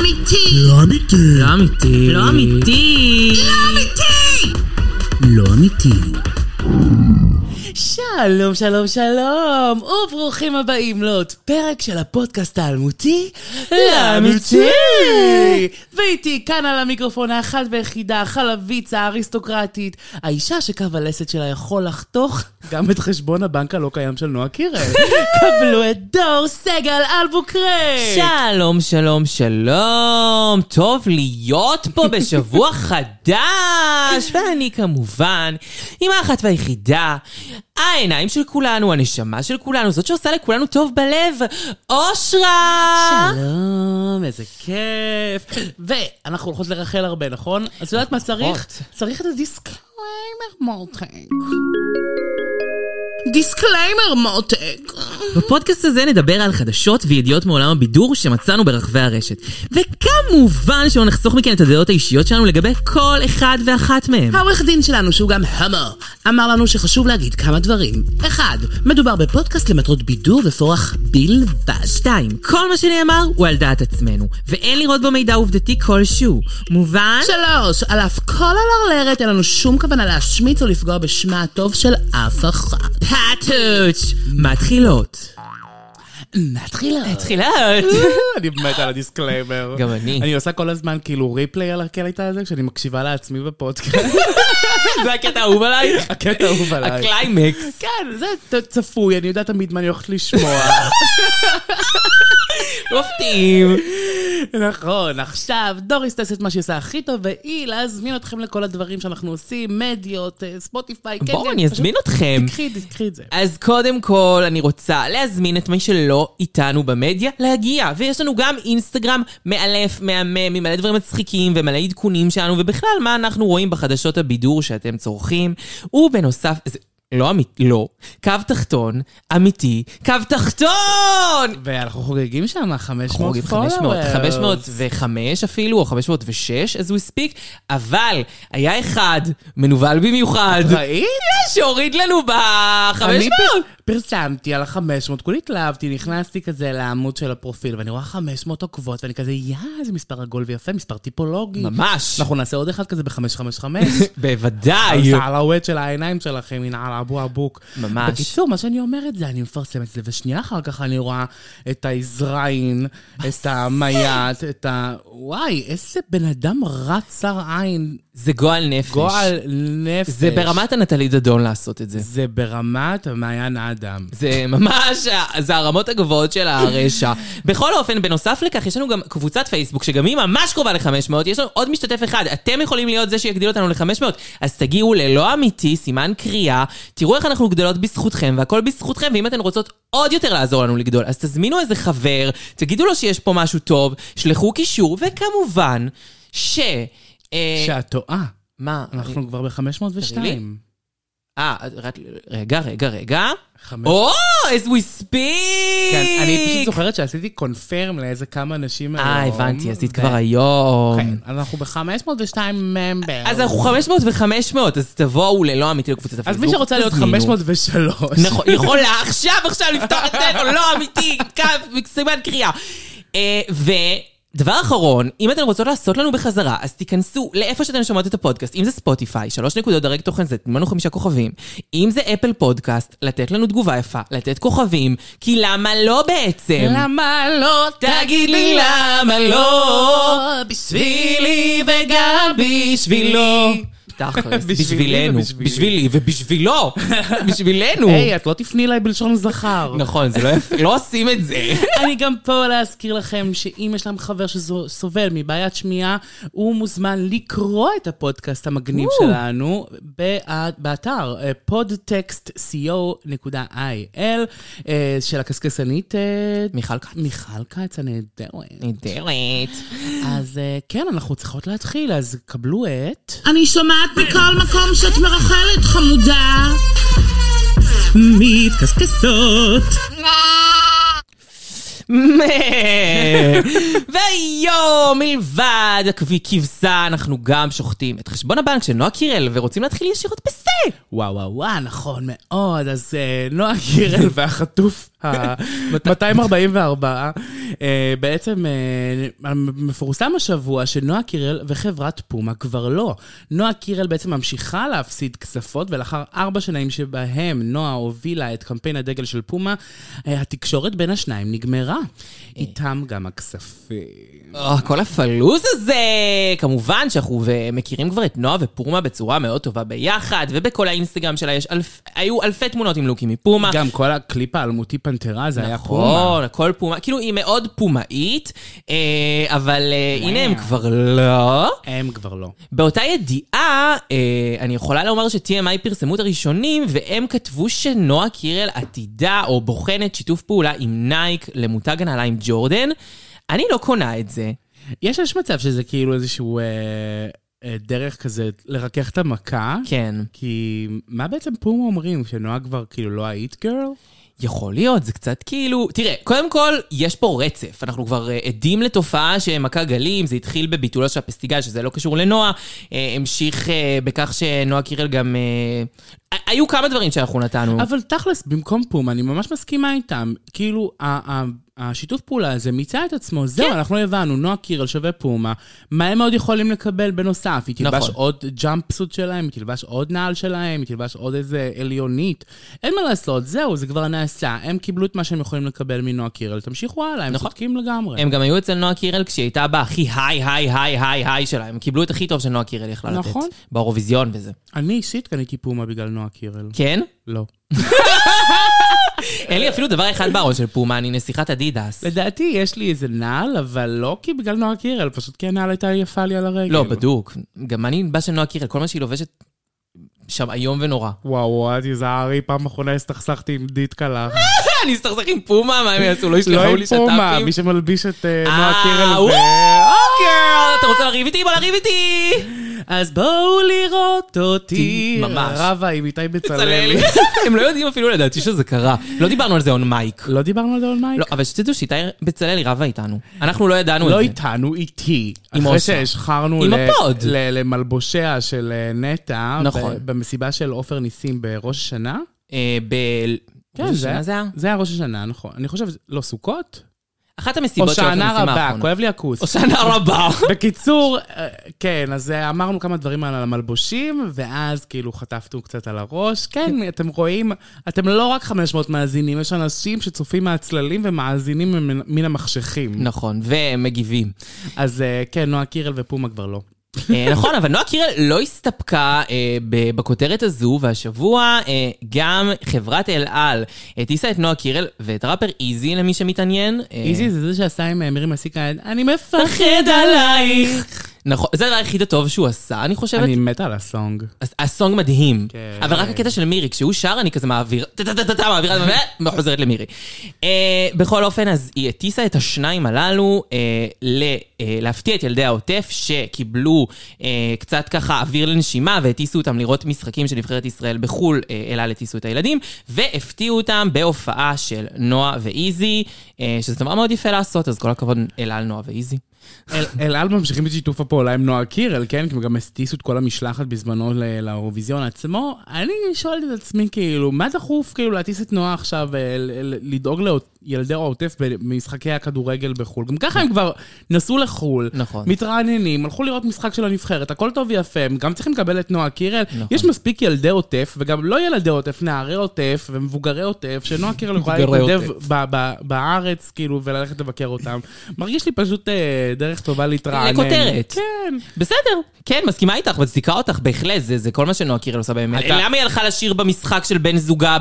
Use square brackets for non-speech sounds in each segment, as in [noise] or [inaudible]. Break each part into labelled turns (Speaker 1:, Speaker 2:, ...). Speaker 1: אמיתי!
Speaker 2: לא אמיתי.
Speaker 3: לא אמיתי.
Speaker 4: לא אמיתי.
Speaker 1: לא אמיתי!
Speaker 2: לא אמיתי.
Speaker 4: שלום, שלום, שלום, וברוכים הבאים לעוד פרק של הפודקאסט האלמותי לאמיתי. ואיתי כאן על המיקרופון האחת והיחידה, החלביצה האריסטוקרטית, האישה שקו הלסת שלה יכול לחתוך גם את חשבון הבנק הלא קיים של נועה קירל. קבלו את דור סגל אלבוקרי.
Speaker 3: שלום, שלום, שלום, טוב להיות פה
Speaker 4: [laughs]
Speaker 3: בשבוע חדש, ואני כמובן עם האחת והיחידה, העיניים של כולנו, הנשמה של כולנו, זאת שעושה לכולנו טוב בלב, אושרה!
Speaker 4: שלום, איזה כיף.
Speaker 3: [laughs]
Speaker 4: ואנחנו הולכות לרחל הרבה, נכון? אז את יודעת מה צריך? צריך את הדיסקליימר מותק.
Speaker 1: דיסקליימר מותק.
Speaker 3: בפודקאסט הזה נדבר על חדשות וידיעות מעולם הבידור שמצאנו ברחבי הרשת. וכמובן שלא נחסוך מכן את הדעות האישיות שלנו לגבי כל אחד ואחת מהם.
Speaker 1: העורך דין שלנו, שהוא גם הומו, אמר לנו שחשוב להגיד כמה דברים. אחד, מדובר בפודקאסט למטרות בידור ופורח בלבד.
Speaker 3: 2. כל מה שנאמר הוא על דעת עצמנו, ואין לראות בו מידע עובדתי כלשהו. מובן?
Speaker 1: שלוש, על אף כל הלרלרת אין לנו שום כוונה להשמיץ או לפגוע בשמה הטוב של אף אחת.
Speaker 3: פאטוץ'! מתחילות.
Speaker 1: מתחילה.
Speaker 3: מתחילות.
Speaker 4: [laughs] אני מת על הדיסקליימר.
Speaker 3: גם אני.
Speaker 4: אני עושה כל הזמן כאילו ריפליי על הקטע הזה, כשאני מקשיבה לעצמי בפודקאסט.
Speaker 3: [laughs] זה הקטע האהוב עלייך?
Speaker 4: הקטע האהוב עליי.
Speaker 3: הקליימקס.
Speaker 4: כן, זה ת- צפוי, אני יודעת תמיד מה אני הולכת לשמוע.
Speaker 3: מופתעים.
Speaker 4: [laughs] נכון, עכשיו דוריס תעשה את מה שהיא עושה הכי טוב, והיא להזמין אתכם לכל הדברים שאנחנו עושים, מדיות, אה, ספוטיפיי, כן, כן.
Speaker 3: בואו, אני
Speaker 4: פשוט
Speaker 3: אזמין אתכם.
Speaker 4: תקחי, תקחי את זה.
Speaker 3: אז קודם כל, אני רוצה להזמין את מי שלא איתנו במדיה להגיע. ויש לנו גם אינסטגרם מאלף, מהמם, עם מלא דברים מצחיקים ומלא עדכונים שלנו, ובכלל, מה אנחנו רואים בחדשות הבידור שאתם צורכים. ובנוסף, זה לא אמיתי, לא, קו תחתון, אמיתי, קו תחתון!
Speaker 4: ואנחנו חוגגים שם 500
Speaker 3: חורגים 500,
Speaker 4: followers.
Speaker 3: 505 אפילו, או 506, as we speak, אבל היה אחד, מנוול
Speaker 4: [laughs]
Speaker 3: במיוחד,
Speaker 4: ראית?
Speaker 3: שהוריד לנו
Speaker 4: אני
Speaker 3: ב-500!
Speaker 4: פר- פרסמתי על ה-500, כולי התלהבתי, נכנסתי כזה לעמוד של הפרופיל, ואני רואה 500 עוקבות, ואני כזה, יא, איזה מספר עגול ויפה, מספר טיפולוגי.
Speaker 3: ממש.
Speaker 4: אנחנו נעשה עוד אחד כזה ב-555. [laughs]
Speaker 3: [laughs] בוודאי.
Speaker 4: הסעלוות של העיניים שלכם, הנה על אבו אבוק.
Speaker 3: ממש.
Speaker 4: בקיצור, מה שאני אומרת זה, אני מפרסמת את זה, ושנייה אחר כך אני רואה את האזריין, את המייט, את ה... וואי, איזה בן אדם רע צר עין,
Speaker 3: זה גועל נפש.
Speaker 4: גועל נפש.
Speaker 3: זה ברמת הנטלי דדון לעשות את זה.
Speaker 4: זה ברמת המעיין אדם.
Speaker 3: זה ממש, ה- זה הרמות הגבוהות של הרשע. בכל אופן, בנוסף לכך, יש לנו גם קבוצת פייסבוק, שגם היא ממש קרובה ל-500, יש לנו עוד משתתף אחד, אתם יכולים להיות זה שיגדיל אותנו ל-500, אז תגיעו ללא אמיתי, סימן קריאה, תראו איך אנחנו גדלות בזכותכם, והכל בזכותכם, ואם אתן רוצות עוד יותר לעזור לנו לגדול, אז תזמינו איזה חבר, תגידו לו שיש פה משהו טוב, שלחו קישור, וכמובן, ש... אה,
Speaker 4: שאת טועה.
Speaker 3: מה?
Speaker 4: אנחנו כבר ב-502.
Speaker 3: תראי לי. אה, רק- רגע, רגע, רגע.
Speaker 4: חמש-
Speaker 3: או, as we speak!
Speaker 4: כן, אני פשוט זוכרת שעשיתי קונפרם לאיזה כמה נשים היום.
Speaker 3: אה, הבנתי, עשית
Speaker 4: ו-
Speaker 3: כבר היום.
Speaker 4: כן, אז אנחנו ב-502 ממבר.
Speaker 3: אז אנחנו 500 ו-500, אז תבואו ללא אמיתי לקבוצת הפייסבוק.
Speaker 4: אז מי שרוצה להיות
Speaker 3: תזמינו.
Speaker 4: 503.
Speaker 3: נכון, יכולה עכשיו, עכשיו לפתוח את הטלפון, לא אמיתי, קו, סימן קריאה. אה, ו... דבר אחרון, אם אתן רוצות לעשות לנו בחזרה, אז תיכנסו לאיפה שאתן שומעות את הפודקאסט. אם זה ספוטיפיי, שלוש נקודות דרג תוכן זה, תנו לנו חמישה כוכבים. אם זה אפל פודקאסט, לתת לנו תגובה יפה, לתת כוכבים, כי למה לא בעצם?
Speaker 4: למה לא
Speaker 3: תגיד לי למה לא, בשבילי וגם בשבילו. תכלס,
Speaker 4: [laughs] בשבילי
Speaker 3: בשבילנו,
Speaker 4: ובשבילי.
Speaker 3: בשבילי
Speaker 4: [laughs]
Speaker 3: ובשבילו, בשבילנו.
Speaker 4: היי, את לא תפני אליי בלשון זכר.
Speaker 3: נכון, זה לא יפה, לא עושים את זה.
Speaker 4: אני גם פה להזכיר לכם שאם יש לכם חבר שסובל מבעיית שמיעה, הוא מוזמן לקרוא את הפודקאסט המגניב
Speaker 3: וואו.
Speaker 4: שלנו בא- באתר אה, podtext.co.il אה, של הקשקשנית אה,
Speaker 3: מיכל כץ.
Speaker 4: מיכל כץ הנהדרת.
Speaker 3: נהדרת.
Speaker 4: [laughs] אז אה, כן, אנחנו צריכות להתחיל, אז קבלו את...
Speaker 1: אני שומעת מכל מקום שאת מרחלת, חמודה. מתקסקסות.
Speaker 3: והיום, מלבד הכבי- כבשה, אנחנו גם שוחטים את חשבון הבנק של נועה קירל, ורוצים להתחיל ישירות בסי.
Speaker 4: וואו וואו וואו, נכון מאוד. אז אה, נועה קירל והחטוף ה- 244. אה, בעצם אה, מפורסם השבוע שנועה קירל וחברת פומה כבר לא. נועה קירל בעצם ממשיכה להפסיד כספות, ולאחר ארבע שנים שבהם נועה הובילה את קמפיין הדגל של פומה, אה, התקשורת בין השניים נגמרה. איתם גם הכספים.
Speaker 3: אה, כל הפלוז הזה! כמובן שאנחנו ו- מכירים כבר את נועה ופורמה בצורה מאוד טובה ביחד, ובכל האינסטגרם שלה יש אלפ... היו אלפי תמונות עם לוקים מפומה.
Speaker 4: גם כל הקליפ האלמותי פנתרה זה היה פומה.
Speaker 3: נכון, הכל פומה. כאילו, היא מאוד פומאית, אה, אבל אה, הנה הם כבר לא.
Speaker 4: הם כבר לא.
Speaker 3: באותה ידיעה, אה, אני יכולה לומר ש-TMI פרסמו את הראשונים, והם כתבו שנועה קירל עתידה או בוחנת שיתוף פעולה עם נייק למותג הנעליים ג'ורדן. אני לא קונה את זה.
Speaker 4: יש יש מצב שזה כאילו איזשהו אה, אה, דרך כזה לרכך את המכה.
Speaker 3: כן.
Speaker 4: כי מה בעצם פומה אומרים? שנועה כבר כאילו לא היית גרל?
Speaker 3: יכול להיות, זה קצת כאילו... תראה, קודם כל, יש פה רצף. אנחנו כבר אה, עדים לתופעה שמכה גלים, זה התחיל בביטולו של הפסטיגל, שזה לא קשור לנועה, אה, המשיך אה, בכך שנועה קירל גם... אה, ה- היו כמה דברים שאנחנו נתנו.
Speaker 4: אבל תכלס, במקום פומה, אני ממש מסכימה איתם. כאילו, ה- ה- השיתוף פעולה הזה מיצה את עצמו, זהו,
Speaker 3: כן.
Speaker 4: אנחנו הבנו, נועה קירל שווה פומה, מה הם עוד יכולים לקבל בנוסף? היא תלבש
Speaker 3: נכון.
Speaker 4: עוד ג'אמפסוט שלהם, היא תלבש עוד נעל שלהם, היא תלבש עוד איזה עליונית. אין מה לעשות, זהו, זה כבר נעשה. הם קיבלו את מה שהם יכולים לקבל מנועה קירל, תמשיכו הלאה, הם
Speaker 3: נכון.
Speaker 4: צודקים לגמרי.
Speaker 3: הם גם היו אצל נועה קירל כשהיא הייתה בהכי היי, היי, היי, היי, היי שלה. הם קיבלו את הכי טוב שנועה קירל יכלה לתת.
Speaker 4: נכון.
Speaker 3: באירוויזיון וזה.
Speaker 4: אני אישית קניתי פומה בגלל נועה קירל.
Speaker 3: כן?
Speaker 4: לא.
Speaker 3: אין לי אפילו דבר אחד בארון של פומה, אני נסיכת אדידס.
Speaker 4: לדעתי יש לי איזה נעל, אבל לא כי בגלל נועה קירל, פשוט כי הנעל הייתה יפה לי על הרגל.
Speaker 3: לא, בדוק. גם אני בא של נועה קירל, כל מה שהיא לובשת שם איום ונורא. [laughs]
Speaker 4: וואו, וואו, תיזהרי, פעם אחרונה הסתכסכתי עם דיטקה לך.
Speaker 3: אני אסתכסך עם פומה, מה הם יעשו? לא
Speaker 4: לא
Speaker 3: ישלחו
Speaker 4: עם
Speaker 3: אה, לי שת"פים?
Speaker 4: פומה, מי שמלביש את אה, נועה
Speaker 3: אה,
Speaker 4: קירל
Speaker 3: וואו,
Speaker 4: זה...
Speaker 3: גרל, אתה רוצה לריב איתי? בוא לריב איתי!
Speaker 4: אז בואו לראות אותי.
Speaker 3: ממש.
Speaker 4: רבה עם איתי
Speaker 3: צללי.
Speaker 4: בצלאלי.
Speaker 3: [laughs] הם לא יודעים אפילו לדעתי שזה קרה. לא דיברנו על זה און מייק.
Speaker 4: לא דיברנו על דאון מייק?
Speaker 3: לא, אבל שתדעו שאיתי בצלאלי רבה איתנו. אנחנו לא ידענו
Speaker 4: לא
Speaker 3: את זה.
Speaker 4: איתנו, איתי.
Speaker 3: עם
Speaker 4: אחרי
Speaker 3: אוסרה.
Speaker 4: שהשחרנו
Speaker 3: עם
Speaker 4: ל-
Speaker 3: הפוד.
Speaker 4: ל- למלבושיה של אה, נטע,
Speaker 3: נכון.
Speaker 4: ב- במסיבה של עופר ניסים בראש השנה.
Speaker 3: אה, ב...
Speaker 4: כן,
Speaker 3: שנה זה היה?
Speaker 4: זה היה ראש השנה, נכון. אני חושב, לא סוכות?
Speaker 3: אחת
Speaker 4: או
Speaker 3: המסיבות של
Speaker 4: שנה
Speaker 3: המשימה
Speaker 4: רבה,
Speaker 3: האחרונה.
Speaker 4: כואב לי הכוס.
Speaker 3: או שנה רבה.
Speaker 4: [laughs] בקיצור, אה, כן, אז אה, אמרנו כמה דברים על המלבושים, ואז כאילו חטפנו קצת על הראש. כן, אתם רואים, אתם לא רק 500 מאזינים, יש אנשים שצופים מהצללים ומאזינים ממנ- מן המחשכים.
Speaker 3: נכון, והם מגיבים.
Speaker 4: אז אה, כן, נועה קירל ופומה כבר לא.
Speaker 3: אה, נכון, אבל נועה קירל לא הסתפקה אה, ב- בכותרת הזו, והשבוע אה, גם חברת אל על הטיסה את נועה קירל ואת הראפר איזי, למי שמתעניין. אה,
Speaker 4: איזי זה זה שעשה עם אה, מירי מסיקה, אני מפחד.
Speaker 3: מפחד עלייך. נכון, זה הדבר היחיד הטוב שהוא עשה, אני חושבת.
Speaker 4: אני מתה על הסונג.
Speaker 3: הס- הסונג מדהים.
Speaker 4: כן.
Speaker 3: אבל רק הקטע של מירי, כשהוא שר אני כזה מעביר, [laughs] טה-טה-טה-טה, מעבירה, ו- וחוזרת למירי. אה, בכל אופן, אז היא הטיסה את השניים הללו אה, ל- אה, להפתיע את ילדי העוטף, שקיבלו אה, קצת ככה אוויר לנשימה, והטיסו אותם לראות משחקים של נבחרת ישראל בחו"ל, אה, אלה הטיסו את הילדים, והפתיעו אותם בהופעה של נועה ואיזי, אה, שזה דבר מאוד יפה לעשות, אז כל הכבוד אלה על נועה ואיזי.
Speaker 4: אל- אל על ממשיכים בשיתוף הפעולה עם נועה קירל, כן? כי הם גם הטיסו את כל המשלחת בזמנו ל- לאירוויזיון עצמו. אני שואלת את עצמי, כאילו, מה דחוף כאילו להטיס את נועה עכשיו, אה, ל- ל- לדאוג לילדי העוטף במשחקי הכדורגל בחו"ל? גם ככה הם כבר נסעו לחו"ל,
Speaker 3: נכון.
Speaker 4: מתרעננים, הלכו לראות משחק של הנבחרת, הכל טוב ויפה, הם גם צריכים לקבל את נועה קירל. יש מספיק ילדי עוטף, וגם לא ילדי עוטף, נערי עוטף ומבוגרי עוטף, שנועה קירל יכולה
Speaker 3: מבוגרי
Speaker 4: להתנדב
Speaker 3: עוטף.
Speaker 4: ב- ב- בארץ, כאילו, וללכת לבקר אותם. מרגיש לי פשוט אה, דרך טובה להתרענן.
Speaker 3: לכותרת.
Speaker 4: כן.
Speaker 3: בסדר, כן, מסכימה איתך, מצדיקה אותך, בהחלט, זה, זה כל מה שנועה קירל עושה באמת.
Speaker 4: אתה-
Speaker 3: למה היא הלכה לשיר במשחק של בן זוגה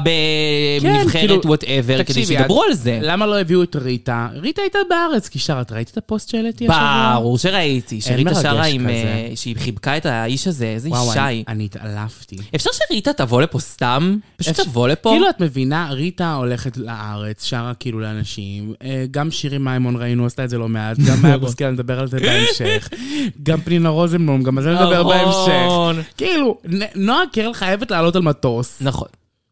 Speaker 4: כן,
Speaker 3: בנבחרת, וואטאבר, כדי
Speaker 4: תקשיבי,
Speaker 3: שידברו
Speaker 4: את-
Speaker 3: על זה?
Speaker 4: למה לא הביאו את ריטה? ריטה הייתה בארץ, כי שרת, ראית את הפוסט שהעליתי השבוע?
Speaker 3: ברור שראיתי, שריטה
Speaker 4: מרגש
Speaker 3: שרה עם...
Speaker 4: כזה.
Speaker 3: אה, שהיא חיבקה את האיש הזה, איזה
Speaker 4: וואו,
Speaker 3: אישה
Speaker 4: אני,
Speaker 3: היא.
Speaker 4: אני התעלפתי.
Speaker 3: אפשר שריטה תבוא לפה סתם? פשוט
Speaker 4: אפשר-
Speaker 3: תבוא לפה?
Speaker 4: כאילו, את מבינה, ריטה הולכת לארץ, שרה כאילו לאנשים. אה, גם שירי מימון ראינו, עשתה את זה לא מעט.
Speaker 3: [laughs]
Speaker 4: גם מאיה בוסקילה, נדבר על זה בהמשך. גם פנינה רוזנבלום, גם על זה נדבר
Speaker 3: אהרון.
Speaker 4: בהמשך. כאילו, נ- נועה קירל חייבת לעלות על מטוס.
Speaker 3: נכון,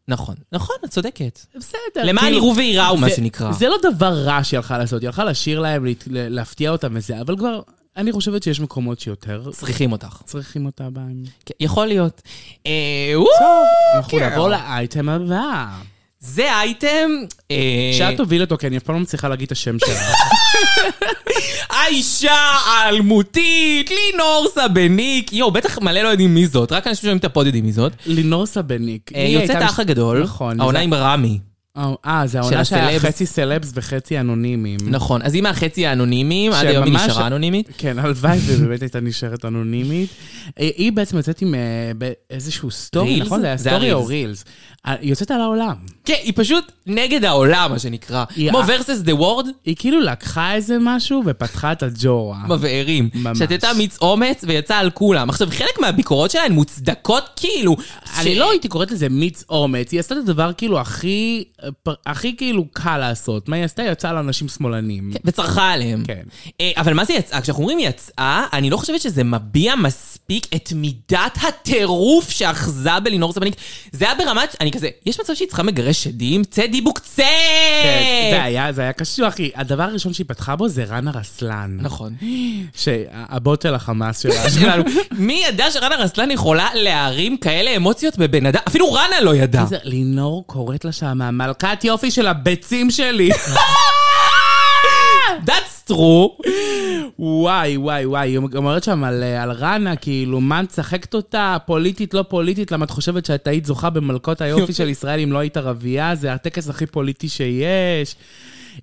Speaker 3: נכון, נכון, את צודקת.
Speaker 4: בסדר.
Speaker 3: למען
Speaker 4: כאילו-
Speaker 3: יראו וייראו, מה
Speaker 4: זה-
Speaker 3: שנקרא.
Speaker 4: זה לא דבר רע שהיא הלכה לעשות, היא הלכה לשיר להם, להת- ל- להפתיע אותם וזה, אבל כבר, אני חושבת שיש מקומות שיותר
Speaker 3: צריכים אותך.
Speaker 4: צריכים אותה בהם.
Speaker 3: כן, אה. יכול להיות. אה, וואו,
Speaker 4: אנחנו
Speaker 3: כן.
Speaker 4: נעבור לאייטם הבא.
Speaker 3: זה אייטם... אה,
Speaker 4: שאת תוביל אותו, כי אני אף פעם לא מצליחה להגיד את השם
Speaker 3: [laughs]
Speaker 4: שלה.
Speaker 3: האישה האלמותית, לינור סבניק. יואו, בטח מלא לא יודעים מי זאת, רק אנשים ששומעים את הפוד יודעים מי זאת.
Speaker 4: לינור סבניק.
Speaker 3: אה,
Speaker 4: היא
Speaker 3: יוצאת
Speaker 4: הייתה
Speaker 3: האח
Speaker 4: מש-
Speaker 3: הגדול,
Speaker 4: נכון.
Speaker 3: העונה
Speaker 4: זה-
Speaker 3: עם רמי.
Speaker 4: אה, זה
Speaker 3: של
Speaker 4: העונה שהיה
Speaker 3: הסלבס.
Speaker 4: חצי סלבס וחצי אנונימים.
Speaker 3: נכון, אז היא מהחצי האנונימים, עד היום היא
Speaker 4: שממש-
Speaker 3: נשארה אנונימית.
Speaker 4: כן, הלוואי ובאמת הייתה נשארת אנונימית. אה, היא בעצם יוצאת עם אה, ב- איזשהו סטורי,
Speaker 3: רילס?
Speaker 4: נכון? זה היה
Speaker 3: זה
Speaker 4: סטורי או
Speaker 3: הרילס.
Speaker 4: רילס. אה, היא יוצאת על העולם.
Speaker 3: כן, היא פשוט נגד העולם, מה שנקרא.
Speaker 4: היא-
Speaker 3: כמו versus the world,
Speaker 4: היא כאילו לקחה איזה משהו ופתחה את הג'ורה.
Speaker 3: מבערים.
Speaker 4: ממש.
Speaker 3: שתתה מיץ אומץ ויצאה על כולם. עכשיו, חלק מהביקורות שלה הן מוצדקות כאילו.
Speaker 4: אני
Speaker 3: ש-
Speaker 4: לא הייתי קוראת לזה מיץ אומץ, היא עשתה את הדבר כאילו הכי, הכי כאילו קל לעשות. מה היא עשתה? היא יצאה על אנשים שמאלנים.
Speaker 3: וצרחה עליהם.
Speaker 4: כן.
Speaker 3: אה, אבל מה זה יצאה? כשאנחנו אומרים יצאה, אני לא חושבת שזה מביע מספיק את מידת הטירוף שאחזה בלינור סבניק. זה היה ברמת, אני כזה, יש מצב שהיא צריכה מגרש שדים? צא דיבוק צא!
Speaker 4: כן, זה היה, זה היה קשור, אחי. הדבר הראשון שהיא פתחה בו זה רנה רסלן.
Speaker 3: נכון.
Speaker 4: שהבוט של החמאס שלה.
Speaker 3: [laughs] שלנו. מי ידע שרנה רסלן יכולה להרים כאלה אמוציות בבן אדם? אפילו רנה לא ידעה.
Speaker 4: איזה- לינור קוראת לה שם, מלכת יופי של הביצים שלי.
Speaker 3: That's true.
Speaker 4: וואי, וואי, וואי, היא אומרת שם על, על רנה, כאילו, מה את משחקת אותה, פוליטית, לא פוליטית, למה את חושבת שאת היית זוכה במלכות היופי של ישראל אם לא היית ערבייה? זה הטקס הכי פוליטי שיש.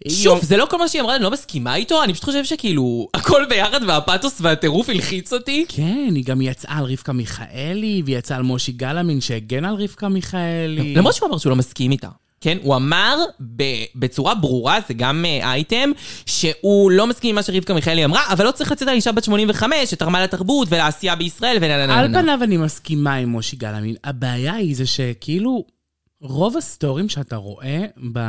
Speaker 3: שוב, זה לא כל מה שהיא אמרה, אני לא מסכימה איתו, אני פשוט חושב שכאילו, הכל ביחד והפתוס והטירוף הלחיץ אותי.
Speaker 4: כן, היא גם יצאה על רבקה מיכאלי, והיא יצאה על מושי גלאמין שהגן על רבקה מיכאלי.
Speaker 3: למרות שהוא אמר שהוא לא מסכים איתה. כן, הוא אמר ב- בצורה ברורה, זה גם אה, אייטם, שהוא לא מסכים עם מה שרבקה מיכאלי אמרה, אבל לא צריך לצאת על אישה בת 85 שתרמה לתרבות ולעשייה בישראל ונה נה
Speaker 4: על
Speaker 3: נה נה.
Speaker 4: פניו אני מסכימה עם מושי גלאמין. הבעיה היא זה שכאילו, רוב הסטורים שאתה רואה, ב...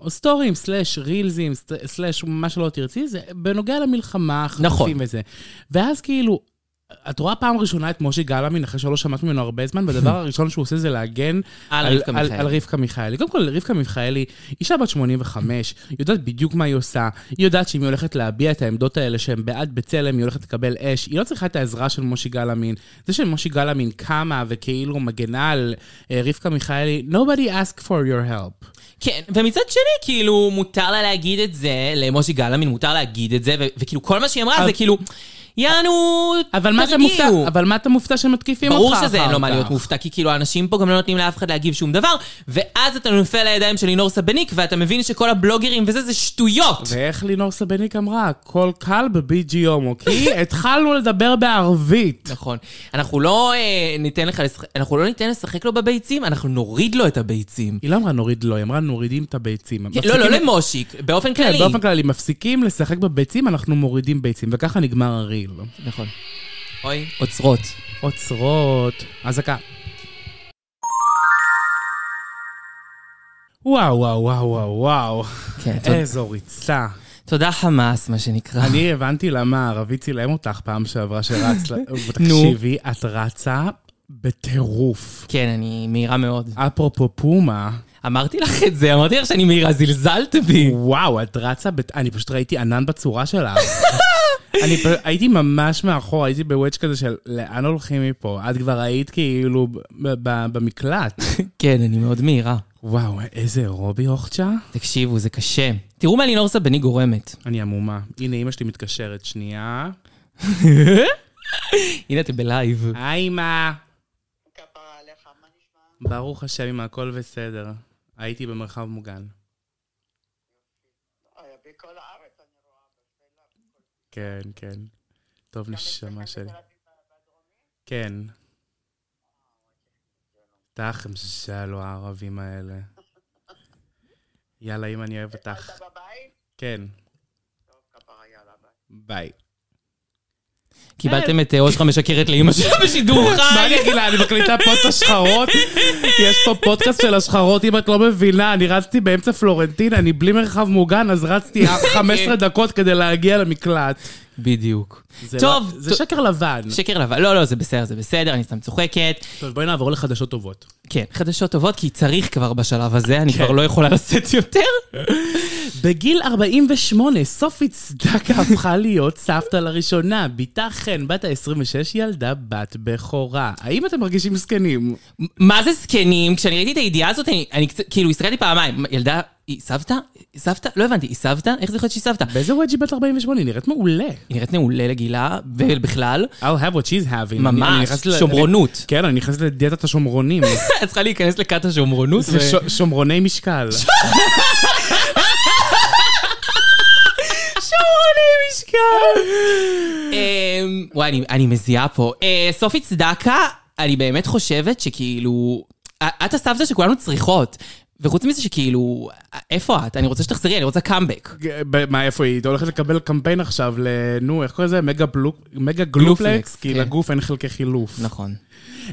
Speaker 4: או סטורים, סלאש רילזים, סט- סלאש מה שלא תרצי, זה בנוגע למלחמה, חטופים
Speaker 3: נכון.
Speaker 4: וזה. ואז כאילו, את רואה פעם ראשונה את מושי גלאמין, אחרי שלא שמעת ממנו הרבה זמן, והדבר הראשון שהוא עושה זה להגן
Speaker 3: על רבקה
Speaker 4: על,
Speaker 3: מיכאלי.
Speaker 4: על רבקה מיכאלי. קודם כל, רבקה מיכאלי, אישה בת 85, יודעת בדיוק מה היא עושה, היא יודעת שאם היא הולכת להביע את העמדות האלה שהן בעד בצלם, היא הולכת לקבל אש, היא לא צריכה את העזרה של מושי גלאמין. זה שמושי גלאמין קמה וכאילו מגנה על אה, רבקה מיכאלי, nobody ask for your help.
Speaker 3: כן, ומצד שני, כאילו, מותר לה להגיד את זה, למושי גלאמין מותר להגיד את זה, ו- וכאילו, כל מה שהיא אמרה זה כאילו, יענו,
Speaker 4: אבל מה אתה
Speaker 3: תרגיעו."
Speaker 4: מופתע? אבל מה אתה מופתע שמתקיפים אותך
Speaker 3: ברור
Speaker 4: אחר
Speaker 3: שזה לא אין לו מה
Speaker 4: כך?
Speaker 3: להיות מופתע, כי כאילו האנשים פה גם לא נותנים לאף אחד להגיב שום דבר, ואז אתה נופל לידיים של לינור סבניק, ואתה מבין שכל הבלוגרים וזה, זה שטויות.
Speaker 4: ואיך לינור סבניק אמרה, הכל קל בבי.ג'י הומו, כי אוקיי? התחלנו לדבר בערבית.
Speaker 3: נכון. אנחנו לא אה, ניתן לך לשחק, אנחנו לא ניתן לשחק לו בביצים, אנחנו נוריד לו את הביצים.
Speaker 4: היא לא אמרה נוריד לו, היא אמרה נורידים את הביצים.
Speaker 3: כן, לא, לא
Speaker 4: מפסיקים-
Speaker 3: למושיק, באופן
Speaker 4: כן,
Speaker 3: כללי.
Speaker 4: באופן כללי, מפסיקים לשחק בביצים, אנחנו מורידים ביצים, וככה נגמר הריל.
Speaker 3: נכון. אוי, אוצרות.
Speaker 4: אוצרות, אזעקה. וואו, וואו, וואו, וואו, וואו,
Speaker 3: כן, תודה.
Speaker 4: איזו ריצה.
Speaker 3: תודה חמאס, מה שנקרא.
Speaker 4: אני הבנתי למה הערבי צילם אותך פעם שעברה שרצת. תקשיבי, את רצה בטירוף.
Speaker 3: כן, אני מהירה מאוד.
Speaker 4: אפרופו פומה,
Speaker 3: אמרתי לך את זה, אמרתי לך שאני מהירה, זלזלת בי.
Speaker 4: וואו, את רצה, בת... אני פשוט ראיתי ענן בצורה שלה. [laughs] אני פ... הייתי ממש מאחור, הייתי בוודג' כזה של לאן הולכים מפה? את כבר היית כאילו ב- ב- במקלט.
Speaker 3: כן, אני מאוד מהירה.
Speaker 4: וואו, איזה רובי הוכצ'ה.
Speaker 3: תקשיבו, זה קשה. תראו מה לינור סבני [laughs] גורמת.
Speaker 4: אני עמומה. הנה, אימא שלי מתקשרת, שנייה.
Speaker 3: הנה אתם בלייב.
Speaker 4: היי, אימא. ברוך השם, אמא, הכל בסדר. הייתי במרחב מוגן.
Speaker 5: בכל אה, הארץ אני רואה.
Speaker 4: כן, כן. טוב, נשמה שלי. כן.
Speaker 5: אה, אוקיי.
Speaker 4: תח שלו הערבים האלה. יאללה, אם אני אוהב אותך.
Speaker 5: אתה בבית?
Speaker 4: כן,
Speaker 5: טוב, כפרה, יאללה, ביי.
Speaker 4: ביי.
Speaker 3: קיבלתם את אה, אושרה משקרת לאימא [laughs] שלה בשידור
Speaker 4: מה
Speaker 3: חי.
Speaker 4: אני אגיד לה, אני מקליטה פוסט השחרות? יש פה פודקאסט של השחרות, אם את לא מבינה, אני רצתי באמצע פלורנטין, אני בלי מרחב מוגן, אז
Speaker 3: [laughs]
Speaker 4: רצתי 15 דקות כדי להגיע למקלט.
Speaker 3: בדיוק.
Speaker 4: זה
Speaker 3: טוב,
Speaker 4: לא- זה
Speaker 3: טוב.
Speaker 4: שקר לבן.
Speaker 3: שקר לבן. לא, לא, זה בסדר, זה בסדר, אני סתם צוחקת.
Speaker 4: טוב, בואי נעבור לחדשות טובות.
Speaker 3: כן, חדשות טובות, כי צריך כבר בשלב הזה, אני כבר לא יכולה לשאת יותר.
Speaker 4: בגיל 48, סופי צדקה הפכה להיות סבתא לראשונה. בתה חן, בת ה-26, ילדה בת בכורה. האם אתם מרגישים זקנים?
Speaker 3: מה זה זקנים? כשאני ראיתי את הידיעה הזאת, אני, אני קצת- כאילו הסתכלתי פעמיים. ילדה, היא סבתא? היא סבתא? לא הבנתי, היא סבתא? איך זה יכול להיות שהיא סבתא?
Speaker 4: באיזה ווג'י בת 48? נראית מעולה.
Speaker 3: היא נראית מעולה לגילה, ובכלל, [laughs]
Speaker 4: I'll have what she's having.
Speaker 3: ממש,
Speaker 4: אני- אני נכנס ל-
Speaker 3: שומרונות.
Speaker 4: אני- כן, אני נכנס לדיאטת השומרונים.
Speaker 3: את צריכה להיכנס לכת השומרונות.
Speaker 4: זה
Speaker 3: ו-
Speaker 4: ש- שומרוני
Speaker 3: [laughs]
Speaker 4: משקל.
Speaker 3: אמ, וואי, אני- אני מזיעה פה. אה, סופי צדקה, אני באמת חושבת שכאילו... א- את הסבתא שכולנו צריכות. וחוץ מזה שכאילו, א- איפה את? אני רוצה שתחזרי, אני רוצה קאמבק.
Speaker 4: ב- מה, איפה היא? היא הולכת לקבל קמפיין עכשיו ל... נו, איך קוראים לזה? מגה פלוק- מגה
Speaker 3: גלופלקס,
Speaker 4: גלופלקס? כי
Speaker 3: כן.
Speaker 4: לגוף אין חלקי חילוף.
Speaker 3: נכון.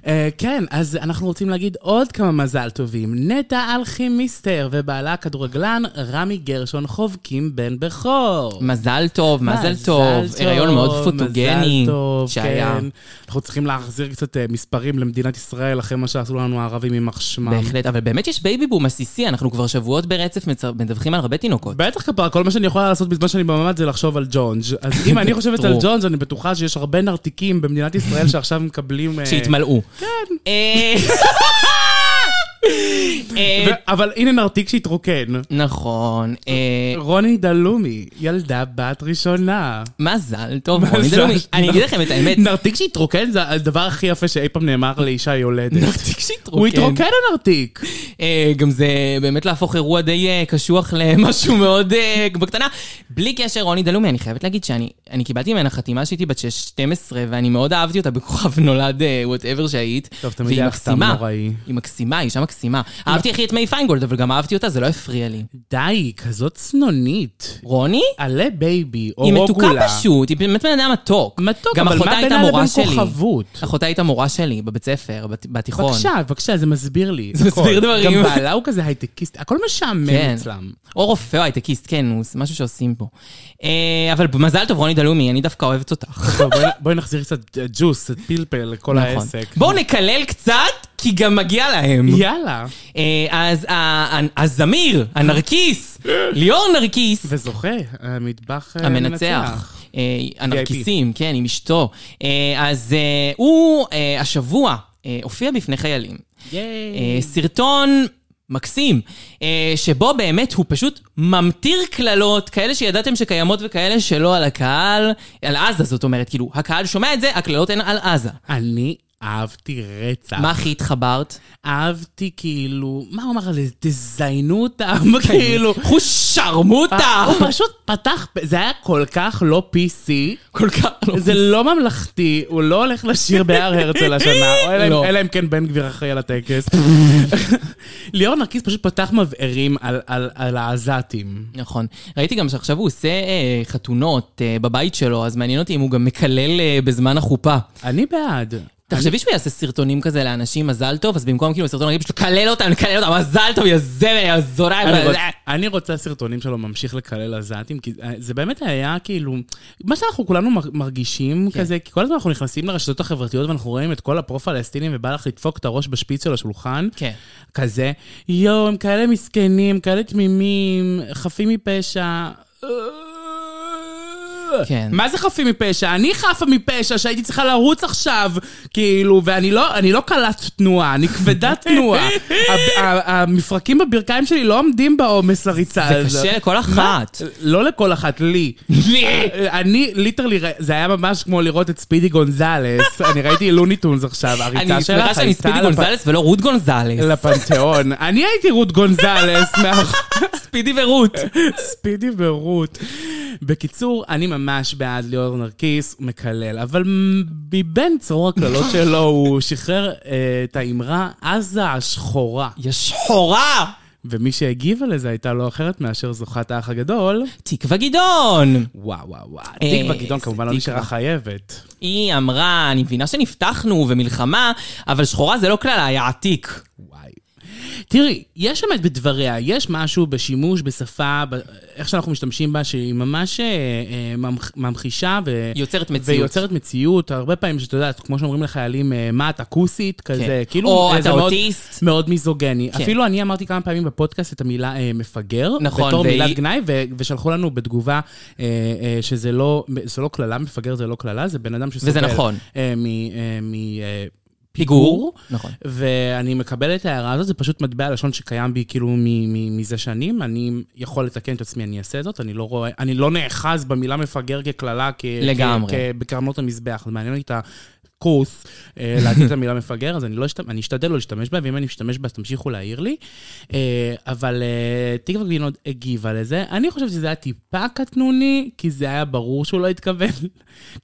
Speaker 4: אה, כן, אז אנחנו רוצים להגיד עוד כמה מזל טובים. נטע אלכימיסטר ובעלה הכדורגלן רמי גרשון חובקים בן בכור.
Speaker 3: מזל טוב, מזל טוב. הריון מאוד פוטוגני
Speaker 4: מזל טוב,
Speaker 3: שהיה.
Speaker 4: כן. אנחנו צריכים להחזיר קצת אה, מספרים למדינת ישראל אחרי מה שעשו לנו הערבים יימח שמם.
Speaker 3: בהחלט, אבל באמת יש בייבי בום עסיסי, אנחנו כבר שבועות ברצף מצ- מדווחים על הרבה תינוקות.
Speaker 4: בטח כפרה, כל מה שאני יכולה לעשות בזמן שאני בממ"ד זה לחשוב על ג'ונג'. אז אם אני חושבת על
Speaker 3: [laughs] True.
Speaker 4: ג'ונג', אני בטוחה שיש הרבה נרתיקים במדינת ישראל שעכשיו מקבלים... אה,
Speaker 3: שהתמלאו. כן.
Speaker 4: ו- אבל הנה נרתיק שהתרוקן.
Speaker 3: אה, נכון. אה,
Speaker 4: רוני דלומי, ילדה בת ראשונה.
Speaker 3: מזל טוב, רוני דלומי. אני אגיד לכם את האמת.
Speaker 4: נרתיק שהתרוקן זה הדבר הכי יפה שאי פעם נאמר לאישה יולדת.
Speaker 3: נרתיק שהתרוקן.
Speaker 4: הוא התרוקן הנרתיק.
Speaker 3: אה, גם זה באמת להפוך אירוע די אה, קשוח למשהו מאוד אה, בקטנה. בלי קשר, רוני דלומי, אני חייבת להגיד שאני אני קיבלתי ממנה חתימה שהייתי בת 12, ואני מאוד אהבתי אותה בכוכב נולד, וואטאבר שהיית.
Speaker 4: טוב, תמיד
Speaker 3: והיא
Speaker 4: היה סתם
Speaker 3: מקסימה.
Speaker 4: נוראי.
Speaker 3: היא מקסימה, היא אישה מקסימה. אהבתי הכי את מיי פיינגולד, אבל גם אהבתי אותה, זה לא הפריע לי.
Speaker 4: די, כזאת צנונית.
Speaker 3: רוני?
Speaker 4: עלה בייבי, או
Speaker 3: היא
Speaker 4: רוגולה.
Speaker 3: מתוקה פשוט, היא באמת בן אדם מתוק.
Speaker 4: מתוק,
Speaker 3: גם
Speaker 4: אבל
Speaker 3: אחותה
Speaker 4: מה
Speaker 3: הייתה
Speaker 4: בינה לבין
Speaker 3: מורה שלי.
Speaker 4: כוכבות?
Speaker 3: אחותה הייתה מורה שלי בבית ספר, בת- בתיכון.
Speaker 4: בבקשה, בבקשה, זה מסביר לי.
Speaker 3: נכון. זה
Speaker 4: הכל.
Speaker 3: מסביר דברים.
Speaker 4: גם בעלה הוא כזה הייטקיסט, הכל
Speaker 3: כן.
Speaker 4: משעמם אצלם.
Speaker 3: או רופא או הייטקיסט, כן, הוא- זה משהו שעושים פה. אה, אבל מזל טוב, רוני דלומי, אני דווקא אוהבת אותך.
Speaker 4: טוב, בואי- בואי נחזיר קצת אה, ג'וס, קצת פלפל לכל
Speaker 3: נכון.
Speaker 4: העסק.
Speaker 3: בואו נקלל קצת, כי גם מגיע להם.
Speaker 4: יאללה.
Speaker 3: אה, אז ה- ה- הזמיר, הנרקיס, ליאור נרקיס,
Speaker 4: וזוכה, המטבח אה,
Speaker 3: המנצח. אה, הנרקיסים, כן, עם אשתו. אה, אז אה, הוא אה, השבוע אה, הופיע בפני חיילים. אה,
Speaker 4: ייי.
Speaker 3: סרטון מקסים, אה, שבו באמת הוא פשוט ממטיר קללות, כאלה שידעתם שקיימות וכאלה שלא על הקהל, על עזה זאת אומרת, כאילו, הקהל שומע את זה, הקללות הן על עזה.
Speaker 4: אה, אני אהבתי רצח.
Speaker 3: מה הכי התחברת?
Speaker 4: אהבתי כאילו, מה הוא אמר? לזה? תזיינו אותם,
Speaker 3: כן.
Speaker 4: כאילו. אה, אוקיי.
Speaker 3: חוש שרמוטה!
Speaker 4: הוא פשוט פתח, זה היה כל כך לא PC,
Speaker 3: כל כך לא...
Speaker 4: זה לא ממלכתי, הוא לא הולך לשיר בהר הרצל
Speaker 3: [laughs]
Speaker 4: השנה, או אלא אם-
Speaker 3: לא.
Speaker 4: אלא אם כן בן גביר אחראי על
Speaker 3: [laughs]
Speaker 4: הטקס. ליאור נרקיס פשוט פתח מבערים על- על על העזתים.
Speaker 3: נכון. ראיתי גם שעכשיו הוא עושה אה, חתונות אה, בבית שלו, אז מעניין אותי אם הוא גם מקלל אה, בזמן החופה.
Speaker 4: אני בעד.
Speaker 3: תחשבי שהוא יעשה סרטונים כזה לאנשים, מזל טוב, אז במקום כאילו סרטון, נגיד פשוט לקלל אותם, לקלל אותם, מזל טוב, יא זבל, יא זונה.
Speaker 4: אני
Speaker 3: יא-
Speaker 4: רוצ- אני רוצה סרטונים שלו ממשיך לקלל עזתים, כי אה, זה באמת היה כאילו, מה שאנחנו כולנו מר- מרגישים
Speaker 3: כן.
Speaker 4: כזה, כי כל הזמן אנחנו נכנסים לרשתות החברתיות ואנחנו רואים את כל הפרו-פלסטינים ובא לך לדפוק את הראש בשפיץ של השולחן,
Speaker 3: כן.
Speaker 4: כזה, יואו, הם כאלה מסכנים, כאלה תמימים, חפים מפשע.
Speaker 3: כן.
Speaker 4: מה זה חפים מפשע? אני חפה מפשע שהייתי צריכה לרוץ עכשיו, כאילו, ואני לא, אני לא קלת תנועה, אני
Speaker 3: [laughs]
Speaker 4: כבדת תנועה. ה- ה- המפרקים בברכיים שלי לא עומדים בעומס הריצה
Speaker 3: זה
Speaker 4: הזאת.
Speaker 3: קשה לכל אחת.
Speaker 4: לא לכל אחת, לי. [laughs]
Speaker 3: לי!
Speaker 4: אני, ליטרלי, זה היה ממש כמו לראות את ספידי גונזלס. אני ראיתי לוניטונס עכשיו,
Speaker 3: אני
Speaker 4: הריצה שלך
Speaker 3: שמחה
Speaker 4: הייתה...
Speaker 3: שאני ספידי
Speaker 4: לפ-
Speaker 3: גונזלס ולא רות גונזלס.
Speaker 4: לפנתיאון. אני הייתי רות גונזלס, [laughs] מאח-
Speaker 3: ספידי ורות.
Speaker 4: ספידי ורות. בקיצור, אני ממש בעד ליאור נרקיס, הוא מקלל, אבל מ- מבין צרור
Speaker 3: [laughs]
Speaker 4: הקללות שלו, הוא שחרר אה, את האמרה עזה השחורה.
Speaker 3: יא שחורה!
Speaker 4: ומי שהגיבה לזה הייתה לא אחרת מאשר זוכת האח הגדול.
Speaker 3: תקווה גדעון!
Speaker 4: וואו, וואו, וואו.
Speaker 3: אה,
Speaker 4: תקווה גדעון
Speaker 3: איזה
Speaker 4: כמובן לא
Speaker 3: תקווה.
Speaker 4: נשארה חייבת.
Speaker 3: היא אמרה, אני מבינה שנפתחנו ומלחמה, אבל שחורה זה לא קללה, יא עתיק.
Speaker 4: וואי. תראי, יש אמת בדבריה, יש משהו בשימוש, בשפה, ב- איך שאנחנו משתמשים בה, שהיא ממש אה, אה, ממח- ממחישה ו...
Speaker 3: יוצרת מציאות.
Speaker 4: ויוצרת מציאות, הרבה פעמים שאת יודעת, כמו שאומרים לחיילים, אה, מה את אקוסית, כזה,
Speaker 3: כן.
Speaker 4: כאילו,
Speaker 3: או
Speaker 4: אה,
Speaker 3: אתה
Speaker 4: זה מאוד-
Speaker 3: אוטיסט.
Speaker 4: מאוד מיזוגני.
Speaker 3: כן.
Speaker 4: אפילו אני אמרתי כמה פעמים בפודקאסט את המילה אה, מפגר,
Speaker 3: נכון,
Speaker 4: בתור
Speaker 3: והיא-
Speaker 4: מילת גנאי, ו- ושלחו לנו בתגובה אה, אה, שזה לא זה לא קללה, מפגר זה לא קללה, זה בן אדם שסובל.
Speaker 3: וזה נכון.
Speaker 4: אה, מ- אה, מ- אה,
Speaker 3: פיגור.
Speaker 4: פיגור,
Speaker 3: נכון.
Speaker 4: ואני מקבל את ההערה הזאת, זה פשוט מטבע לשון שקיים בי כאילו מ- מ- מזה שנים, אני יכול לתקן את עצמי, אני אעשה זאת, אני לא רואה, אני לא נאחז במילה מפגר כקללה, כ-
Speaker 3: לגמרי.
Speaker 4: כ- כ- בקרנות המזבח, זה מעניין לי את הקורס אה, [laughs] להגיד את המילה מפגר, אז אני, לא אשת... אני אשתדל לא להשתמש בה, ואם אני משתמש בה, אז תמשיכו להעיר לי. אה, אבל אה, תקווה גלין עוד הגיבה לזה. אני חושבת שזה היה טיפה קטנוני, כי זה היה ברור שהוא לא התכוון, [laughs]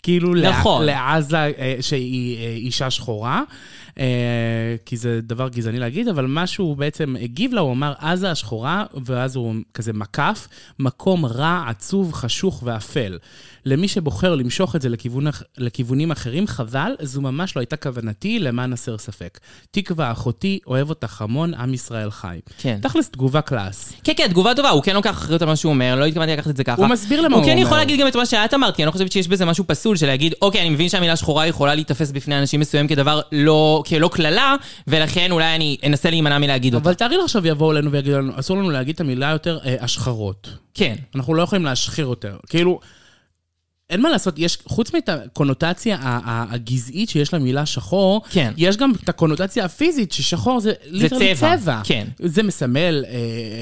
Speaker 4: כאילו, לע-
Speaker 3: נכון.
Speaker 4: לעזה, אה, שהיא אה, אישה שחורה, אה, כי זה דבר גזעני להגיד, אבל מה שהוא בעצם הגיב לה, הוא אמר עזה השחורה, ואז הוא כזה מקף, מקום רע, עצוב, חשוך ואפל. למי שבוחר למשוך את זה לכיוון, אח- לכיוונים אחרים, חבל, זו ממש לא הייתה כוונתי, למען הסר ספק. תקווה, אחותי, אוהב אותך המון, עם ישראל חי.
Speaker 3: כן.
Speaker 4: תכלס, תגובה קלאס.
Speaker 3: כן, כן, תגובה טובה, הוא כן לוקח אחריות על מה שהוא אומר, לא התכוונתי לקחת את זה ככה.
Speaker 4: הוא מסביר למה
Speaker 3: הוא
Speaker 4: הוא
Speaker 3: כן
Speaker 4: אומר.
Speaker 3: יכול להגיד גם את מה שאת אמרת, כי אני לא חושבת שיש בזה משהו פסול של להגיד, אוקיי, אני מבין שהמילה שחורה יכולה להיתפס בפני אנשים מסוים כדבר לא, כלא קללה, ולכן אולי אני אנסה להימנע מלהגיד אותה.
Speaker 4: אבל תארי לך עכשיו יבואו אלינו ויגידו לנו, אסור לנו להגיד את המילה יותר אה, השחרות.
Speaker 3: כן.
Speaker 4: אנחנו לא יכולים להשחיר יותר. כאילו, אין מה לעשות, יש, חוץ מאת הקונוטציה ה- ה- הגזעית שיש למילה שחור,
Speaker 3: כן.
Speaker 4: יש גם את הקונוטציה הפיזית, ששחור זה ליטרלי
Speaker 3: צבע,
Speaker 4: צבע.
Speaker 3: כן.
Speaker 4: זה מסמל אה,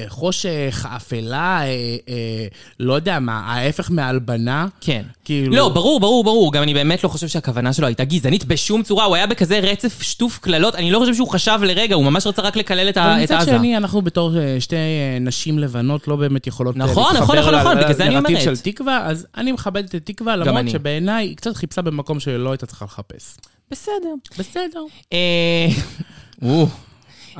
Speaker 4: חושך, אפלה, אה, אה, לא יודע מה, ההפך מהלבנה.
Speaker 3: כן.
Speaker 4: כאילו...
Speaker 3: לא, ברור, ברור, ברור. גם אני באמת לא חושב שהכוונה שלו הייתה גזענית בשום צורה. הוא היה בכזה רצף שטוף קללות. אני לא חושב שהוא חשב לרגע, הוא ממש רצה רק לקלל את
Speaker 4: אבל
Speaker 3: ה- את
Speaker 4: מצד
Speaker 3: עזה.
Speaker 4: שני, אנחנו בתור אה, שתי אה, נשים לבנות לא באמת יכולות אה,
Speaker 3: נכון,
Speaker 4: להתחבר
Speaker 3: נכון, נכון,
Speaker 4: ל-
Speaker 3: נכון, בגלל זה אני
Speaker 4: לנרטיב
Speaker 3: אומרת.
Speaker 4: של תקווה, אז אני מכבדת את תקווה,
Speaker 3: אני.
Speaker 4: למרות שבעיניי היא קצת חיפשה במקום שלא הייתה צריכה לחפש.
Speaker 3: בסדר.
Speaker 4: בסדר.
Speaker 3: אה, [laughs] או,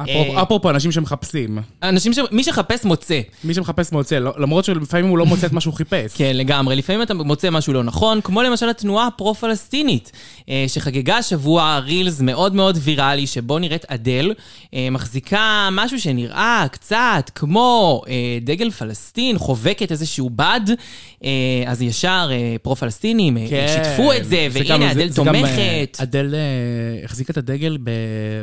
Speaker 4: אפרופו-
Speaker 3: אה,
Speaker 4: אפרופו אנשים שמחפשים.
Speaker 3: אנשים ש... מי שחפש מוצא.
Speaker 4: מי שמחפש מוצא, לא- למרות שלפעמים הוא לא מוצא את מה שהוא חיפש.
Speaker 3: כן, לגמרי. לפעמים אתה מוצא משהו לא נכון, כמו למשל התנועה הפרו-פלסטינית, אה, שחגגה השבוע רילס מאוד מאוד ויראלי, שבו נראית אדל, אה, מחזיקה משהו שנראה קצת כמו אה, דגל פלסטין, חובקת איזשהו בד, אה, אז ישר אה, פרו-פלסטינים אה, שיתפו את זה,
Speaker 4: כן. זה גם-
Speaker 3: והנה,
Speaker 4: זה-
Speaker 3: אדל
Speaker 4: זה גם, אה,
Speaker 3: תומכת.
Speaker 4: אדל אה, החזיקה את הדגל ב-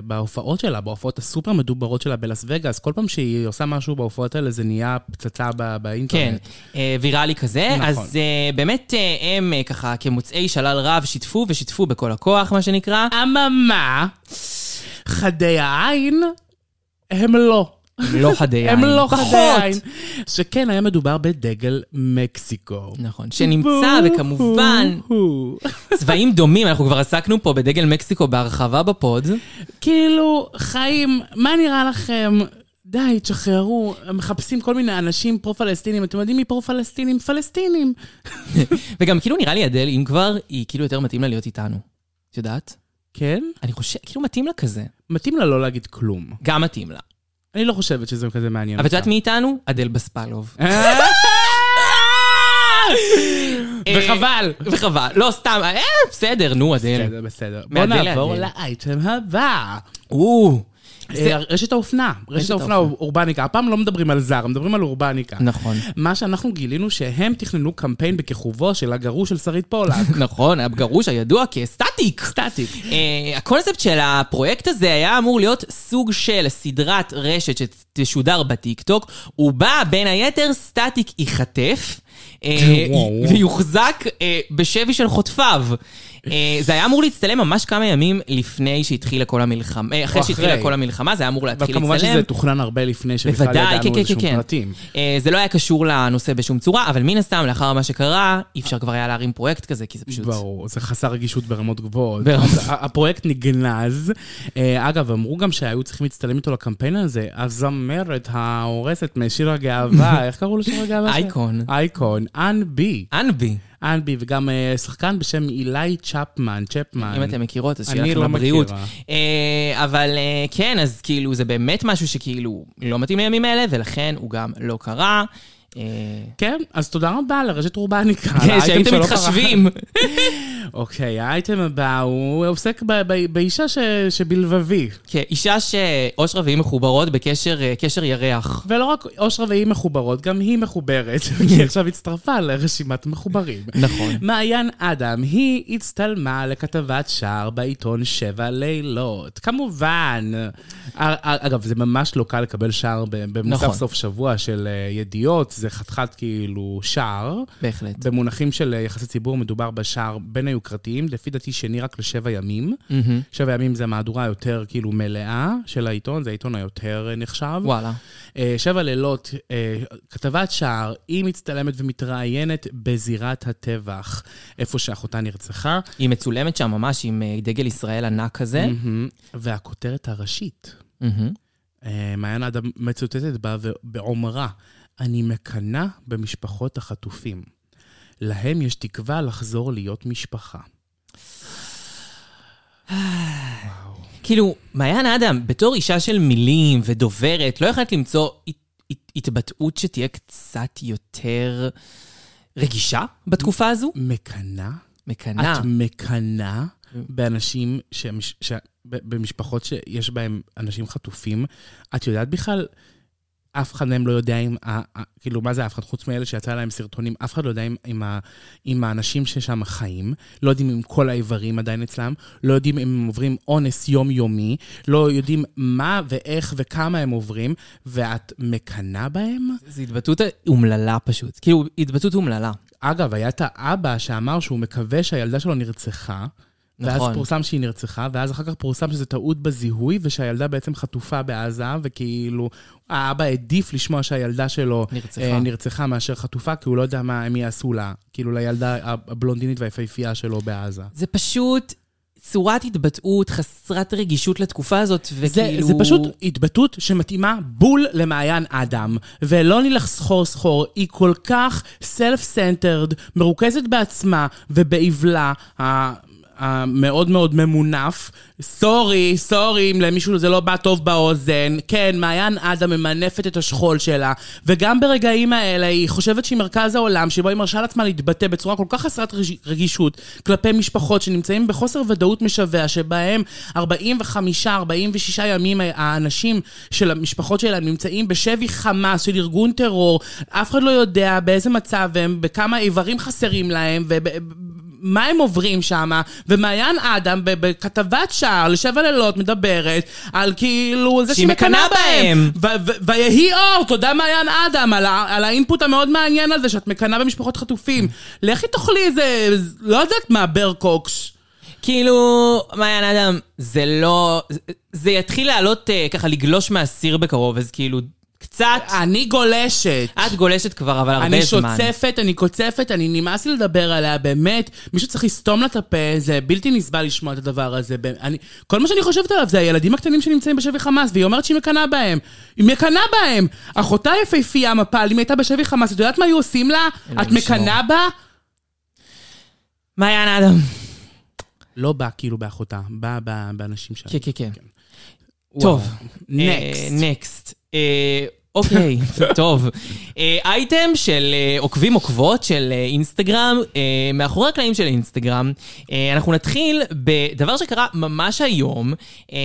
Speaker 4: בהופעות שלה, בהופעות הסופר מדוברות שלה בלאס וגאס. כל פעם שהיא עושה משהו בהופעות האלה, זה נהיה פצצה ב-
Speaker 3: כן,
Speaker 4: באינטרנט.
Speaker 3: אה, ויראלי כזה.
Speaker 4: נכון.
Speaker 3: אז אה, באמת אה, הם אה, ככה כמוצאי שלל רב שיתפו ושיתפו בכל הכוח, מה שנקרא.
Speaker 4: אממה, חדי העין הם לא.
Speaker 3: הם לא חדי עין.
Speaker 4: הם לא
Speaker 3: פחות.
Speaker 4: חדי העין. שכן, היה מדובר בדגל מקסיקו.
Speaker 3: נכון, שנמצא, וכמובן, צבעים דומים, אנחנו כבר עסקנו פה בדגל מקסיקו בהרחבה בפוד.
Speaker 4: כאילו, חיים, מה נראה לכם? די, תשחררו, הם מחפשים כל מיני אנשים פרו-פלסטינים, אתם יודעים מי פרו-פלסטינים? פלסטינים.
Speaker 3: וגם כאילו נראה לי אדל, אם כבר, היא כאילו יותר מתאים לה להיות איתנו. את יודעת?
Speaker 4: כן?
Speaker 3: אני חושב, כאילו מתאים לה כזה.
Speaker 4: מתאים לה לא להגיד כלום.
Speaker 3: גם מתאים לה.
Speaker 4: אני לא חושבת שזה כזה מעניין אה?
Speaker 3: אבל את יודעת מי איתנו? אדל בספלוב. [laughs]
Speaker 4: וחבל.
Speaker 3: וחבל. לא, סתם, אה, בסדר, נו, אדל.
Speaker 4: בסדר, כן, בסדר. בוא
Speaker 3: מעדן
Speaker 4: נעבור
Speaker 3: לעדן.
Speaker 4: לאייטם הבא.
Speaker 3: או,
Speaker 4: אה, רשת האופנה. רשת האופנה
Speaker 3: האופנה.
Speaker 4: אורבניקה. הפעם לא מדברים על זר, מדברים על אורבניקה.
Speaker 3: נכון.
Speaker 4: מה שאנחנו גילינו שהם תכננו קמפיין בכיכובו של הגרוש של שרית
Speaker 3: [laughs]
Speaker 4: פולק.
Speaker 3: נכון, הגרוש הידוע כסטטיק.
Speaker 4: סטטיק.
Speaker 3: אה, הקונספט של הפרויקט הזה היה אמור להיות סוג של סדרת רשת שתשודר בטיקטוק, ובה בין היתר סטטיק ייחטף. אה,
Speaker 4: וואו.
Speaker 3: ויוחזק אה, בשבי של חוטפיו. אה, זה היה אמור להצטלם ממש כמה ימים לפני שהתחילה כל המלחמה, אה, אחרי
Speaker 4: או
Speaker 3: שהתחילה
Speaker 4: אחרי.
Speaker 3: כל המלחמה, זה היה אמור להתחיל להצטלם.
Speaker 4: וכמובן שזה תוכנן הרבה לפני שבכלל
Speaker 3: בוודאי, כן,
Speaker 4: ידענו
Speaker 3: כן, כן,
Speaker 4: איזשהם
Speaker 3: כן.
Speaker 4: פרטים.
Speaker 3: אה, זה לא היה קשור לנושא בשום צורה, אבל מן הסתם, לאחר מה שקרה, אי אפשר כבר היה להרים פרויקט כזה, כי זה פשוט...
Speaker 4: ברור, זה חסר רגישות ברמות גבוהות.
Speaker 3: ברמות.
Speaker 4: אז ה- הפרויקט נגנז. אה, אגב, אמרו גם שהיו צריכים להצטלם איתו לקמפיין הזה. הזמרת ההורסת משיר
Speaker 3: [laughs]
Speaker 4: הגאווה, איך קראו לשיר הגאווה? שלה?
Speaker 3: אייקון.
Speaker 4: אייקון, אן בי.
Speaker 3: אנבי.
Speaker 4: אן בי, וגם אה, שחקן בשם אילי צ'פמן, צ'פמן.
Speaker 3: אם אתן מכירות, אז שיהיה
Speaker 4: אני
Speaker 3: לכם
Speaker 4: לא
Speaker 3: לבריאות.
Speaker 4: מכירה.
Speaker 3: אה, אבל אה, כן, אז כאילו, זה באמת משהו שכאילו לא מתאים לימים האלה, ולכן הוא גם לא קרה. אה,
Speaker 4: כן, אז תודה רבה לרשת אורבניקה. על
Speaker 3: כן,
Speaker 4: האייטם
Speaker 3: [laughs] שהייתם
Speaker 4: שלא קרה.
Speaker 3: מתחשבים.
Speaker 4: אוקיי, האייטם הבא הוא עוסק ב- ב- באישה ש- שבלבבי.
Speaker 3: כן, אישה שאושרה והיא מחוברות בקשר אה, קשר ירח.
Speaker 4: ולא רק אושרה והיא מחוברות, גם היא מחוברת, [laughs] כי עכשיו הצטרפה לרשימת מחוברים.
Speaker 3: נכון.
Speaker 4: מעיין אדם, היא הצטלמה לכתבת שער בעיתון שבע לילות. כמובן. א- א- אגב, זה ממש לא קל לקבל שער ב- במוסף
Speaker 3: נכון.
Speaker 4: סוף שבוע של אה, ידיעות, זה חתיכת כאילו שער.
Speaker 3: בהחלט.
Speaker 4: במונחים של אה, יחסי ציבור מדובר בשער בין היוקרתיים, לפי דעתי שני רק לשבע ימים.
Speaker 3: מהמם.
Speaker 4: שבע ימים זה המהדורה היותר כאילו מלאה של העיתון, זה העיתון היותר אה, נחשב.
Speaker 3: וואלה.
Speaker 4: אה, שבע לילות, אה, כתבת שער, היא מצטלמת ומתראיינת בזירת הטבח, איפה שאחותה נרצחה,
Speaker 3: היא מצולמת שם ממש עם אה, דגל ישראל ענק כזה.
Speaker 4: מהמם, והכותרת הראשית,
Speaker 3: מהמם.
Speaker 4: אה, מעיין אדם מצוטטת בה ו- באומרה, אני מקנאה במשפחות החטופים. להם יש תקווה לחזור להיות משפחה.
Speaker 3: כאילו, מעיין אדם, בתור אישה של מילים ודוברת, לא יכולת למצוא הת, הת, התבטאות שתהיה קצת יותר רגישה בתקופה הזו?
Speaker 4: מקנאה?
Speaker 3: מקנאה.
Speaker 4: את מקנאה באנשים, שמש, ש, ב- במשפחות שיש בהם אנשים חטופים. את יודעת בכלל, אף אחד מהם לא יודע אם, ה, ה, כאילו, מה זה אף אחד? חוץ מאלה שיצא להם סרטונים, אף אחד לא יודע אם, אם, ה, אם האנשים ששם חיים, לא יודעים אם כל האיברים עדיין אצלם, לא יודעים אם הם עוברים אונס יומיומי, לא יודעים מה ואיך וכמה הם עוברים, ואת מקנאה בהם?
Speaker 3: זו התבטאות אומללה פשוט. כאילו, התבטאות אומללה.
Speaker 4: אגב, היה את האבא שאמר שהוא מקווה שהילדה שלו נרצחה, נכון.
Speaker 3: נכון.
Speaker 4: ואז פורסם שהיא נרצחה, ואז אחר כך פורסם שזה טעות בזיהוי, ושהילדה בעצם חטופה בעזה, וכאילו, האבא העדיף לשמוע שהילדה שלו אה,
Speaker 3: נרצחה.
Speaker 4: נרצחה מאשר חטופה, כי הוא לא יודע מה הם יעשו לה, כאילו לילדה הבלונדינית והיפהפייה שלו בעזה.
Speaker 3: זה פשוט צורת התבטאות חסרת רגישות לתקופה הזאת,
Speaker 4: זה,
Speaker 3: וכאילו...
Speaker 4: זה פשוט התבטאות שמתאימה בול למעיין אדם. ולא נלך סחור סחור, היא כל כך self-centered, מרוכזת בעצמה ובאבלה. ה- המאוד מאוד ממונף. סורי, סורי אם למישהו זה לא בא טוב באוזן. כן, מעיין אדם ממנפת את השכול שלה, וגם ברגעים האלה היא חושבת שהיא מרכז העולם, שבו היא מרשה לעצמה להתבטא בצורה כל כך חסרת רג- רגישות כלפי משפחות שנמצאים בחוסר ודאות משווע, שבהם 45-46 ימים האנשים של המשפחות שלהם נמצאים בשבי חמאס של ארגון טרור, אף אחד לא יודע באיזה מצב הם, בכמה איברים חסרים להם, וב... מה הם עוברים שם, ומעיין אדם ב- בכתבת שער לשבע לילות מדברת על כאילו זה
Speaker 3: שהיא
Speaker 4: שהיא מקנאה
Speaker 3: מקנאה
Speaker 4: בהם. ו- ו- ויהי אור, תודה מעיין אדם על, ה- על האינפוט המאוד מעניין הזה שאת מקנאה במשפחות חטופים. לכי תאכלי איזה, לא יודעת מה, ברקוקש.
Speaker 3: כאילו, מעיין אדם, זה לא... זה, זה יתחיל לעלות אה, ככה לגלוש מהסיר בקרוב, אז כאילו, קצת...
Speaker 4: אני גולשת.
Speaker 3: את גולשת כבר, אבל הרבה
Speaker 4: אה, אני
Speaker 3: זמן.
Speaker 4: שוצפת, אני קוצפת, אני נמאס לי לדבר עליה, באמת. מישהו צריך לסתום לה את הפה, זה בלתי נסבל לשמוע את הדבר הזה. באמת, אני, כל מה שאני חושבת עליו זה הילדים הקטנים שנמצאים בשבי חמאס, והיא אומרת שהיא מקנאה בהם. היא מקנאה בהם! אחותה יפהפייה, מפל, אם הייתה בשבי חמאס, את יודעת מה היו עושים לה? את
Speaker 3: ישמור.
Speaker 4: מקנאה בה?
Speaker 3: מעיין אדם.
Speaker 4: לא בא כאילו באחותה, בא בא- באנשים שם.
Speaker 3: כן, כן, אה, כן. טוב.
Speaker 4: נקסט.
Speaker 3: נקסט. אוקיי, [laughs] טוב. אה, אייטם של אה, עוקבים עוקבות של אה, אינסטגרם, אה, מאחורי הקלעים של אינסטגרם. אה, אנחנו נתחיל בדבר שקרה ממש היום. אה,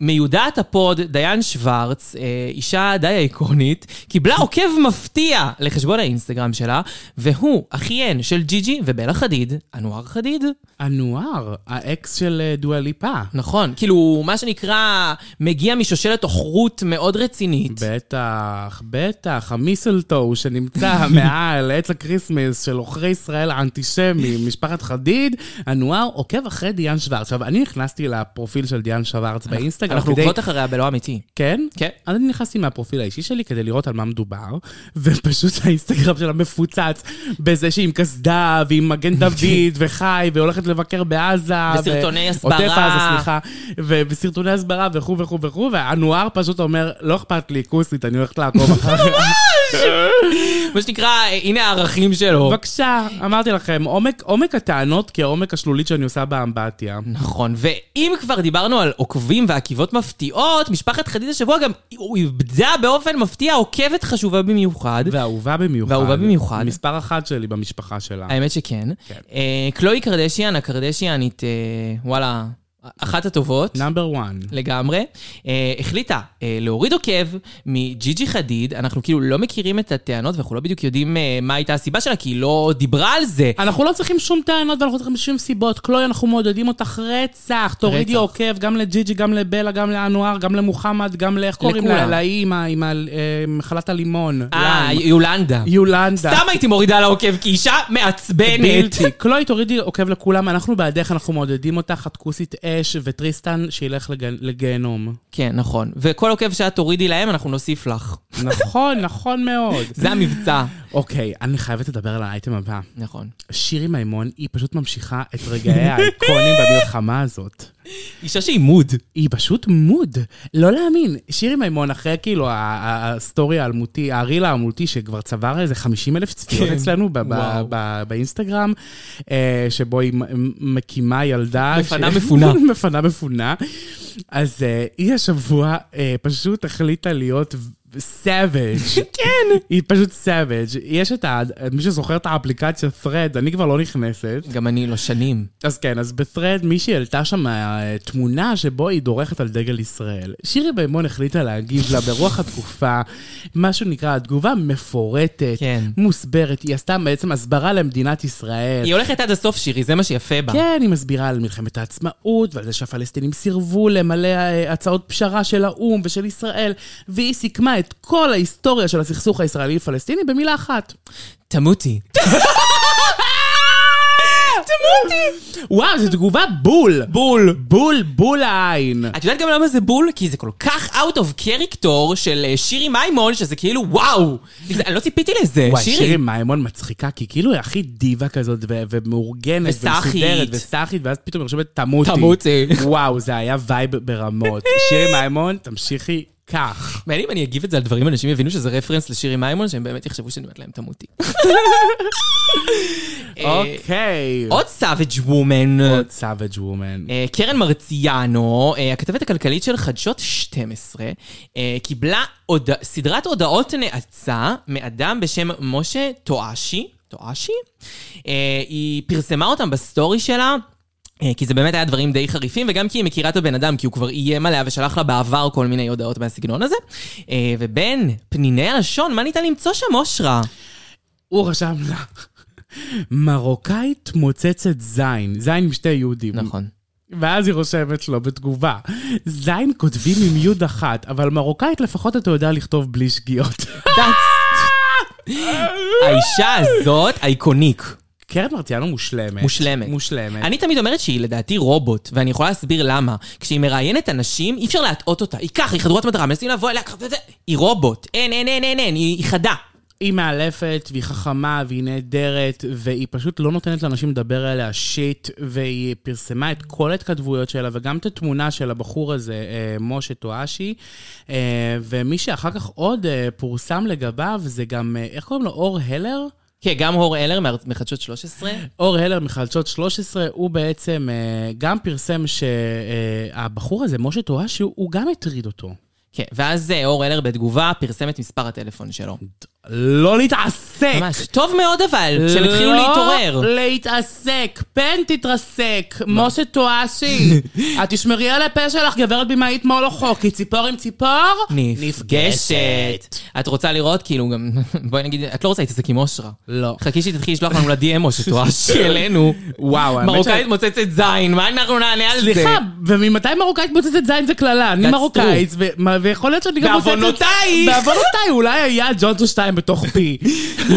Speaker 3: מיודעת הפוד, דיין שוורץ, אה, אישה די איקונית, [laughs] קיבלה עוקב מפתיע לחשבון האינסטגרם שלה, והוא אחיין של ג'יג'י ובלה חדיד, אנואר חדיד.
Speaker 4: אנואר, האקס של אה, דואליפה.
Speaker 3: נכון, כאילו, מה שנקרא, מגיע משושלת עוכרות מאוד רצינית.
Speaker 4: בטח, בטח, המיסלטו
Speaker 3: [laughs]
Speaker 4: שנמצא מעל עץ הקריסמס של עוכרי ישראל האנטישמים, משפחת חדיד, אנואר עוקב אחרי דיאן שוורץ. עכשיו, אני נכנסתי לפרופיל של דיאן שוורץ באינסטגרם
Speaker 3: אנחנו
Speaker 4: כדי...
Speaker 3: עוקבות אחריה בלא אמיתי.
Speaker 4: כן?
Speaker 3: כן.
Speaker 4: אז אני נכנסתי מהפרופיל האישי שלי כדי לראות על מה מדובר, [laughs] ופשוט האינסטגרם שלה מפוצץ בזה שהיא עם קסדה, ועם
Speaker 3: [laughs]
Speaker 4: מגן דוד, וחי, והולכת לבקר בעזה.
Speaker 3: וסרטוני
Speaker 4: ו-
Speaker 3: הסברה.
Speaker 4: עוטף עזה, סליחה. ובסרטוני הסברה וכו' וכו' וכו', והנואר פשוט אומר, לא אכפת לי, כוסית, אני הולכת
Speaker 3: [laughs]
Speaker 4: לעקוב אחריו.
Speaker 3: מה שנקרא, אה, הנה הערכים שלו.
Speaker 4: בבקשה, אמרתי לכם, עומק- עומק הטענות כעומק השלולית שאני עושה באמבטיה.
Speaker 3: נכון, ואם כבר דיברנו על עוקבים ועקיבות מפתיעות, משפחת חדיד השבוע גם הוא איבדה באופן מפתיע עוקבת חשובה במיוחד.
Speaker 4: ואהובה במיוחד.
Speaker 3: ואהובה במיוחד.
Speaker 4: מספר אחת שלי במשפחה שלה.
Speaker 3: האמת שכן.
Speaker 4: כן.
Speaker 3: אה, קלואי קרדשיאן, הקרדשיאנית, אה, וואלה, אחת הטובות.
Speaker 4: נאמבר 1.
Speaker 3: לגמרי. אה, החליטה אה, להוריד עוקב מג'יג'י חדיד, אנחנו כאילו לא מכירים את הטענות ואנחנו לא בדיוק יודעים אה, מה הייתה הסיבה שלה, כי היא לא דיברה על זה.
Speaker 4: אנחנו לא צריכים שום טענות ואנחנו לא צריכים שום סיבות. קלוי, אנחנו מעודדים אותך רצח. תורידי
Speaker 3: רצח.
Speaker 4: עוקב גם לג'יג'י, גם לבלה, גם לאנואר, גם למוחמד, גם לאיך קוראים לה?
Speaker 3: לכולם.
Speaker 4: לאימא עם ה- אה, מחלת הלימון.
Speaker 3: אה,
Speaker 4: ליים.
Speaker 3: יולנדה.
Speaker 4: יולנדה.
Speaker 3: סתם הייתי מורידה לה עוקב, כי אישה מעצבנת.
Speaker 4: בלתי. [laughs] קלוי, תורידי עוקב לכולם, אנחנו בעדך, אנחנו מעודדים אותך, את כוסית אש, וטריסטן, שילך לגן- [laughs] לגיהנום.
Speaker 3: כן, נכון. וכל עוקב שאת תורידי להם, אנחנו נוסיף לך.
Speaker 4: נכון, נכון מאוד.
Speaker 3: זה המבצע.
Speaker 4: אוקיי, אני חייבת לדבר על האייטם הבא.
Speaker 3: נכון.
Speaker 4: שירי מימון, היא פשוט ממשיכה את [laughs] רגעי האייקונים במלחמה הזאת.
Speaker 3: אישה שהיא מוד.
Speaker 4: היא פשוט מוד. לא להאמין. שירי מימון, אחרי כאילו ה- ה- הסטורי האלמותי, הריל האלמותי, שכבר צבר איזה 50 אלף צפיות
Speaker 3: כן.
Speaker 4: אצלנו ב- ב-
Speaker 3: וואו.
Speaker 4: ב- באינסטגרם, אה, שבו היא מ- מקימה ילדה...
Speaker 3: מפנה מפונה.
Speaker 4: [laughs] מפנה מפונה. אז אה, היא השבוע אה, פשוט החליטה להיות... סאביג'.
Speaker 3: [laughs]
Speaker 4: כן. היא פשוט סאביג'. יש את ה... מי שזוכר את האפליקציה thread, אני כבר לא נכנסת.
Speaker 3: גם אני לא שנים.
Speaker 4: אז כן, אז ב-thread מישהי העלתה שם אה, תמונה שבו היא דורכת על דגל ישראל. שירי מימון החליטה להגיב לה ברוח התקופה, מה שנקרא, התגובה מפורטת,
Speaker 3: כן.
Speaker 4: מוסברת, היא עשתה בעצם הסברה למדינת ישראל.
Speaker 3: היא הולכת עד הסוף, שירי, זה מה שיפה בה.
Speaker 4: כן, היא מסבירה על מלחמת העצמאות ועל זה שהפלסטינים סירבו למלא אה, הצעות פשרה של האו"ם ושל ישראל, והיא סיכמה את כל ההיסטוריה של הסכסוך הישראלי-פלסטיני במילה אחת.
Speaker 3: תמותי.
Speaker 4: וואו, זו תגובה בול! בול! בול, בול העין.
Speaker 3: את יודעת גם למה זה בול? כי זה כל כך out of character של אה, שירי מימון, שזה כאילו וואו. זה- אני לא ציפיתי לזה,
Speaker 4: וואי, שירי.
Speaker 3: שירי.
Speaker 4: מימון מצחיקה, כי כאילו היא הכי דיבה כזאת, ו- ומאורגנת,
Speaker 3: וסאחית.
Speaker 4: ומסודרת, וסאחית, ואז פתאום היא רושמת תמותי.
Speaker 3: תמותי. [laughs]
Speaker 4: וואו, זה היה וייב ברמות. שירי מימון, תמשיכי כך.
Speaker 3: מעניין אם אני אגיב את זה על דברים, אנשים יבינו שזה רפרנס לשירי מימון, שהם באמת יחשבו שאני אומרת להם
Speaker 4: [laughs]
Speaker 3: תמותי. אה,
Speaker 4: אוקיי.
Speaker 3: עוד סאביג' וומן.
Speaker 4: עוד סאביג' וומן.
Speaker 3: אה, קרן מרציאנו, אה, הכתבת הכלכלית של חדשות 12, אה, קיבלה הודע- סדרת הודעות נאצה מאדם בשם משה טואשי. טואשי? אה, היא פרסמה אותם בסטורי שלה. אה, כי זה באמת היה דברים די חריפים, וגם כי היא מכירה את הבן אדם, כי הוא כבר איים עליה ושלח לה בעבר כל מיני הודעות מהסגנון הזה. אה, ובין פניני הלשון, מה ניתן למצוא שם, אושרה?
Speaker 4: הוא רשם לה. מרוקאית מוצצת זין, זין עם שתי יהודים.
Speaker 3: נכון.
Speaker 4: ואז היא רושמת לו בתגובה, זין כותבים עם יוד אחת, אבל מרוקאית לפחות אתה יודע לכתוב בלי שגיאות. [laughs]
Speaker 3: האישה הזאת, אייקוניק.
Speaker 4: קרן מרציאנו מושלמת.
Speaker 3: מושלמת.
Speaker 4: מושלמת.
Speaker 3: אני תמיד אומרת שהיא לדעתי רובוט, ואני יכולה להסביר למה. כשהיא מראיינת אנשים, אי אפשר להטעות אותה. היא ככה, היא חדורת מטרה, מנסים לבוא אליה, ככה, זה, זה. היא רובוט. אין, אין, אין, אין, אין, היא היא חדה.
Speaker 4: היא מאלפת, והיא חכמה, והיא נהדרת, והיא פשוט לא נותנת לאנשים לדבר עליה שיט, והיא פרסמה את כל ההתכתבויות שלה, וגם את התמונה של הבחור הזה, אה, משה טואשי, אה, ומי שאחר כך עוד אה, פורסם לגביו, זה גם, אה, איך קוראים לו? אור הלר?
Speaker 3: כן, גם הור אלר מהר- מחדשות 13.
Speaker 4: אור הלר מחדשות 13, הוא בעצם אה, גם פרסם שהבחור הזה, משה טואשי, הוא גם הטריד אותו.
Speaker 3: כן, ואז אה, אור אלר בתגובה פרסם את מספר הטלפון שלו.
Speaker 4: לא להתעסק!
Speaker 3: ממש. טוב מאוד אבל, שהם התחילו
Speaker 4: לא
Speaker 3: להתעורר. לא.
Speaker 4: להתעסק, פן תתרסק, משה
Speaker 3: [laughs]
Speaker 4: טואשי. את תשמרי על הפה שלך, גברת במאית מולוכו, כי ציפור עם ציפור
Speaker 3: נפגשת. את רוצה לראות, כאילו, גם, [laughs] בואי נגיד, את לא רוצה להתעסק עם אושרה.
Speaker 4: לא.
Speaker 3: חכי שהיא תתחיל לשלוח לנו לדיים או [laughs] שתואש אלינו.
Speaker 4: וואו, האמת
Speaker 3: מרוקאית מוצצת זין, מה אנחנו נענה על זה?
Speaker 4: סליחה, וממתי מרוקאית מוצצת זין זה קללה? אני
Speaker 3: That's
Speaker 4: מרוקאית, ו- מה- ויכול להיות שאני גם מוצצת...
Speaker 3: בעוונותייך!
Speaker 4: בעוונותיי, אולי היה ג'ונטו שתיים בתוך
Speaker 3: [laughs]
Speaker 4: פי.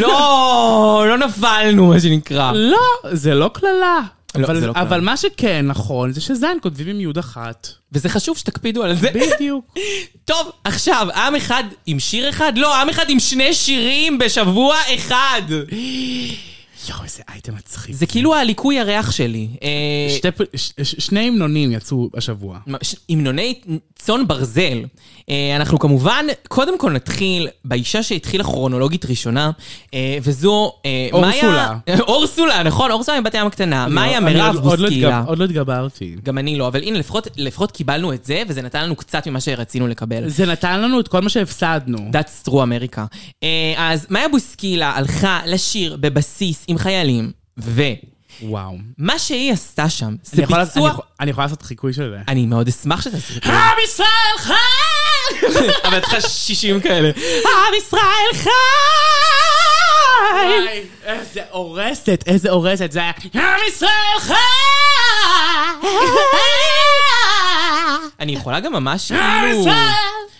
Speaker 3: לא, לא נפלנו, מה שנקרא.
Speaker 4: לא, זה לא קללה.
Speaker 3: לא,
Speaker 4: אבל-
Speaker 3: זה לא קללה.
Speaker 4: אבל מה שכן נכון, זה שזין כותבים עם יוד
Speaker 3: [laughs]
Speaker 4: אחת.
Speaker 3: וזה חשוב שתקפידו על זה.
Speaker 4: בדיוק.
Speaker 3: טוב, עכשיו, עם אחד עם שיר אחד? לא, עם אחד עם שני שירים בשבוע אחד.
Speaker 4: יואו, יואו, איזה אייטם מצחיק.
Speaker 3: זה כאילו הליקוי הריח שלי. אה,
Speaker 4: שתי פ- ש- ש- שני המנונים יצאו השבוע.
Speaker 3: ממש- המנוני צאן ברזל. אה, אנחנו כמובן, קודם כל נתחיל באישה שהתחילה כרונולוגית ראשונה, אה, וזו... אה,
Speaker 4: אורסולה.
Speaker 3: מאיה- [laughs] אורסולה, נכון, אורסולה מבת הים הקטנה. מאיה
Speaker 4: אני
Speaker 3: מירב
Speaker 4: עוד- עוד לא
Speaker 3: בוסקילה.
Speaker 4: התגב- עוד לא התגברתי.
Speaker 3: גם אני לא, אבל הנה, לפחות, לפחות קיבלנו את זה, וזה נתן לנו קצת ממה שרצינו לקבל.
Speaker 4: זה נתן לנו את כל מה שהפסדנו.
Speaker 3: That's true אמריקה. אה, אז מאיה בוסקילה הלכה לשיר בבסיס עם חיילים, ומה
Speaker 4: וואו.
Speaker 3: שהיא עשתה שם, זה
Speaker 4: אני יכול לעשות-
Speaker 3: ביצוע...
Speaker 4: אני יכול- אני יכולה לעשות חיקוי של זה.
Speaker 3: אני מאוד אשמח שתעשי
Speaker 4: [laughs]
Speaker 3: את זה.
Speaker 4: עם ישראל חי!
Speaker 3: אבל צריכה 60 כאלה. עם ישראל חי!
Speaker 4: וואי, איזה הורסת, איזה הורסת. זה היה עם ישראל חי!
Speaker 3: אני יכולה גם ממש כאילו...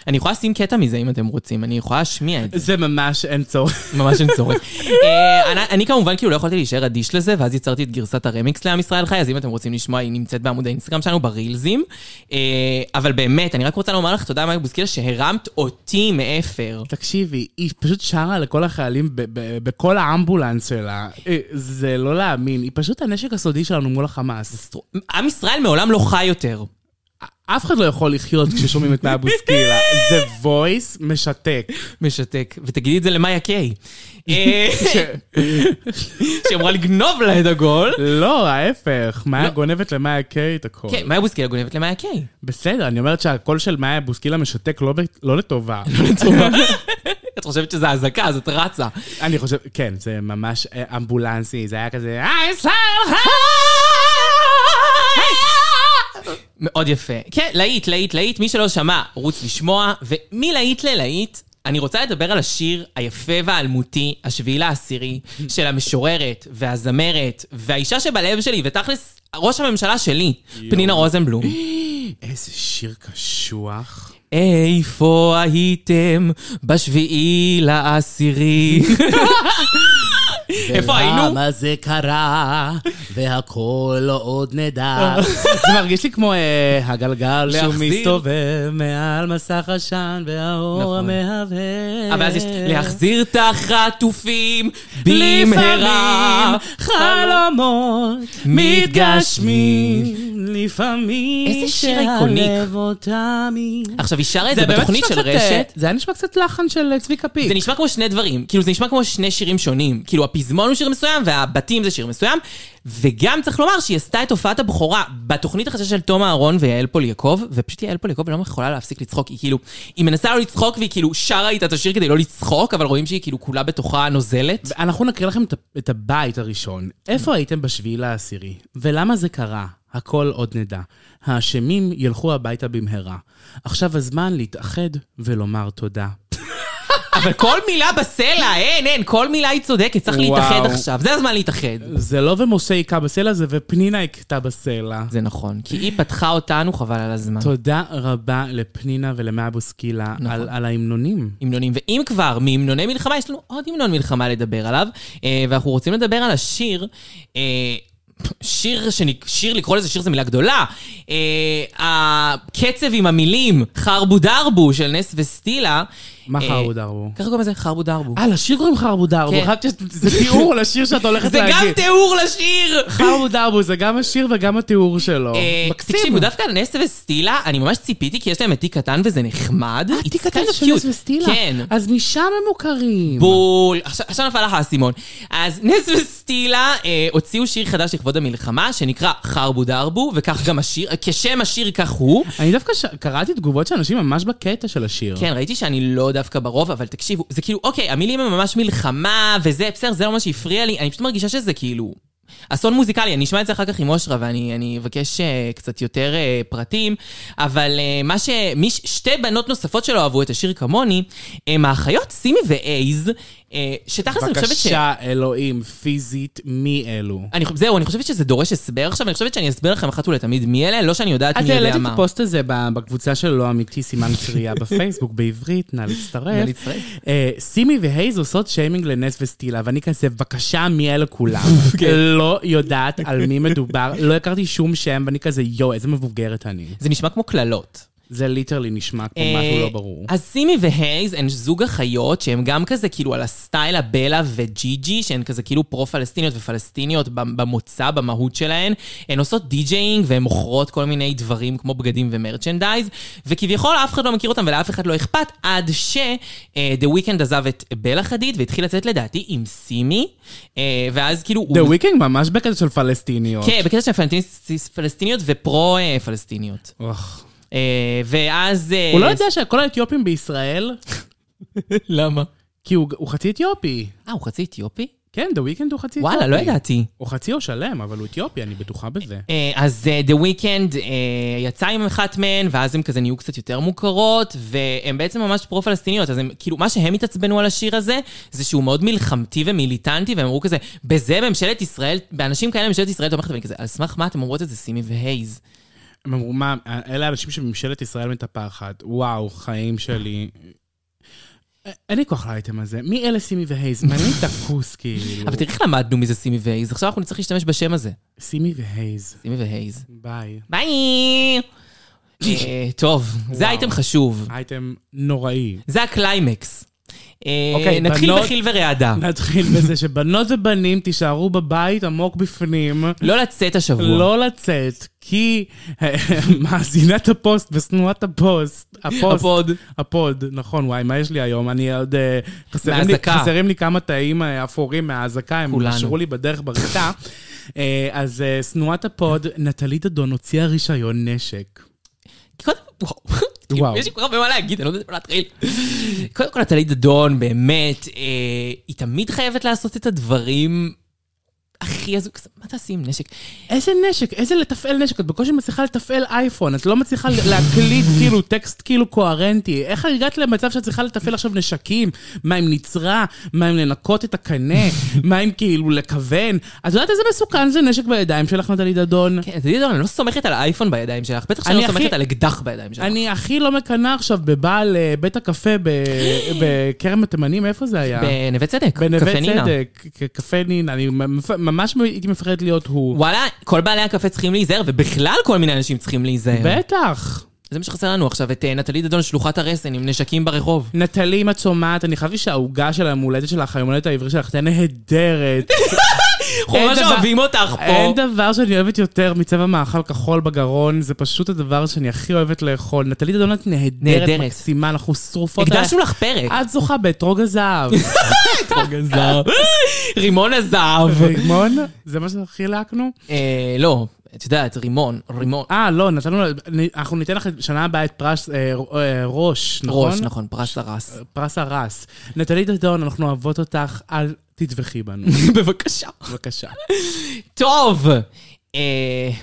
Speaker 3: אני יכולה לשים קטע מזה אם אתם רוצים, אני יכולה להשמיע את זה.
Speaker 4: זה ממש אין צורך. [laughs]
Speaker 3: ממש אין צורך. אה, אני- אני כמובן כאילו לא יכולתי להישאר אדיש לזה, ואז יצרתי את גרסת הרמיקס לעם ישראל חי, אז אם אתם רוצים לשמוע, היא נמצאת בעמוד האינסטגרם שלנו, ברילזים. אה, אבל באמת, אני רק רוצה לומר לך תודה, מאי בוסקילה, שהרמת אותי מאפר.
Speaker 4: תקשיבי, היא פשוט שרה לכל החיילים ב- ב- בכל האמבולנס שלה. אה, זה לא להאמין, היא פשוט הנשק הסודי שלנו מול החמאס.
Speaker 3: עם ישראל מעולם לא חי יותר.
Speaker 4: אף אחד לא יכול לחיות כששומעים [laughs] את מאיה בוסקילה. זה וויס משתק.
Speaker 3: משתק. ותגידי את זה למאיה קיי. אה, שאמורה לגנוב לה את הגול.
Speaker 4: לא, ההפך, מאיה גונבת למאיה קיי את הכל.
Speaker 3: כן, מאיה בוסקילה גונבת למאיה קיי.
Speaker 4: בסדר, אני אומרת שהקול של מאיה בוסקילה משתק לא ב- [laughs] לא לטובה.
Speaker 3: [laughs] את חושבת שזה אזעקה, אז את רצה.
Speaker 4: אני חושב, כן, זה ממש אה, אמבולנסי, זה היה כזה, אה, ישראל [laughs]
Speaker 3: מאוד יפה. כן, להיט, להיט, להיט. מי שלא שמע, רוץ לשמוע. ומלהיט ללהיט, אני רוצה לדבר על השיר היפה והאלמותי, השביעי לעשירי, של המשוררת והזמרת והאישה שבלב שלי, ותכלס, ראש הממשלה שלי, פנינה רוזנבלום.
Speaker 4: איזה שיר קשוח.
Speaker 3: איפה הייתם בשביעי לעשירי? איפה היינו?
Speaker 1: למה זה קרה, והכל עוד נדע.
Speaker 4: [laughs] זה מרגיש לי כמו אה, הגלגל שהוא
Speaker 3: להחזיר.
Speaker 4: מסתובב מעל מסך עשן והאור
Speaker 3: נכון.
Speaker 4: המהבהב.
Speaker 3: אבל אז יש להחזיר את החטופים במהרה.
Speaker 4: לפעמים חלומות מתגשמים, לפעמים
Speaker 3: איזה שיר איקוני.
Speaker 4: שהלב אותם היא.
Speaker 3: עכשיו, היא שרה את זה בתוכנית של רשת.
Speaker 4: אה, זה היה נשמע קצת לחן של אה, צביקה פיק.
Speaker 3: זה נשמע כמו שני דברים, כאילו זה נשמע כמו שני שירים שונים. כאילו הפזמון הוא שיר מסוים והבתים זה שיר מסוים. וגם צריך לומר שהיא עשתה את הופעת הבכורה בתוכנית החדשה של תום אהרון ויעל פול יעקב, ופשוט יעל פול יעקב לא יכולה להפסיק לצחוק, היא כאילו, היא מנסה לא לצחוק והיא כאילו שרה איתה את השיר כדי לא לצחוק, אבל רואים שהיא כאילו כולה בתוכה נוזלת.
Speaker 4: אנחנו נקריא לכם את ה- את הבית הראשון. איפה הייתם בשביעי לעשירי? ולמה זה קרה? הכל עוד נדע. האשמים ילכו הביתה במהרה. עכשיו הזמן להתאחד ולומר תודה.
Speaker 3: אבל כל מילה בסלע, אין, אין, כל מילה היא צודקת, צריך
Speaker 4: וואו.
Speaker 3: להתאחד עכשיו, זה הזמן להתאחד.
Speaker 4: זה לא ומשה היכה בסלע, זה ופנינה הכתה בסלע.
Speaker 3: זה נכון, כי היא פתחה אותנו, חבל על הזמן.
Speaker 4: תודה רבה לפנינה ולמאה בוסקילה על- על ההמנונים.
Speaker 3: המנונים, ואם כבר מהמנוני מלחמה, יש לנו עוד המנון מלחמה לדבר עליו, אה, ואנחנו רוצים לדבר על השיר, אה, שיר, שאני, שיר לקרוא לזה שיר זה מילה גדולה, אה, הקצב עם המילים, חרבו דרבו של נס וסטילה.
Speaker 4: מה
Speaker 3: אה,
Speaker 4: חרבו דרבו?
Speaker 3: ככה קוראים לזה חרבו דרבו.
Speaker 4: אה, לשיר קוראים חרבו דרבו.
Speaker 3: כן.
Speaker 4: רק ש- [laughs] זה תיאור לשיר שאת הולכת
Speaker 3: זה גם
Speaker 4: להגיד.
Speaker 3: תיאור לשיר!
Speaker 4: חרבו דרבו זה גם השיר וגם התיאור שלו.
Speaker 3: אה,
Speaker 4: מקסים.
Speaker 3: תקשיבו, דווקא נס וסטילה, אני ממש ציפיתי, כי יש להם את תיק קטן וזה נחמד.
Speaker 4: אה, תיק
Speaker 3: It's
Speaker 4: קטן
Speaker 3: kind
Speaker 4: זה
Speaker 3: of
Speaker 4: של נס
Speaker 3: cute.
Speaker 4: וסטילה.
Speaker 3: כן.
Speaker 4: אז משם הם מוכרים.
Speaker 3: בול. עכשיו עכשיו נפל לך האסימון. אז נס וסטילה אה, הוציאו שיר חדש לכבוד המלחמה, שנקרא חרבו דרבו, וכך גם השיר, אה, כשם השיר כך הוא.
Speaker 4: אני דווקא ש... קראתי תגובות של אנשים ממש בקטע של השיר.
Speaker 3: כן, ראיתי שאני לא דווקא ברוב, אבל תקשיבו, זה כאילו, אוקיי, המילים הן ממש מלחמה, וזה, בסדר, זה לא מה שהפריע לי, אני פשוט מרגישה שזה כאילו... אסון מוזיקלי, אני אשמע את זה אחר כך עם אושרה ואני אני אבקש אה, קצת יותר אה, פרטים, אבל אה, מה ש... מיש, שתי בנות נוספות שלא אהבו את השיר כמוני, הם האחיות סימי ואייז, אה, שתכלס אני חושבת ש...
Speaker 4: בבקשה, אלוהים, פיזית, מי אלו?
Speaker 3: אני, חו- זהו, אני חושבת שזה דורש הסבר עכשיו, אני חושבת שאני אסביר לכם אחת ולתמיד מי אלה, לא שאני יודעת
Speaker 4: את
Speaker 3: מי
Speaker 4: העלית
Speaker 3: יודע
Speaker 4: את
Speaker 3: מה.
Speaker 4: הפוסט הזה ב- בקבוצה של לא אמיתי, סימן
Speaker 3: [laughs]
Speaker 4: קריאה בפייסבוק, בעברית, נא
Speaker 3: נא
Speaker 4: להצטרף.
Speaker 3: להצטרף.
Speaker 4: אה, סימי והייז עושות שיימינג לנס וסטילה, ואני כזה, בבקשה, מי אלה
Speaker 3: [laughs]
Speaker 4: כולם?
Speaker 3: אוקיי.
Speaker 4: לא יודעת על מי מדובר, לא הכרתי שום שם, ואני כזה, יואו, איזה מבוגרת אני.
Speaker 3: זה נשמע כמו קללות.
Speaker 4: זה ליטרלי נשמע כמו
Speaker 3: אה,
Speaker 4: משהו לא ברור.
Speaker 3: אז סימי והייז הן זוג אחיות שהם גם כזה כאילו על הסטייל הבלה וג'יג'י, שהן כזה כאילו פרו-פלסטיניות ופלסטיניות במ- במוצא, במהות שלהן. הן עושות די-ג'יינג והן מוכרות כל מיני דברים כמו בגדים ומרצ'נדייז, וכביכול אף אחד לא מכיר אותן ולאף אחד לא אכפת, עד ש-The Weeknd עזב את בלה חדיד והתחיל לצאת לדעתי עם סימי, אה, ואז כאילו...
Speaker 4: The Weeknd ממש בקטע של פלסטיניות.
Speaker 3: כן, בקטע של פלסטיניס- פלסטיניות ופרו-פלסטיניות.
Speaker 4: אוח.
Speaker 3: ואז... אה,
Speaker 4: הוא לא
Speaker 3: [laughs]
Speaker 4: יודע שכל האתיופים בישראל,
Speaker 3: למה?
Speaker 4: כי הוא הוא חצי אתיופי.
Speaker 3: אה, הוא חצי אתיופי?
Speaker 4: כן, The Weeknd הוא חצי אתיופי.
Speaker 3: וואלה, לא ידעתי.
Speaker 4: הוא חצי או שלם, אבל הוא אתיופי, אני בטוחה בזה.
Speaker 3: אה, אז אה, The Weeknd אה, יצא עם אחת מהן, ואז הן כזה נהיו קצת יותר מוכרות, והן בעצם ממש פרו-פלסטיניות, אז הם, כאילו, מה שהם התעצבנו על השיר הזה, זה שהוא מאוד מלחמתי ומיליטנטי, והם אמרו כזה, בזה ממשלת ישראל, באנשים כאלה ממשלת ישראל תומכת, ואני כזה, על סמך מה אתם אומרות את זה, סימי והייז?
Speaker 4: הם אמרו, מה, אלה האנשים שממשלת ישראל מטפחת. וואו, חיים שלי. א- אין לי כוח לאייטם הזה. מי אלה סימי והייז? מעניין לי את הכוס, כאילו.
Speaker 3: אבל תראי איך למדנו מזה סימי והייז, עכשיו אנחנו נצטרך להשתמש בשם הזה,
Speaker 4: סימי והייז.
Speaker 3: סימי והייז.
Speaker 4: ביי.
Speaker 3: ביי! אה, טוב, זה אייטם חשוב.
Speaker 4: אייטם נוראי.
Speaker 3: זה הקליימקס. אה,
Speaker 4: אוקיי,
Speaker 3: נתחיל
Speaker 4: בנות-
Speaker 3: בחיל ורעדה.
Speaker 4: נתחיל בזה שבנות ובנים תישארו בבית עמוק בפנים.
Speaker 3: לא לצאת השבוע.
Speaker 4: לא לצאת, כי אה, מאזינת הפוסט ושנואת הפוסט, הפוסט,
Speaker 3: הפוד.
Speaker 4: הפוד, נכון, וואי, מה יש לי היום? אני עוד... אה, חסרים לי,
Speaker 3: מהאזעקה.
Speaker 4: חסרים לי כמה תאים אה, אפורים מהאזעקה, הם
Speaker 3: כולנו.
Speaker 4: נשארו לי בדרך בריצה. אה, אז אה, שנואת הפוד, נטלי דדון הוציאה רישיון נשק.
Speaker 3: כי קודם כל, וואו, כאילו,
Speaker 4: וואו.
Speaker 3: יש לי כל כך הרבה מה להגיד, אני לא יודעת מה להתחיל. קודם כל, נטלי דדון, באמת, אה, היא תמיד חייבת לעשות את הדברים הכי הזוג, מה תעשי עם נשק?
Speaker 4: איזה נשק, איזה לתפעל נשק, את בקושי מצליחה לתפעל אייפון, את לא מצליחה להקליט כאילו טקסט כאילו קוהרנטי. איך הגעת למצב שאת צריכה לתפעל עכשיו נשקים? מה אם נצרה? מה אם לנקות את הקנה? מה אם כאילו לכוון? את יודעת איזה מסוכן זה נשק בידיים שלך, נטלי דדון?
Speaker 3: כן, תגידי דדון, אני לא סומכת על האייפון בידיים שלך, בטח שאני
Speaker 4: אני
Speaker 3: לא סומכת
Speaker 4: הכי-
Speaker 3: על אקדח בידיים שלך.
Speaker 4: אני הכי לא מקנא עכשיו בבעל אה, בית הקפה ב-
Speaker 3: [laughs]
Speaker 4: בכרם התימנים, איפה זה היה?
Speaker 3: בנווה צדק, קפה
Speaker 4: בנווה
Speaker 3: נינה.
Speaker 4: צדק, ק- קפה נינה, אני ממש- ממש הייתי מפחדת להיות הוא.
Speaker 3: וואלה, כל בעלי הקפה צריכים להיזהר, ובכלל כל מיני אנשים צריכים להיזהר.
Speaker 4: בטח.
Speaker 3: זה מה שחסר לנו עכשיו, את אה, נטלי דדון, שלוחת הרסן עם נשקים ברחוב.
Speaker 4: נטלי, אם את שומעת, אני חשבתי שהעוגה של היום הולדת שלך, היום הולדת העברית שלך, תהיה
Speaker 3: [laughs]
Speaker 4: נהדרת.
Speaker 3: אנחנו
Speaker 4: אין
Speaker 3: ממש
Speaker 4: דבר-
Speaker 3: אוהבים אותך פה.
Speaker 4: אין דבר שאני אוהבת יותר מצבע מאכל כחול בגרון, זה פשוט הדבר שאני הכי אוהבת לאכול. נטלי דדון, את נהדרת,
Speaker 3: נהדרת.
Speaker 4: מקסימה, אנחנו שרופות.
Speaker 3: הקדשנו
Speaker 4: עלייך.
Speaker 3: לך פרק.
Speaker 4: את זוכה באתרוג
Speaker 3: [laughs]
Speaker 4: הזהב.
Speaker 3: אתרוג
Speaker 4: אה.
Speaker 3: הזהב. [laughs] רימון הזהב.
Speaker 4: רימון? זה מה שחילקנו?
Speaker 3: אה, לא, את יודעת, רימון, רימון.
Speaker 4: אה, לא, נתנו, לה- אנחנו ניתן לך שנה הבאה את פרס אה, אה, ראש, נכון? אה.
Speaker 3: ראש, נכון, פרס הרס.
Speaker 4: פרס הרס. נטלי דדון, אנחנו אוהבות אותך, אל תטבחי בנו.
Speaker 3: בבקשה.
Speaker 4: [laughs] בבקשה.
Speaker 3: טוב! אה,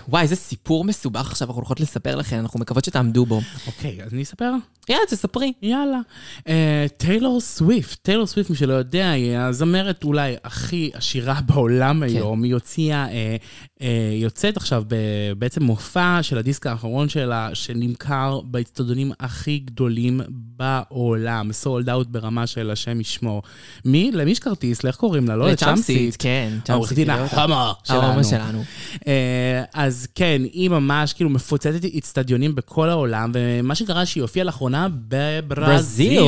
Speaker 3: וואי, איזה סיפור מסובך עכשיו אנחנו הולכות לספר לכם, אנחנו מקוות שתעמדו בו.
Speaker 4: אוקיי, אז אני אספר?
Speaker 3: יאללה, תספרי.
Speaker 4: יאללה. אה, טיילור סוויפט, טיילור סוויפט, מי שלא יודע, היא הזמרת אולי הכי עשירה בעולם היום. היא הוציאה, אה, אה, יוצאת עכשיו ב- בעצם מופע של הדיסק האחרון שלה, שנמכר באצטדיונים הכי גדולים בעולם. סולד אאוט ברמה של השם ישמור. מי? למי יש כרטיס? לאיך קוראים לה? לא?
Speaker 3: לצ'אמפסיט, כן.
Speaker 4: העורך דין
Speaker 3: צ'אמפסיט,
Speaker 4: החומו שלנו.
Speaker 3: ההומו שלנו.
Speaker 4: אה, אז כן, היא ממש כאילו מפוצצת אצטדיונים בכל העולם, ומה שקרה שהיא הופיעה לאחרונה בברזיל.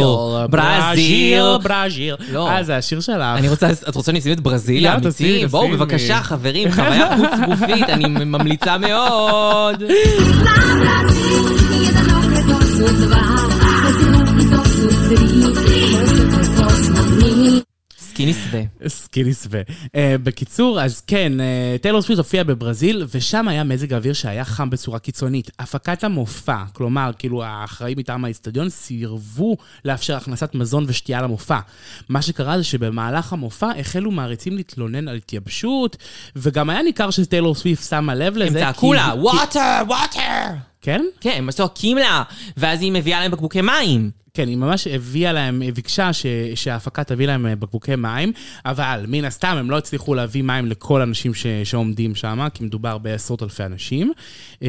Speaker 3: ברזיל.
Speaker 4: ברזיל, ברזיל.
Speaker 3: לא.
Speaker 4: אה, זה השיר שלך.
Speaker 3: אני רוצה, את רוצה שאני אשים את ברזיל
Speaker 4: יאללה, תשימי,
Speaker 3: האמיתי?
Speaker 4: תשימי.
Speaker 3: בואו, בבקשה, חברים, חוויה חוץ גופית, אני ממליצה מאוד. סקיני שדה.
Speaker 4: סקיני סווה. אה, בקיצור, אז כן, אה, טיילור סוויט הופיע בברזיל, ושם היה מזג האוויר שהיה חם בצורה קיצונית. הפקת המופע, כלומר, כאילו האחראים מטעם האיצטדיון סירבו לאפשר הכנסת מזון ושתייה למופע. מה שקרה זה שבמהלך המופע החלו מעריצים להתלונן על התייבשות, וגם היה ניכר שטיילור סוויפט שמה לב לזה.
Speaker 3: הם צעקו
Speaker 4: כי-
Speaker 3: לה,
Speaker 4: כאילו, כי-
Speaker 3: וואטר, וואטר!
Speaker 4: כן?
Speaker 3: כן, הם צועקים לה, ואז היא מביאה להם בקבוקי מים.
Speaker 4: כן, היא ממש הביאה להם, היא ביקשה ש, שההפקה תביא להם אה, בקבוקי מים, אבל מן הסתם הם לא הצליחו להביא מים לכל האנשים ש, שעומדים שם, כי מדובר בעשרות אלפי אנשים. אה,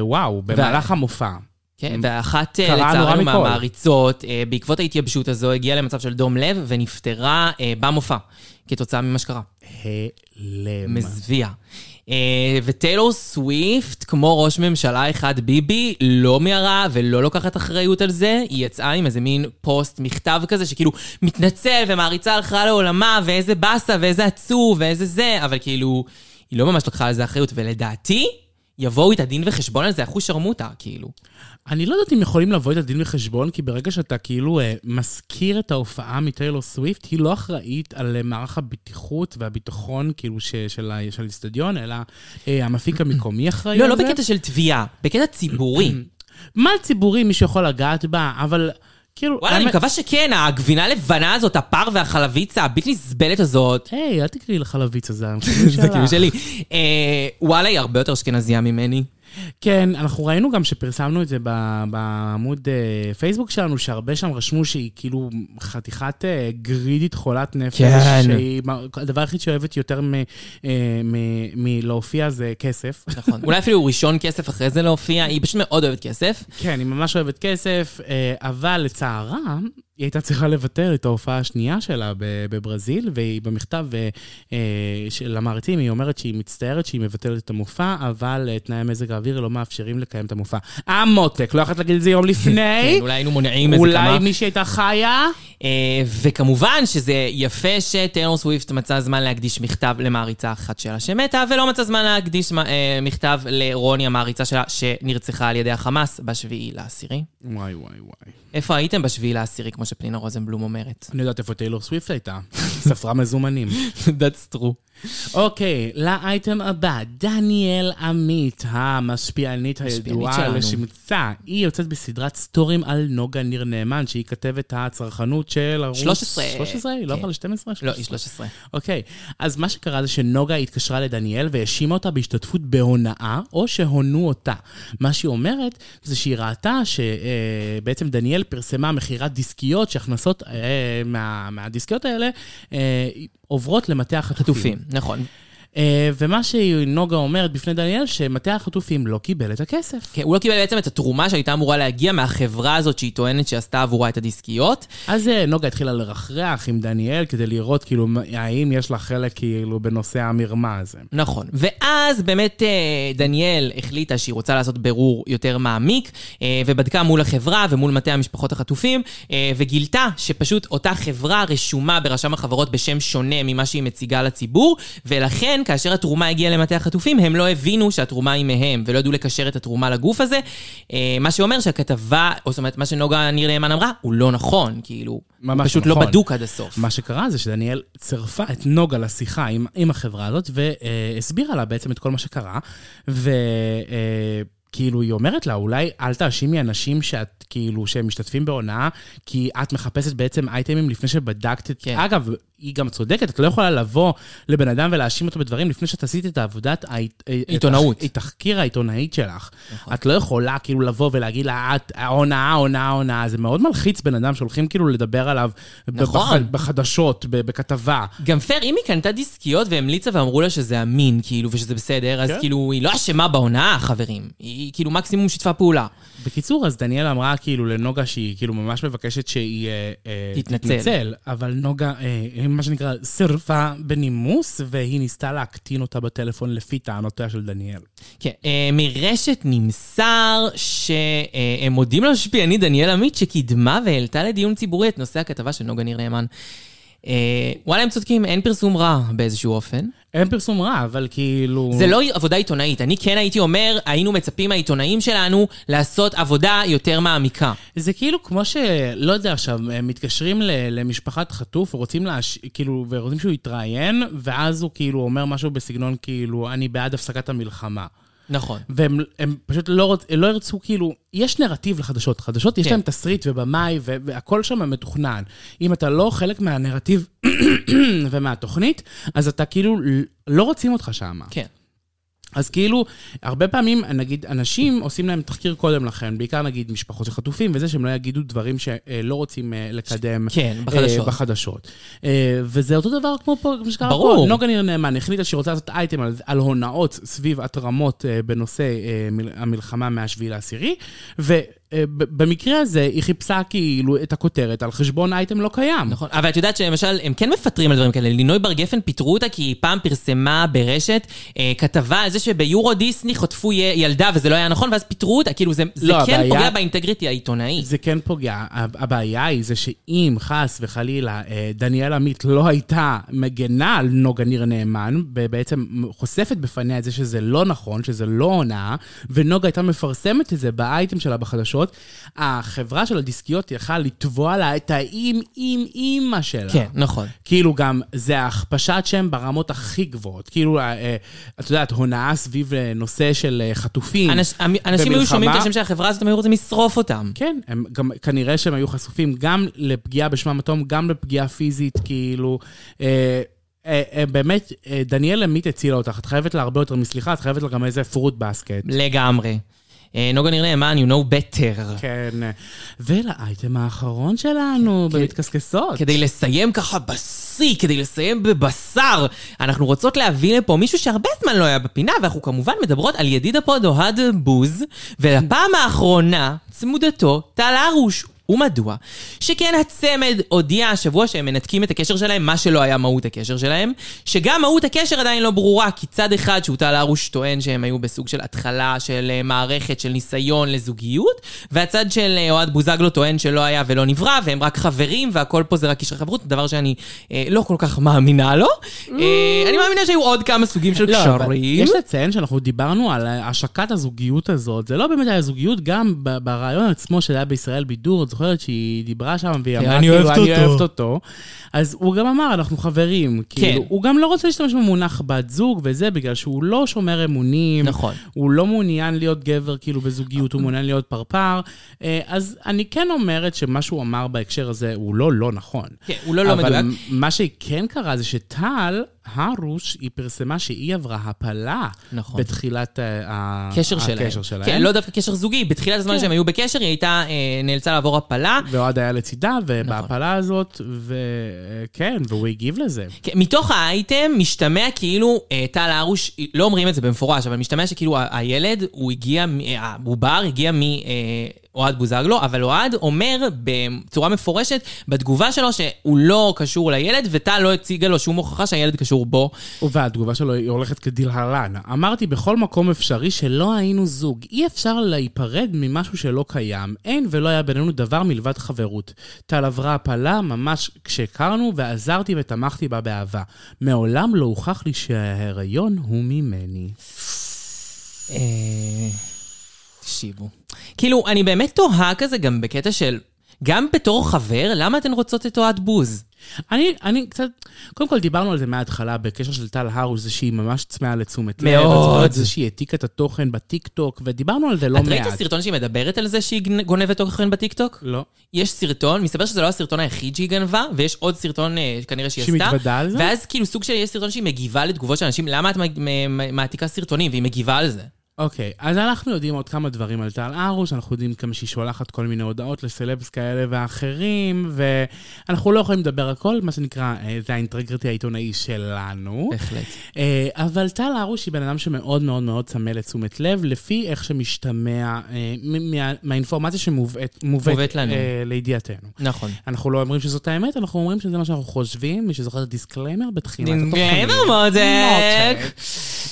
Speaker 4: וואו, במהלך המופע.
Speaker 3: כן, ואחת, אה,
Speaker 4: קרה נורא
Speaker 3: לצערנו,
Speaker 4: מכל.
Speaker 3: מהמעריצות, אה, בעקבות ההתייבשות הזו, הגיעה למצב של דום לב ונפטרה אה, במופע, כתוצאה ממה שקרה.
Speaker 4: הלם.
Speaker 3: מזוויע. אה, וטיילור סוויפט, כמו ראש ממשלה אחד ביבי, לא מיהרה ולא לוקחת אחריות על זה. היא יצאה עם איזה מין פוסט, מכתב כזה, שכאילו מתנצל ומעריצה הלכה לעולמה, ואיזה באסה, ואיזה עצוב, ואיזה זה, אבל כאילו, היא לא ממש לקחה על זה אחריות, ולדעתי, יבואו איתה דין וחשבון על זה אחוש שרמוטה, כאילו.
Speaker 4: אני לא יודעת אם יכולים לבוא את הדין וחשבון, כי ברגע שאתה כאילו אה, מזכיר את ההופעה מטיילור סוויפט, היא לא אחראית על אה, מערך הבטיחות והביטחון כאילו ש, של ה- של האיצטדיון, אלא אה, המפיק המקומי אחראי
Speaker 3: לא,
Speaker 4: על
Speaker 3: לא
Speaker 4: זה.
Speaker 3: בקטע של תביעה, בקטע
Speaker 4: [clears throat]
Speaker 3: ציבורי.
Speaker 4: מה ציבורי מישהו יכול לגעת בה, אבל כאילו...
Speaker 3: וואלה, אני
Speaker 4: האמת-
Speaker 3: מקווה שכן, הגבינה הלבנה הזאת, הפר והחלביצה הבלתי נסבלת הזאת.
Speaker 4: היי, אל תקראי לחלביץ הזה,
Speaker 3: [laughs] זה כאילו שלי. אה, וואלה, היא הרבה יותר אשכנזייה ממני.
Speaker 4: כן, אנחנו ראינו גם שפרסמנו את זה ב- בעמוד אה, פייסבוק שלנו, שהרבה שם רשמו שהיא כאילו חתיכת אה, גרידית חולת נפש.
Speaker 3: כן.
Speaker 4: שהיא, מה- הדבר היחיד שאוהבת יותר מלהופיע אה, מ- מלהופיע זה כסף.
Speaker 3: [laughs] נכון. אולי אפילו הוא ראשון כסף אחרי זה להופיע, היא פשוט מאוד אוהבת כסף.
Speaker 4: כן, היא ממש אוהבת כסף, אה, אבל לצערה, היא הייתה צריכה לבטל את ההופעה השנייה שלה ב- בברזיל, והיא במכתב אה, אה, של המעריצים, היא אומרת שהיא מצטערת שהיא מבטלת את המופע, אבל אה, תנאי מזג האוויר לא מאפשרים לקיים את המופע. המותק, לא יכולת להגיד את זה יום
Speaker 3: כן,
Speaker 4: לפני?
Speaker 3: אולי היינו מונעים איזה כמה.
Speaker 4: אולי מישהי הייתה חיה?
Speaker 3: אה, וכמובן שזה יפה שטיילור סוויפט מצא זמן להקדיש מכתב למעריצה אחת שלה שמתה, ולא מצא זמן להקדיש אה, מכתב לרוני המעריצה שלה שנרצחה על ידי החמאס בשביעי לעשירי.
Speaker 4: וואי, וואי, וואי.
Speaker 3: איפה הייתם בשביעי לעשירי, כמו שפנינה רוזנבלום אומרת?
Speaker 4: אני יודעת איפה טיילור סוויפט הייתה. ספרה מזומנים.
Speaker 3: [laughs] That's true.
Speaker 4: אוקיי, לאייטם הבא, דניאל עמית, המשפיענית הידועה
Speaker 3: שלנו.
Speaker 4: לשמצה. היא יוצאת בסדרת סטורים על נוגה ניר נאמן, שהיא כתבת הצרכנות של ערוץ...
Speaker 3: 13.
Speaker 4: 13? היא לא
Speaker 3: כן.
Speaker 4: עברה ל-12?
Speaker 3: לא, היא 13.
Speaker 4: אוקיי, אז מה שקרה זה שנוגה התקשרה לדניאל והאשימה אותה בהשתתפות בהונאה, או שהונו אותה. מה שהיא אומרת זה שהיא ראתה שבעצם דניאל פרסמה מכירת דיסקיות, שהכנסות אה, מה, מהדיסקיות האלה אה, עוברות למטה החטופים.
Speaker 3: חטופים, נכון.
Speaker 4: אה, ומה שנוגה אומרת בפני דניאל, שמטה החטופים לא קיבל את הכסף.
Speaker 3: כן, הוא לא קיבל בעצם את התרומה שהייתה אמורה להגיע מהחברה הזאת שהיא טוענת שעשתה עבורה את הדיסקיות.
Speaker 4: אז אה, נוגה התחילה לרחרח עם דניאל כדי לראות כאילו מה- האם יש לה חלק כאילו בנושא המרמה הזה.
Speaker 3: נכון. ואז באמת אה, דניאל החליטה שהיא רוצה לעשות בירור יותר מעמיק, אה, ובדקה מול החברה ומול מטה המשפחות החטופים, אה, וגילתה שפשוט אותה חברה רשומה ברשם החברות בשם שונה ממה שהיא מציגה לציבור, ולכן כאשר התרומה הגיעה למטה החטופים, הם לא הבינו שהתרומה היא מהם, ולא ידעו לקשר את התרומה לגוף הזה, אה, מה שאומר שהכתבה, או זאת אומרת, מה שנוגה ניר נאמן אמרה, הוא לא נכון, כאילו,
Speaker 4: ממש
Speaker 3: פשוט
Speaker 4: נכון.
Speaker 3: לא בדוק עד הסוף.
Speaker 4: מה שקרה זה שדניאל צירפה את נוגה לשיחה עם, עם החברה הזאת, והסבירה לה בעצם את כל מה שקרה, וכאילו היא אומרת לה, אולי אל תאשימי אנשים שאת, כאילו, שהם משתתפים בהונאה, כי את מחפשת בעצם אייטמים לפני שבדקת את...
Speaker 3: כן.
Speaker 4: כן. אגב, היא גם צודקת, את לא יכולה לבוא לבן אדם ולהאשים אותו בדברים לפני שאת עשית את העבודת... ההת-
Speaker 3: עיתונאות.
Speaker 4: את התחקיר העיתונאית שלך. נכון. את לא יכולה כאילו לבוא ולהגיד לה, את הונאה, הונאה, הונאה. זה מאוד מלחיץ בן אדם שהולכים כאילו לדבר עליו
Speaker 3: נכון.
Speaker 4: בח- בחדשות, ב- בכתבה.
Speaker 3: גם פייר, אם היא קנתה דיסקיות והמליצה ואמרו לה שזה אמין, כאילו, ושזה בסדר, אז
Speaker 4: כן.
Speaker 3: כאילו, היא לא אשמה בהונאה, חברים. היא כאילו מקסימום שיתפה פעולה.
Speaker 4: בקיצור, אז דניאל אמרה כאילו לנוגה שהיא כאילו ממש מבקשת שהיא אה, אה,
Speaker 3: תתנצל.
Speaker 4: אבל נוגה, אה, מה שנקרא, סירבה בנימוס, והיא ניסתה להקטין אותה בטלפון לפי טענותיה של דניאל.
Speaker 3: כן, אה, מרשת נמסר שהם מודים למשפיענית דניאל עמית, שקידמה והעלתה לדיון ציבורי את נושא הכתבה של נוגה ניר נאמן. אה, וואלה, הם צודקים, אין פרסום רע באיזשהו אופן.
Speaker 4: אין פרסום רע, אבל כאילו...
Speaker 3: זה לא עבודה עיתונאית. אני כן הייתי אומר, היינו מצפים מהעיתונאים שלנו לעשות עבודה יותר מעמיקה.
Speaker 4: זה כאילו כמו ש... לא יודע, עכשיו, הם מתקשרים ל- למשפחת חטוף ורוצים להש... כאילו, ורוצים שהוא יתראיין, ואז הוא כאילו אומר משהו בסגנון כאילו, אני בעד הפסקת המלחמה.
Speaker 3: נכון.
Speaker 4: והם הם פשוט לא, רוצ, לא ירצו, כאילו, יש נרטיב לחדשות. חדשות, יש
Speaker 3: כן.
Speaker 4: להם תסריט ובמאי, ו- והכל שם מתוכנן. אם אתה לא חלק מהנרטיב [clears throat] ומהתוכנית, אז אתה כאילו, לא רוצים אותך שם.
Speaker 3: כן.
Speaker 4: אז כאילו, הרבה פעמים, נגיד, אנשים עושים להם תחקיר קודם לכן, בעיקר נגיד משפחות של חטופים וזה, שהם לא יגידו דברים שלא רוצים אה, לקדם.
Speaker 3: כן,
Speaker 4: אה,
Speaker 3: בחדשות.
Speaker 4: בחדשות. אה, וזה אותו דבר כמו פה, כמו שקרה
Speaker 3: ברור.
Speaker 4: פה. נוגה ניר נאמן החליטה שהיא רוצה לעשות אייטם על, על הונאות סביב התרמות אה, בנושא אה, מל- המלחמה מהשביעי לעשירי, ו... אה, ב- במקרה הזה היא חיפשה כאילו את הכותרת על חשבון אייטם לא קיים.
Speaker 3: נכון, אבל את יודעת שלמשל, הם כן מפטרים על דברים כאלה. לינוי בר גפן פיטרו אותה כי היא פעם פרסמה ברשת אה, כתבה על זה שביורו דיסני חטפו י- ילדה וזה לא היה נכון, ואז פיטרו אותה. כאילו, זה, זה
Speaker 4: לא,
Speaker 3: כן
Speaker 4: הבעיה-
Speaker 3: פוגע באינטגריטי העיתונאי.
Speaker 4: זה כן פוגע. הב- הבעיה היא זה שאם חס וחלילה אה, דניאל עמית לא הייתה מגנה על נוגה ניר נאמן, ובעצם חושפת בפניה את זה שזה לא נכון, שזה לא הונאה, ונוגה הייתה מפרסמת את זה באייטם שלה בחדשות, החברה של הדיסקיות יכלה לתבוע לה את האם אם אימא שלה.
Speaker 3: כן, נכון.
Speaker 4: כאילו גם, זה ההכפשת שם ברמות הכי גבוהות. כאילו, אה, אה, את יודעת, הונאה סביב אה, נושא של אה, חטופים.
Speaker 3: אנש, המ- אנשים היו
Speaker 4: במלחמה.
Speaker 3: שומעים את השם של החברה הזאת, הם היו רוצים לשרוף אותם.
Speaker 4: כן, הם גם, כנראה שהם היו חשופים גם לפגיעה בשמם הטום, גם לפגיעה פיזית, כאילו... אה, אה, אה, באמת, אה, דניאל עמית הצילה אותך, את חייבת לה הרבה יותר מסליחה, את חייבת לה גם איזה פרוט בסקט.
Speaker 3: לגמרי. אה, נוגה ניר נאמן, you know better.
Speaker 4: כן. כן. אה. ולאייטם האחרון שלנו, במתקסקסות.
Speaker 3: כדי לסיים ככה בשיא, כדי לסיים בבשר, אנחנו רוצות להביא לפה מישהו שהרבה זמן לא היה בפינה, ואנחנו כמובן מדברות על ידיד הפוד אוהד בוז, ולפעם האחרונה, צמודתו, טל הרוש. ומדוע? שכן הצמד הודיע השבוע שהם מנתקים את הקשר שלהם, מה שלא היה מהות הקשר שלהם, שגם מהות הקשר עדיין לא ברורה, כי צד אחד שהוא טל הרוש טוען שהם היו בסוג של התחלה של אה, מערכת, של ניסיון לזוגיות, והצד של אה, אוהד בוזגלו טוען שלא היה ולא נברא, והם רק חברים, והכל פה זה רק קשרי חברות, דבר שאני אה, לא כל כך מאמינה לו. אה, אני מאמינה שהיו עוד כמה סוגים של
Speaker 4: Mm. לא, אבל
Speaker 3: קשרים.
Speaker 4: יש לציין שאנחנו דיברנו על השקת הזוגיות הזאת. זה לא באמת היה זוגיות, גם ב- ברעיון עצמו שהיה בישראל בידור, את זוכרת שהיא דיברה שם והיא אמרה,
Speaker 3: כן,
Speaker 4: כאילו,
Speaker 3: אני אוהבת
Speaker 4: אני
Speaker 3: אותו."
Speaker 4: אוהבת אותו. אז הוא גם אמר, אנחנו חברים.
Speaker 3: כן.
Speaker 4: כאילו, הוא גם לא רוצה להשתמש במונח בת זוג וזה, בגלל שהוא לא שומר אמונים.
Speaker 3: נכון. אה.
Speaker 4: הוא לא מעוניין להיות גבר כאילו בזוגיות, הוא מעוניין להיות פרפר. אה, אז אני כן אומרת שמה שהוא אמר בהקשר הזה הוא לא לא נכון.
Speaker 3: כן, הוא לא לא
Speaker 4: אבל
Speaker 3: מדויק.
Speaker 4: מה שכן קרה זה שטל, הרוש, היא פרסמה שהיא עברה הפלה.
Speaker 3: נכון.
Speaker 4: בתחילת אה, ה-
Speaker 3: קשר שלהם.
Speaker 4: הקשר שלהם. כן.
Speaker 3: כן, לא דווקא קשר זוגי, בתחילת הזמן שהם היו בקשר, היא הייתה, אה, נאלצה לעבור הפלה.
Speaker 4: ואוהד היה לצידה,
Speaker 3: נכון.
Speaker 4: ובהפלה הזאת, וכן, והוא הגיב לזה.
Speaker 3: כן, מתוך האייטם משתמע כאילו אה, טל הרוש, לא אומרים את זה במפורש, אבל משתמע שכאילו ה- הילד, הוא הגיע, מ- אה, העובר הגיע מאוהד בוזגלו, אבל אוהד אומר בצורה מפורשת בתגובה שלו שהוא לא קשור לילד, וטל לא הציגה לו שום הוכחה שהילד קשור בו.
Speaker 4: והתגובה שלו היא הולכת כדלהלן. אמרתי בכל מקום אפשרי שלא היינו זוג. אי אפשר להיפרד ממשהו שלא קיים. אין ולא היה בינינו דבר מלבד חברות. טל עברה הפלה ממש כשהכרנו, ועזרתי ותמכתי בה באהבה. מעולם לא הוכח לי שההיריון הוא ממני.
Speaker 3: אה, תקשיבו. כאילו, אני באמת תוהה כזה גם בקטע של, גם בתור חבר, למה אתן רוצות את אוהד בוז?
Speaker 4: אני, אני קצת, קודם כל דיברנו על זה מההתחלה בקשר של טל הרוש, זה שהיא ממש צמאה לתשומת לב.
Speaker 3: מאוד.
Speaker 4: את זוכרת זה שהיא העתיקה את התוכן בטיק טוק, ודיברנו על זה לא
Speaker 3: את ראית
Speaker 4: מעט.
Speaker 3: את הסרטון שהיא מדברת על זה שהיא גנ- גונבת תוכן בטיקטוק?
Speaker 4: לא.
Speaker 3: יש סרטון, מסתבר שזה לא הסרטון היחיד שהיא גנבה, ויש עוד סרטון אה, כנראה שהיא
Speaker 4: שהיא
Speaker 3: עשתה.
Speaker 4: מתוודה על זה?
Speaker 3: ואז כאילו סוג של, יש סרטון שהיא מגיבה לתגובות של אנשים, למה את מ- מ- מעתיקה סרטונים, והיא מגיבה על זה.
Speaker 4: אוקיי, אז אנחנו יודעים עוד כמה דברים על טל הרוש, אנחנו יודעים כמה שהיא שולחת כל מיני הודעות לסלבס כאלה ואחרים, ואנחנו לא יכולים לדבר הכל, מה שנקרא, אה, זה האינטגריטי העיתונאי שלנו.
Speaker 3: בהחלט.
Speaker 4: אה, אבל טל הרוש היא בן אדם שמאוד מאוד מאוד צמא לתשומת לב, לפי איך שמשתמע אה, מ- מה- מהאינפורמציה שמובאת
Speaker 3: מובאת
Speaker 4: מובאת,
Speaker 3: לנו.
Speaker 4: אה, לידיעתנו.
Speaker 3: נכון.
Speaker 4: אנחנו לא אומרים שזאת האמת, אנחנו אומרים שזה מה שאנחנו חושבים, מי שזוכר את הדיסקליימר בתחילת התוכנית.
Speaker 3: גלמר מותק.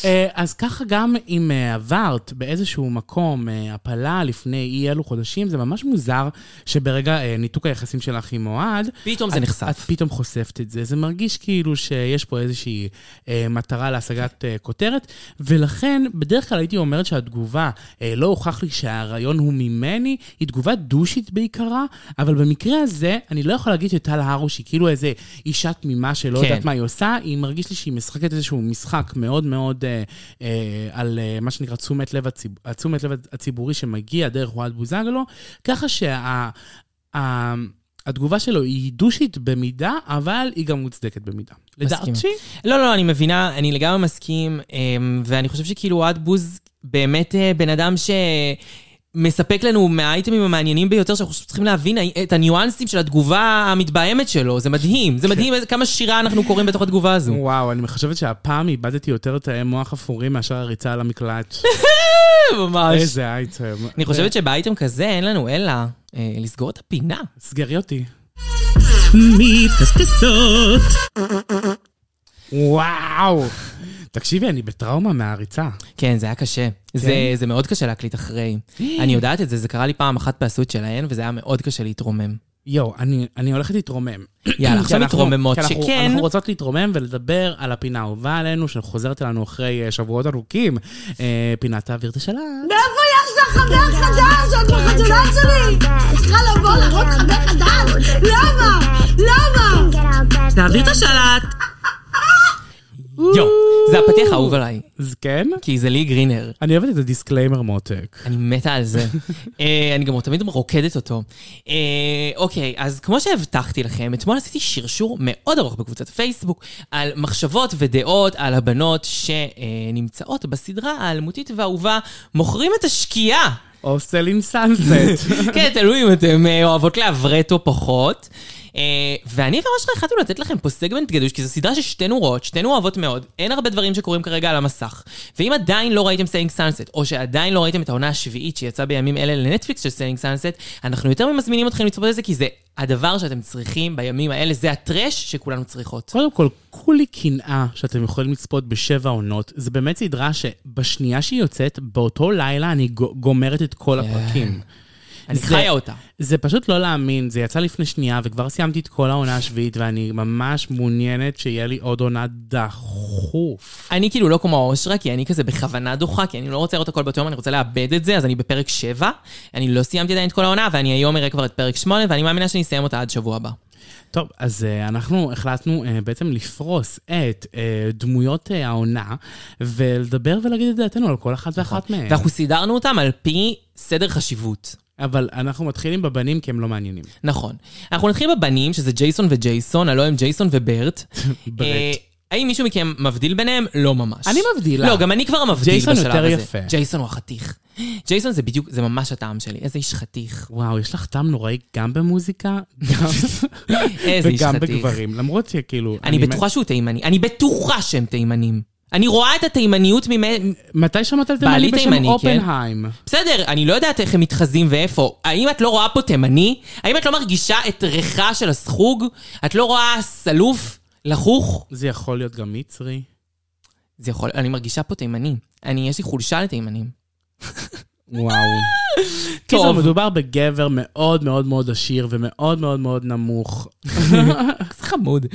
Speaker 4: אה, אז ככה גם אם אה, עברת באיזשהו מקום אה, הפלה לפני אי אלו חודשים, זה ממש מוזר שברגע אה, ניתוק היחסים שלך עם אוהד,
Speaker 3: פתאום זה
Speaker 4: את- את
Speaker 3: נחשף.
Speaker 4: פתאום חושפת את זה. זה מרגיש כאילו שיש פה איזושהי אה, מטרה להשגת אה, כותרת, ולכן בדרך כלל הייתי אומרת שהתגובה, אה, לא הוכח לי שהרעיון הוא ממני, היא תגובה דושית בעיקרה, אבל במקרה הזה, אני לא יכול להגיד שטל הרוש היא כאילו איזה אישה תמימה שלא
Speaker 3: כן.
Speaker 4: יודעת מה היא עושה, היא מרגיש לי שהיא משחקת איזשהו משחק מאוד מאוד אה, אה, על אה, מה שנקרא תשומת לב, הציב... תשומת לב הציבורי שמגיע דרך אוהד בוזגלו, ככה שה... ה- התגובה שלו היא דושית במידה, אבל היא גם מוצדקת במידה.
Speaker 3: מסכימה.
Speaker 4: לדעתי.
Speaker 3: לא, לא, אני מבינה, אני לגמרי מסכים, אמ, ואני חושב שכאילו אוהד בוז באמת אה, בן אדם ש... מספק לנו מהאייטמים המעניינים ביותר שאנחנו פשוט צריכים להבין את הניואנסים של התגובה המתבהמת שלו, זה מדהים,
Speaker 4: כן.
Speaker 3: זה מדהים איזה- כמה שירה אנחנו קוראים בתוך התגובה הזו. [laughs]
Speaker 4: וואו, אני חושבת שהפעם איבדתי יותר תאי מוח אפורים מאשר הריצה על המקלט.
Speaker 3: ממש.
Speaker 4: איזה אייטם.
Speaker 3: אני חושבת שבאייטם כזה אין לנו אלא אה, לסגור את הפינה.
Speaker 4: סגרי אותי.
Speaker 1: מתקסקסות.
Speaker 4: וואו. תקשיבי, אני בטראומה מהריצה.
Speaker 3: כן, זה היה קשה. זה, זה מאוד קשה להקליט אחרי. אני יודעת את זה, זה קרה לי פעם אחת בעשות שלהן, וזה היה מאוד קשה להתרומם.
Speaker 4: יואו, אני, אני הולכת להתרומם.
Speaker 3: [clears throat] יאללה, עכשיו
Speaker 4: כי אנחנו-
Speaker 3: מתרוממות,
Speaker 4: כי אנחנו-
Speaker 3: שכן.
Speaker 4: אנחנו רוצות להתרומם ולדבר על הפינה האהובה עלינו, שחוזרת אלינו אחרי אה, שבועות ארוכים. אה, פינת תעביר את השלט.
Speaker 6: מאיפה יחזר חבר חדש? עוד בחתונה שלי! צריכה לבוא להראות חבר חדש? למה? למה?
Speaker 1: תעביר את השלט.
Speaker 3: יואו, זה הפתיח האהוב עליי,
Speaker 4: אז כן?
Speaker 3: כי זה לי גרינר.
Speaker 4: אני אוהבת את הדיסקליימר מותק.
Speaker 3: אני מתה על [laughs] זה. אה, אני גם תמיד רוקדת אותו. אה, אוקיי, אז כמו שהבטחתי לכם, אתמול עשיתי שרשור מאוד ארוך בקבוצת הפייסבוק על מחשבות ודעות על הבנות שנמצאות בסדרה האלמותית והאהובה מוכרים את השקיעה.
Speaker 4: או סלין סאנסט.
Speaker 3: [laughs] כן, תלוי אם אתם אה, אוהבות לעברת או פחות. אה, ואני ואושרה החלטנו לתת לכם פה סגמנט גדוש, כי זו סדרה ששתינו רואות, שתינו אוהבות מאוד, אין הרבה דברים שקורים כרגע על המסך. ואם עדיין לא ראיתם סיינג סאנסט, או שעדיין לא ראיתם את העונה השביעית שיצאה בימים אלה לנטפליקס של סיינג סאנסט, אנחנו יותר ממזמינים אתכם לצפות את זה, כי זה הדבר שאתם צריכים בימים האלה, זה הטרש שכולנו צריכות.
Speaker 4: קודם כל, כולי קנאה שאתם יכולים לצפות בשבע עונות. זו באמת סדרה שבשנייה שהיא יוצאת, באותו לילה אני גו- גומרת את כל הפרקים.
Speaker 3: כן. אני
Speaker 4: זה-
Speaker 3: חיה אותה.
Speaker 4: זה פשוט לא להאמין, זה יצא לפני שנייה, וכבר סיימתי את כל העונה השביעית, ואני ממש מעוניינת שיהיה לי עוד עונה דחוף.
Speaker 3: אני כאילו לא כמו האושרה, כי אני כזה בכוונה דוחה, כי אני לא רוצה לראות הכל באותו יום, אני רוצה לאבד את זה, אז אני בפרק 7, אני לא סיימתי עדיין את כל העונה, ואני היום אראה כבר את פרק 8, ואני מאמינה שאני אסיים אותה עד שבוע הבא.
Speaker 4: כן. טוב, אז אה, אנחנו החלטנו אה, בעצם לפרוס את אה, דמויות אה, העונה, ולדבר ולהגיד את דעתנו על כל אחת ואחת מהן.
Speaker 3: נכון. ואנחנו סידרנו אותם על פי סדר חשיבות.
Speaker 4: אבל אנחנו מתחילים בבנים כי הם לא מעניינים.
Speaker 3: נכון. אנחנו נתחיל בבנים, שזה ג'ייסון וג'ייסון, הלוא הם ג'ייסון
Speaker 4: [laughs]
Speaker 3: וברט.
Speaker 4: ברט.
Speaker 3: אה, האם מישהו מכם מבדיל ביניהם? לא ממש.
Speaker 4: אני מבדילה.
Speaker 3: לא, גם אני כבר מבדיל בשלב
Speaker 4: ג'ייסון
Speaker 3: הזה.
Speaker 4: יותר יפה.
Speaker 3: ג'ייסון הוא החתיך. [gasps] ג'ייסון זה בדיוק, זה ממש הטעם שלי. איזה איש חתיך.
Speaker 4: וואו, יש לך טעם נוראי גם במוזיקה, גם...
Speaker 3: [laughs] איזה איש
Speaker 4: וגם
Speaker 3: חתיך.
Speaker 4: בגברים. למרות שכאילו...
Speaker 3: אני בטוחה שהוא תימני. אני בטוחה שהם תימנים. אני רואה את התימניות ממ...
Speaker 4: מתי שמעת על
Speaker 3: בעלי
Speaker 4: תימני בשם
Speaker 3: תימני, כן?
Speaker 4: אופנהיים?
Speaker 3: בסדר, אני לא יודעת איך הם מתחזים ואיפה. האם את לא רואה פה תימני? האם את לא מרגישה את ריחה של הסחוג? את לא רואה סלוף? לחוך?
Speaker 4: זה יכול להיות גם מצרי.
Speaker 3: זה יכול... אני מרגישה פה תימני. אני, יש לי חולשה לתימנים. [laughs]
Speaker 4: וואו. טוב,
Speaker 3: טוב,
Speaker 4: מדובר בגבר מאוד מאוד מאוד עשיר ומאוד מאוד מאוד נמוך.
Speaker 3: זה חמוד.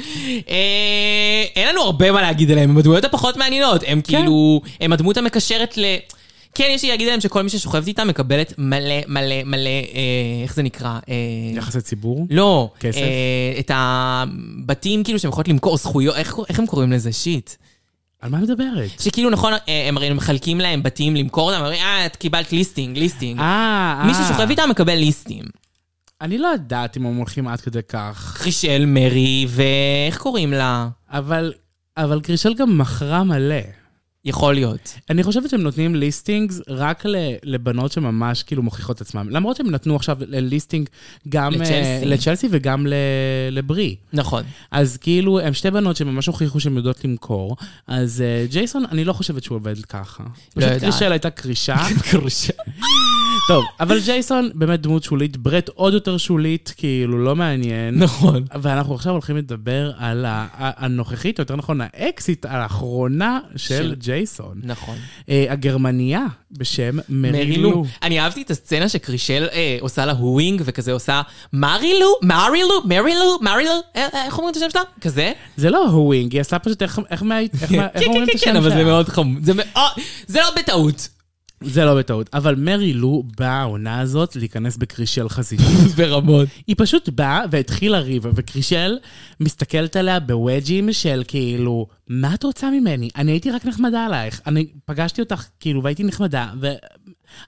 Speaker 3: אה, אין לנו הרבה מה להגיד עליהם, הם הדמויות הפחות מעניינות. הם כאילו... הם הדמות המקשרת ל... כן, יש לי להגיד עליהם שכל מי ששוכבת איתם מקבלת מלא מלא מלא... אה, איך זה נקרא? אה,
Speaker 4: יחסי ציבור?
Speaker 3: לא.
Speaker 4: כסף?
Speaker 3: אה, את הבתים, כאילו, שהם יכולות למכור זכויות, איך, איך הם קוראים לזה? שיט.
Speaker 4: על מה מדברת?
Speaker 3: שכאילו, נכון, אה, הם הרי מחלקים להם בתים למכור אותם, אומרים, אה, את קיבלת ליסטינג, ליסטינג.
Speaker 4: אה,
Speaker 3: מי ששוכב איתם מקבל ליסטים.
Speaker 4: אני לא יודעת אם הם הולכים עד כדי כך,
Speaker 3: חרישל, מרי, ואיך קוראים לה?
Speaker 4: אבל... אבל קרישל גם מכרה מלא.
Speaker 3: יכול להיות.
Speaker 4: אני חושבת שהם נותנים ליסטינגס רק ל- לבנות שממש כאילו מוכיחות עצמם. למרות שהם נתנו עכשיו ליסטינג גם... אה,
Speaker 3: לצ'לסי.
Speaker 4: לצ'לסי וגם ל- לברי.
Speaker 3: נכון.
Speaker 4: אז כאילו, הם שתי בנות שממש הוכיחו שהן יודעות למכור, אז uh, ג'ייסון, אני לא חושבת שהוא עובד ככה.
Speaker 3: לא
Speaker 4: פשוט
Speaker 3: יודעת.
Speaker 4: קרישל הייתה קרישה. קרישה. טוב, אבל ג'ייסון באמת דמות שולית, ברט עוד יותר שולית, כאילו, לא מעניין.
Speaker 3: נכון.
Speaker 4: ואנחנו עכשיו הולכים לדבר על ה- ה- הנוכחית, או יותר נכון, האקסיט האחרונה של
Speaker 3: של-
Speaker 4: ג'ייסון.
Speaker 3: נכון.
Speaker 4: אה, הגרמניה בשם מרילו.
Speaker 3: אני אהבתי את הסצנה שקרישל אה, עושה לה הווינג וכזה עושה מרילו, מרילו, מרילו, מרילו, אה, אה, איך אומרים את השם שלה? כזה?
Speaker 4: זה לא הווינג, היא עשתה פשוט איך איך מה- איך מה- איך
Speaker 3: כן,
Speaker 4: אומרים
Speaker 3: כן,
Speaker 4: את
Speaker 3: כן,
Speaker 4: השם
Speaker 3: כן, אבל זה
Speaker 4: שלה?
Speaker 3: מאוד חמוד. זה מאוד... זה לא בטעות.
Speaker 4: זה לא בטעות, אבל מרי לו באה העונה הזאת להיכנס בקרישל חזיתית. [laughs]
Speaker 3: ברמות.
Speaker 4: היא פשוט באה והתחילה ריב, וקרישל מסתכלת עליה בווג'ים של כאילו, מה את רוצה ממני? אני הייתי רק נחמדה עלייך. אני פגשתי אותך כאילו והייתי נחמדה, ו...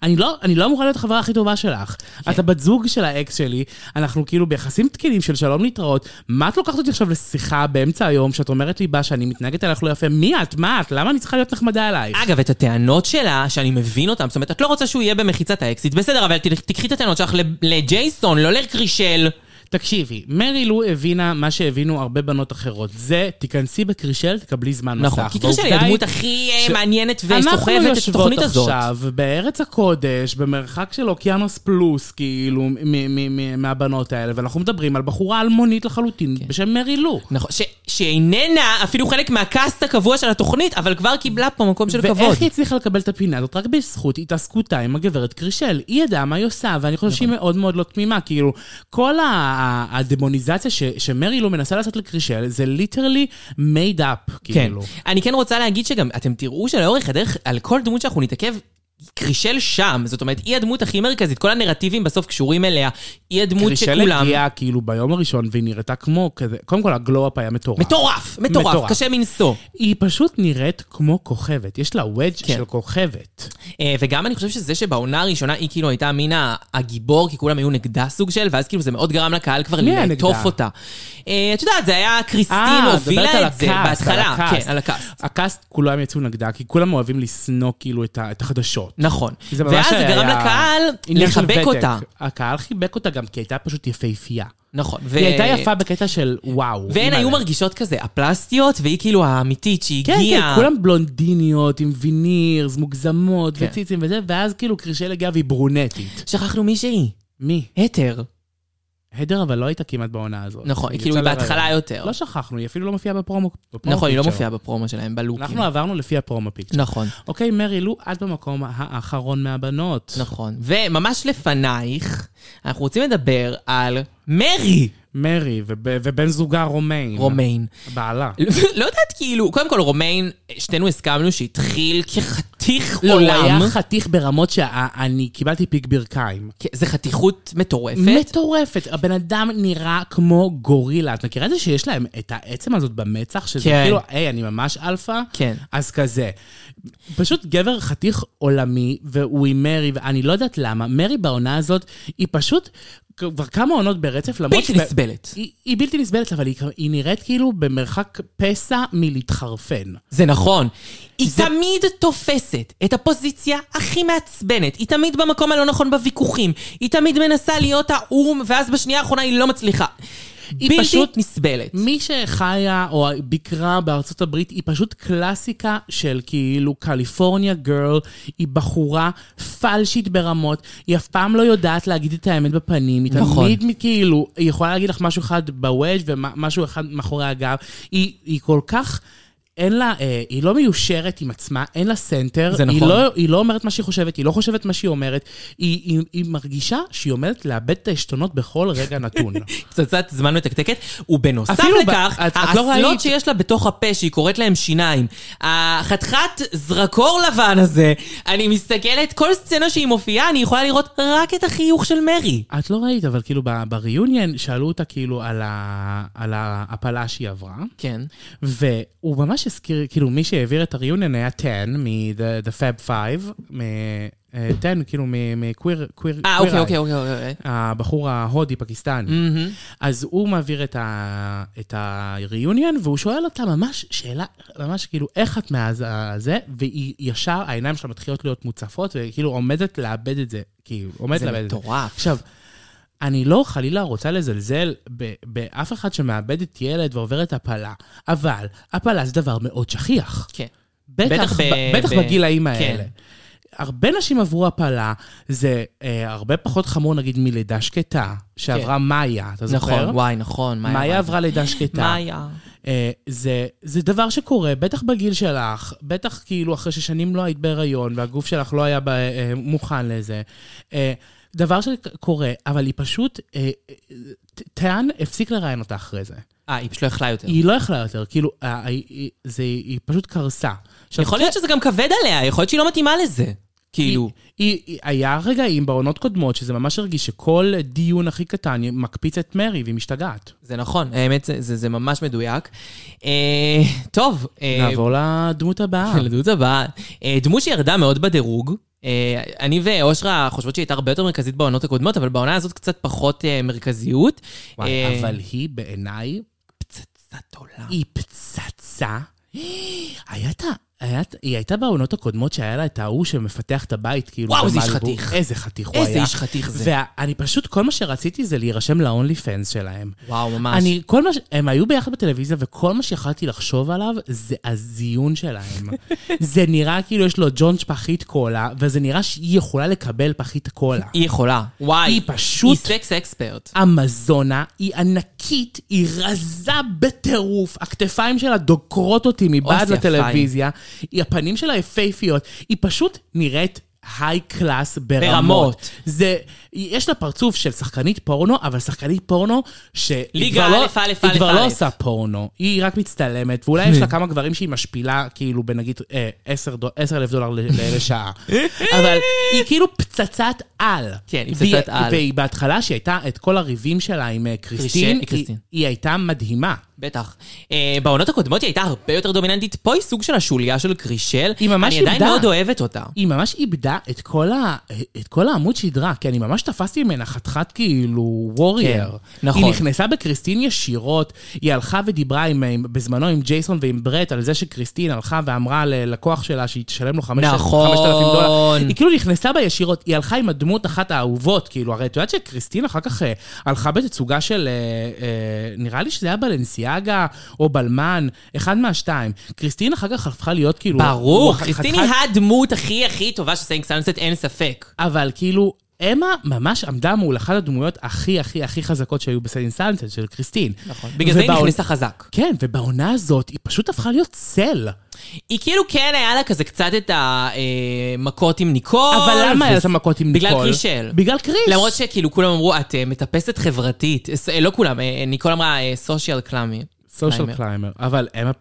Speaker 4: אני לא, אני לא אמורה להיות החברה הכי טובה שלך. כן. את הבת זוג של האקס שלי, אנחנו כאילו ביחסים תקינים של שלום להתראות. מה את לוקחת אותי עכשיו לשיחה באמצע היום, שאת אומרת לי בה שאני מתנהגת אלייך לא יפה? מי את? מה את? למה אני צריכה להיות נחמדה אלייך?
Speaker 3: אגב, את הטענות שלה, שאני מבין אותן, זאת אומרת, את לא רוצה שהוא יהיה במחיצת האקסיט, בסדר, אבל ת- תקחי את הטענות שלך ל- לג'ייסון, לא לקרישל.
Speaker 4: תקשיבי, מרי לו הבינה מה שהבינו הרבה בנות אחרות. זה, תיכנסי בקרישל, תקבלי זמן
Speaker 3: נכון,
Speaker 4: מסך.
Speaker 3: כי קרישל היא
Speaker 4: והעובדה
Speaker 3: הדמות הכי אה,
Speaker 4: ש-
Speaker 3: מעניינת
Speaker 4: אנחנו
Speaker 3: וסוחבת את
Speaker 4: יושבות
Speaker 3: התוכנית הזאת.
Speaker 4: עכשיו בארץ הקודש, במרחק של אוקיינוס פלוס, כאילו, מ- מ- מ- מהבנות האלה, ואנחנו מדברים על בחורה אלמונית לחלוטין בשם מרי לו.
Speaker 3: נכון, ש- שאיננה אפילו חלק מהקאסט הקבוע של התוכנית, אבל כבר קיבלה פה מקום של כבוד.
Speaker 4: ואיך היא הצליחה לקבל את הפינה הזאת? רק בזכות התעסקותה עם הגברת קרישל. היא ידעה מה היא עושה, ואני חושב שהיא מאוד מאוד לא תמימה. כאילו, כל ה- ה- הדמוניזציה ש- שמרי לו מנסה לעשות לקרישל, זה ליטרלי made up,
Speaker 3: כן.
Speaker 4: כאילו.
Speaker 3: אני כן רוצה להגיד שגם, אתם תראו שלאורך הדרך, על כל דמות שאנחנו נתעכב, קרישל שם, זאת אומרת, היא הדמות הכי מרכזית, כל הנרטיבים בסוף קשורים אליה, היא הדמות
Speaker 4: קרישל
Speaker 3: שכולם...
Speaker 4: הגיעה כאילו ביום הראשון, והיא נראתה כמו כזה... קודם כל, הגלו-אפ היה מטורף.
Speaker 3: מטורף, מטורף,
Speaker 4: מטורף.
Speaker 3: קשה מנשוא.
Speaker 4: היא פשוט נראית כמו כוכבת. יש לה וודג'
Speaker 3: כן.
Speaker 4: של כוכבת.
Speaker 3: אה, וגם אני חושב שזה שבעונה הראשונה היא כאילו הייתה מן ה- הגיבור, כי כולם היו נגדה סוג של, ואז כאילו זה מאוד גרם לקהל כבר
Speaker 4: מי היה
Speaker 3: לעטוף
Speaker 4: נגדה?
Speaker 3: אותה. אה, את יודעת, זה היה
Speaker 4: אה,
Speaker 3: קריסטין
Speaker 4: את מדברת על
Speaker 3: הובילה את זה
Speaker 4: הקאסט, על
Speaker 3: בהתחלה.
Speaker 4: הקאסט.
Speaker 3: כן, על הקאסט.
Speaker 4: הקאסט כולם יצאו נגדה, כי כולם אוהבים לשנוא כאילו את ה- את החדשות.
Speaker 3: נכון.
Speaker 4: זה ממש
Speaker 3: ואז זה
Speaker 4: היה-
Speaker 3: גרם לקהל
Speaker 4: עניין של
Speaker 3: לחבק
Speaker 4: ותק.
Speaker 3: אותה.
Speaker 4: הקהל חיבק אותה גם כי הייתה פשוט יפהפייה.
Speaker 3: נכון. ו-
Speaker 4: היא הייתה יפה בקטע של וואו.
Speaker 3: והן
Speaker 4: אימא'לה.
Speaker 3: היו מרגישות כזה, הפלסטיות, והיא כאילו האמיתית
Speaker 4: כן,
Speaker 3: שהגיעה.
Speaker 4: כן, כולם בלונדיניות עם וינירס, מוגזמות
Speaker 3: כן.
Speaker 4: וציצים וזה, ואז כאילו קרישל הגיעה והיא ברונטית.
Speaker 3: שכחנו מישהי,
Speaker 4: מי?
Speaker 3: התר.
Speaker 4: הדר אבל לא הייתה כמעט בעונה הזאת.
Speaker 3: נכון, היא כאילו
Speaker 4: יצאה
Speaker 3: היא בהתחלה
Speaker 4: לרעיון.
Speaker 3: יותר.
Speaker 4: לא שכחנו, היא אפילו לא מופיעה בפרומו. בפרומו
Speaker 3: נכון, היא לא
Speaker 4: פיקצ'ר.
Speaker 3: מופיעה בפרומו שלהם, בלוקים.
Speaker 4: אנחנו עברנו לפי הפרומו פיקצ'ר.
Speaker 3: נכון,
Speaker 4: אוקיי, מרי לו, את במקום האחרון מהבנות.
Speaker 3: נכון. וממש לפנייך, אנחנו רוצים לדבר על מרי
Speaker 4: מרי וב- ובן זוגה רומיין.
Speaker 3: רומיין. [laughs]
Speaker 4: בעלה.
Speaker 3: לא יודעת, כאילו, קודם כל רומיין, שתינו הסכמנו שהתחיל כחתיך
Speaker 4: לא, הוא היה
Speaker 3: עולם.
Speaker 4: חתיך ברמות שאני קיבלתי פיק ברכיים.
Speaker 3: כן, זה חתיכות מטורפת.
Speaker 4: מטורפת. הבן אדם נראה כמו גורילה. את מכירה את זה שיש להם את העצם הזאת במצח? שזה
Speaker 3: כן.
Speaker 4: כאילו, היי, אני ממש אלפא?
Speaker 3: כן.
Speaker 4: אז כזה. פשוט גבר חתיך עולמי, והוא עם מרי, ואני לא יודעת למה. מרי בעונה הזאת, היא פשוט... כבר כמה עונות ברצף, למרות
Speaker 3: בלתי נסבלת.
Speaker 4: היא, היא בלתי נסבלת, אבל היא, היא נראית כאילו במרחק פסע מלהתחרפן.
Speaker 3: זה נכון. היא תמיד תופסת את הפוזיציה הכי מעצבנת. היא תמיד במקום הלא נכון בוויכוחים. היא תמיד מנסה להיות האו"ם, ואז בשנייה האחרונה היא לא מצליחה.
Speaker 4: היא
Speaker 3: בלתי
Speaker 4: פשוט-
Speaker 3: נסבלת.
Speaker 4: מי שחיה או ביקרה בארצות הברית היא פשוט קלאסיקה של כאילו קליפורניה גרל, היא בחורה פלשית ברמות, היא אף פעם לא יודעת להגיד את האמת בפנים, היא
Speaker 3: נכון.
Speaker 4: תמיד מ- כאילו, היא יכולה להגיד לך משהו אחד בוודג' ומשהו אחד מאחורי הגב, היא, היא כל כך... אין לה, אה, היא לא מיושרת עם עצמה, אין לה סנטר.
Speaker 3: זה
Speaker 4: היא
Speaker 3: נכון.
Speaker 4: לא, היא לא אומרת מה שהיא חושבת, היא לא חושבת מה שהיא אומרת. היא, היא, היא מרגישה שהיא עומדת לאבד את העשתונות בכל רגע
Speaker 3: [laughs]
Speaker 4: נתון.
Speaker 3: פצצת זמן מתקתקת, ובנוסף
Speaker 4: אפילו ב-
Speaker 3: לכך,
Speaker 4: את- את לא
Speaker 3: האסלות
Speaker 4: ראית.
Speaker 3: שיש לה בתוך הפה, שהיא קוראת להם שיניים, החתיכת זרקור לבן הזה, אני מסתכלת, כל סצנה שהיא מופיעה, אני יכולה לראות רק את החיוך של מרי.
Speaker 4: את לא ראית, אבל כאילו ב- בריאיוניון שאלו אותה כאילו על, ה, על ההפלה שהיא עברה,
Speaker 3: כן.
Speaker 4: והוא ממש הזכיר, כאילו מי שהעביר את הריאיוניון היה 10 מ-The Fab 5, מ- אה, 10 כאילו מקוויר...
Speaker 3: אה, אוקיי, אוקיי, אוקיי, אוקיי.
Speaker 4: הבחור ההודי-פקיסטני.
Speaker 3: מהמם.
Speaker 4: אז הוא מעביר את, ה, את הריאיוניון, והוא שואל אותה ממש שאלה, ממש כאילו, איך את מאז הזה? והיא ישר, העיניים שלה מתחילות להיות מוצפות, וכאילו עומדת לאבד את זה. כאילו, עומדת
Speaker 3: זה
Speaker 4: לאבד את זה.
Speaker 3: מטורף.
Speaker 4: עכשיו, אני לא חלילה רוצה לזלזל ב- באף אחד שמאבדת ילד ועוברת הפלה, אבל הפלה זה דבר מאוד שכיח.
Speaker 3: כן. בטח
Speaker 4: בטח,
Speaker 3: ב-
Speaker 4: ב- בטח
Speaker 3: ב-
Speaker 4: בגילאים
Speaker 3: כן.
Speaker 4: האלה. הרבה נשים עברו הפלה, זה אה, הרבה פחות חמור נגיד מלידה שקטה, שעברה מאיה, אתה זוכר?
Speaker 3: כן. נכון, וואי, נכון. מאיה,
Speaker 4: מאיה
Speaker 3: מאיה.
Speaker 4: עברה לידה שקטה.
Speaker 3: מאיה.
Speaker 4: אה, זה, זה דבר שקורה, בטח בגיל שלך, בטח כאילו אחרי ששנים לא היית בהיריון והגוף שלך לא היה ב, אה, מוכן לזה. אה, דבר שקורה, אבל היא פשוט, אה, אה, ט- טען הפסיק לראיין אותה אחרי זה.
Speaker 3: אה, היא פשוט לא יכלה יותר.
Speaker 4: היא לא יכלה יותר, כאילו, אה, היא- היא- זה- היא פשוט קרסה. עכשיו, כן.
Speaker 3: יכול להיות שזה גם כבד עליה, יכול להיות שהיא לא מתאימה לזה. כאילו,
Speaker 4: היא, היא, היה רגעים בעונות קודמות שזה ממש הרגיש שכל דיון הכי קטן מקפיץ את מרי והיא משתגעת.
Speaker 3: זה נכון, האמת, זה- זה זה ממש מדויק. אה, טוב. אה,
Speaker 4: נעבור לדמות
Speaker 3: [laughs]
Speaker 4: הבאה.
Speaker 3: לדמות הבאה. אה, דמות שירדה מאוד בדירוג. אה, אני ואושרה חושבות שהיא הייתה הרבה יותר מרכזית בעונות הקודמות, אבל בעונה הזאת קצת פחות אה, מרכזיות. אה,
Speaker 4: וואי, אבל היא בעיניי
Speaker 3: פצצת עולם.
Speaker 4: היא פצצה. היה את ה... היה- היא הייתה בעונות הקודמות שהיה לה את ההוא שמפתח את הבית, כאילו,
Speaker 3: וואו, איזה איש
Speaker 4: במליבו.
Speaker 3: חתיך.
Speaker 4: איזה חתיך הוא היה.
Speaker 3: איזה איש חתיך זה.
Speaker 4: ואני פשוט, כל מה שרציתי זה להירשם להונלי פנס שלהם.
Speaker 3: וואו, ממש.
Speaker 4: אני, כל מה ש... הם היו ביחד בטלוויזיה, וכל מה שיכלתי לחשוב עליו זה הזיון
Speaker 3: [laughs]
Speaker 4: שלהם. זה נראה כאילו יש לו ג'ונג' פחית קולה, וזה נראה שהיא יכולה לקבל פחית קולה.
Speaker 3: היא יכולה. וואי.
Speaker 4: היא פשוט-
Speaker 3: היא סקס אקספרט.
Speaker 4: אמזונה היא ענקית, היא רזה בטירוף, הכתפיים שלה דוקרות אותי מבעד
Speaker 3: אוי, זה
Speaker 4: לטלוויזיה, היא, הפנים שלה יפהפיות, היא פשוט נראית היי קלאס ברמות.
Speaker 3: ברמות.
Speaker 4: זה, יש לה פרצוף של שחקנית פורנו, אבל שחקנית פורנו שהיא
Speaker 3: ליגה
Speaker 4: כבר, לא,
Speaker 3: א', א',
Speaker 4: היא
Speaker 3: א',
Speaker 4: כבר לא
Speaker 3: א'.
Speaker 4: עושה פורנו, היא רק מצטלמת, ואולי יש לה כמה גברים שהיא משפילה, כאילו בנגיד אה, 10 דו- 10 אלף דולר ל- ל-
Speaker 3: [laughs]
Speaker 4: לשעה. אבל היא כאילו פצצת על.
Speaker 3: כן, היא
Speaker 4: והיא-
Speaker 3: פצצת על.
Speaker 4: והיא בהתחלה, שהיא הייתה את כל הריבים שלה עם אה,
Speaker 3: קרישי-
Speaker 4: קריסטין, היא-
Speaker 3: קריסטין.
Speaker 4: היא הייתה מדהימה.
Speaker 3: בטח. אה, בעונות הקודמות היא הייתה הרבה יותר דומיננטית. פה היא סוג של השוליה של קרישל.
Speaker 4: היא ממש
Speaker 3: אני עדיין
Speaker 4: איבדה.
Speaker 3: מאוד אוהבת אותה.
Speaker 4: היא ממש איבדה את כל, ה... את כל העמוד שדרה, כי אני ממש תפסתי ממנה חתיכת כאילו וורייר.
Speaker 3: כן, נכון.
Speaker 4: היא נכנסה בקריסטין ישירות, היא הלכה ודיברה עם, עם, בזמנו עם ג'ייסון ועם ברט על זה שקריסטין הלכה ואמרה ללקוח שלה שהיא תשלם לו חמשת-
Speaker 3: נכון.
Speaker 4: 5,000 דולר. היא כאילו נכנסה בה ישירות, היא הלכה עם הדמות אחת האהובות, כאילו, הרי את יודעת שקריסטין אחר כך אה, הלכה בתצוגה של, אה, אה, נראה לי שזה היה בלנסיאגה או בלמן, אחד מהשתיים. קריסטין אחר כך הפכה להיות כאילו...
Speaker 3: ברור,
Speaker 4: חתיכת-
Speaker 3: קריסטין היא הדמות הכי הכי טובה של סיינג סאונסט, אין ספק.
Speaker 4: אבל כאילו, אמה ממש עמדה מול אחת הדמויות הכי הכי הכי חזקות שהיו בסדין סאנסט של קריסטין. נכון.
Speaker 3: בגלל זה היא נכנסה חזק.
Speaker 4: כן, ובעונה הזאת היא פשוט הפכה להיות צל.
Speaker 3: היא כאילו כן היה לה כזה קצת את המכות עם ניקול.
Speaker 4: אבל למה היה לה את
Speaker 3: וזה-
Speaker 4: המכות עם ניקול?
Speaker 3: בגלל קרישל.
Speaker 4: בגלל קריס.
Speaker 3: למרות שכאילו כולם אמרו, את אה, מטפסת חברתית. ס- אה, לא כולם, אה, ניקול אמרה סושיאל קלאמי.
Speaker 4: סושיאל קליימר. אבל אמה...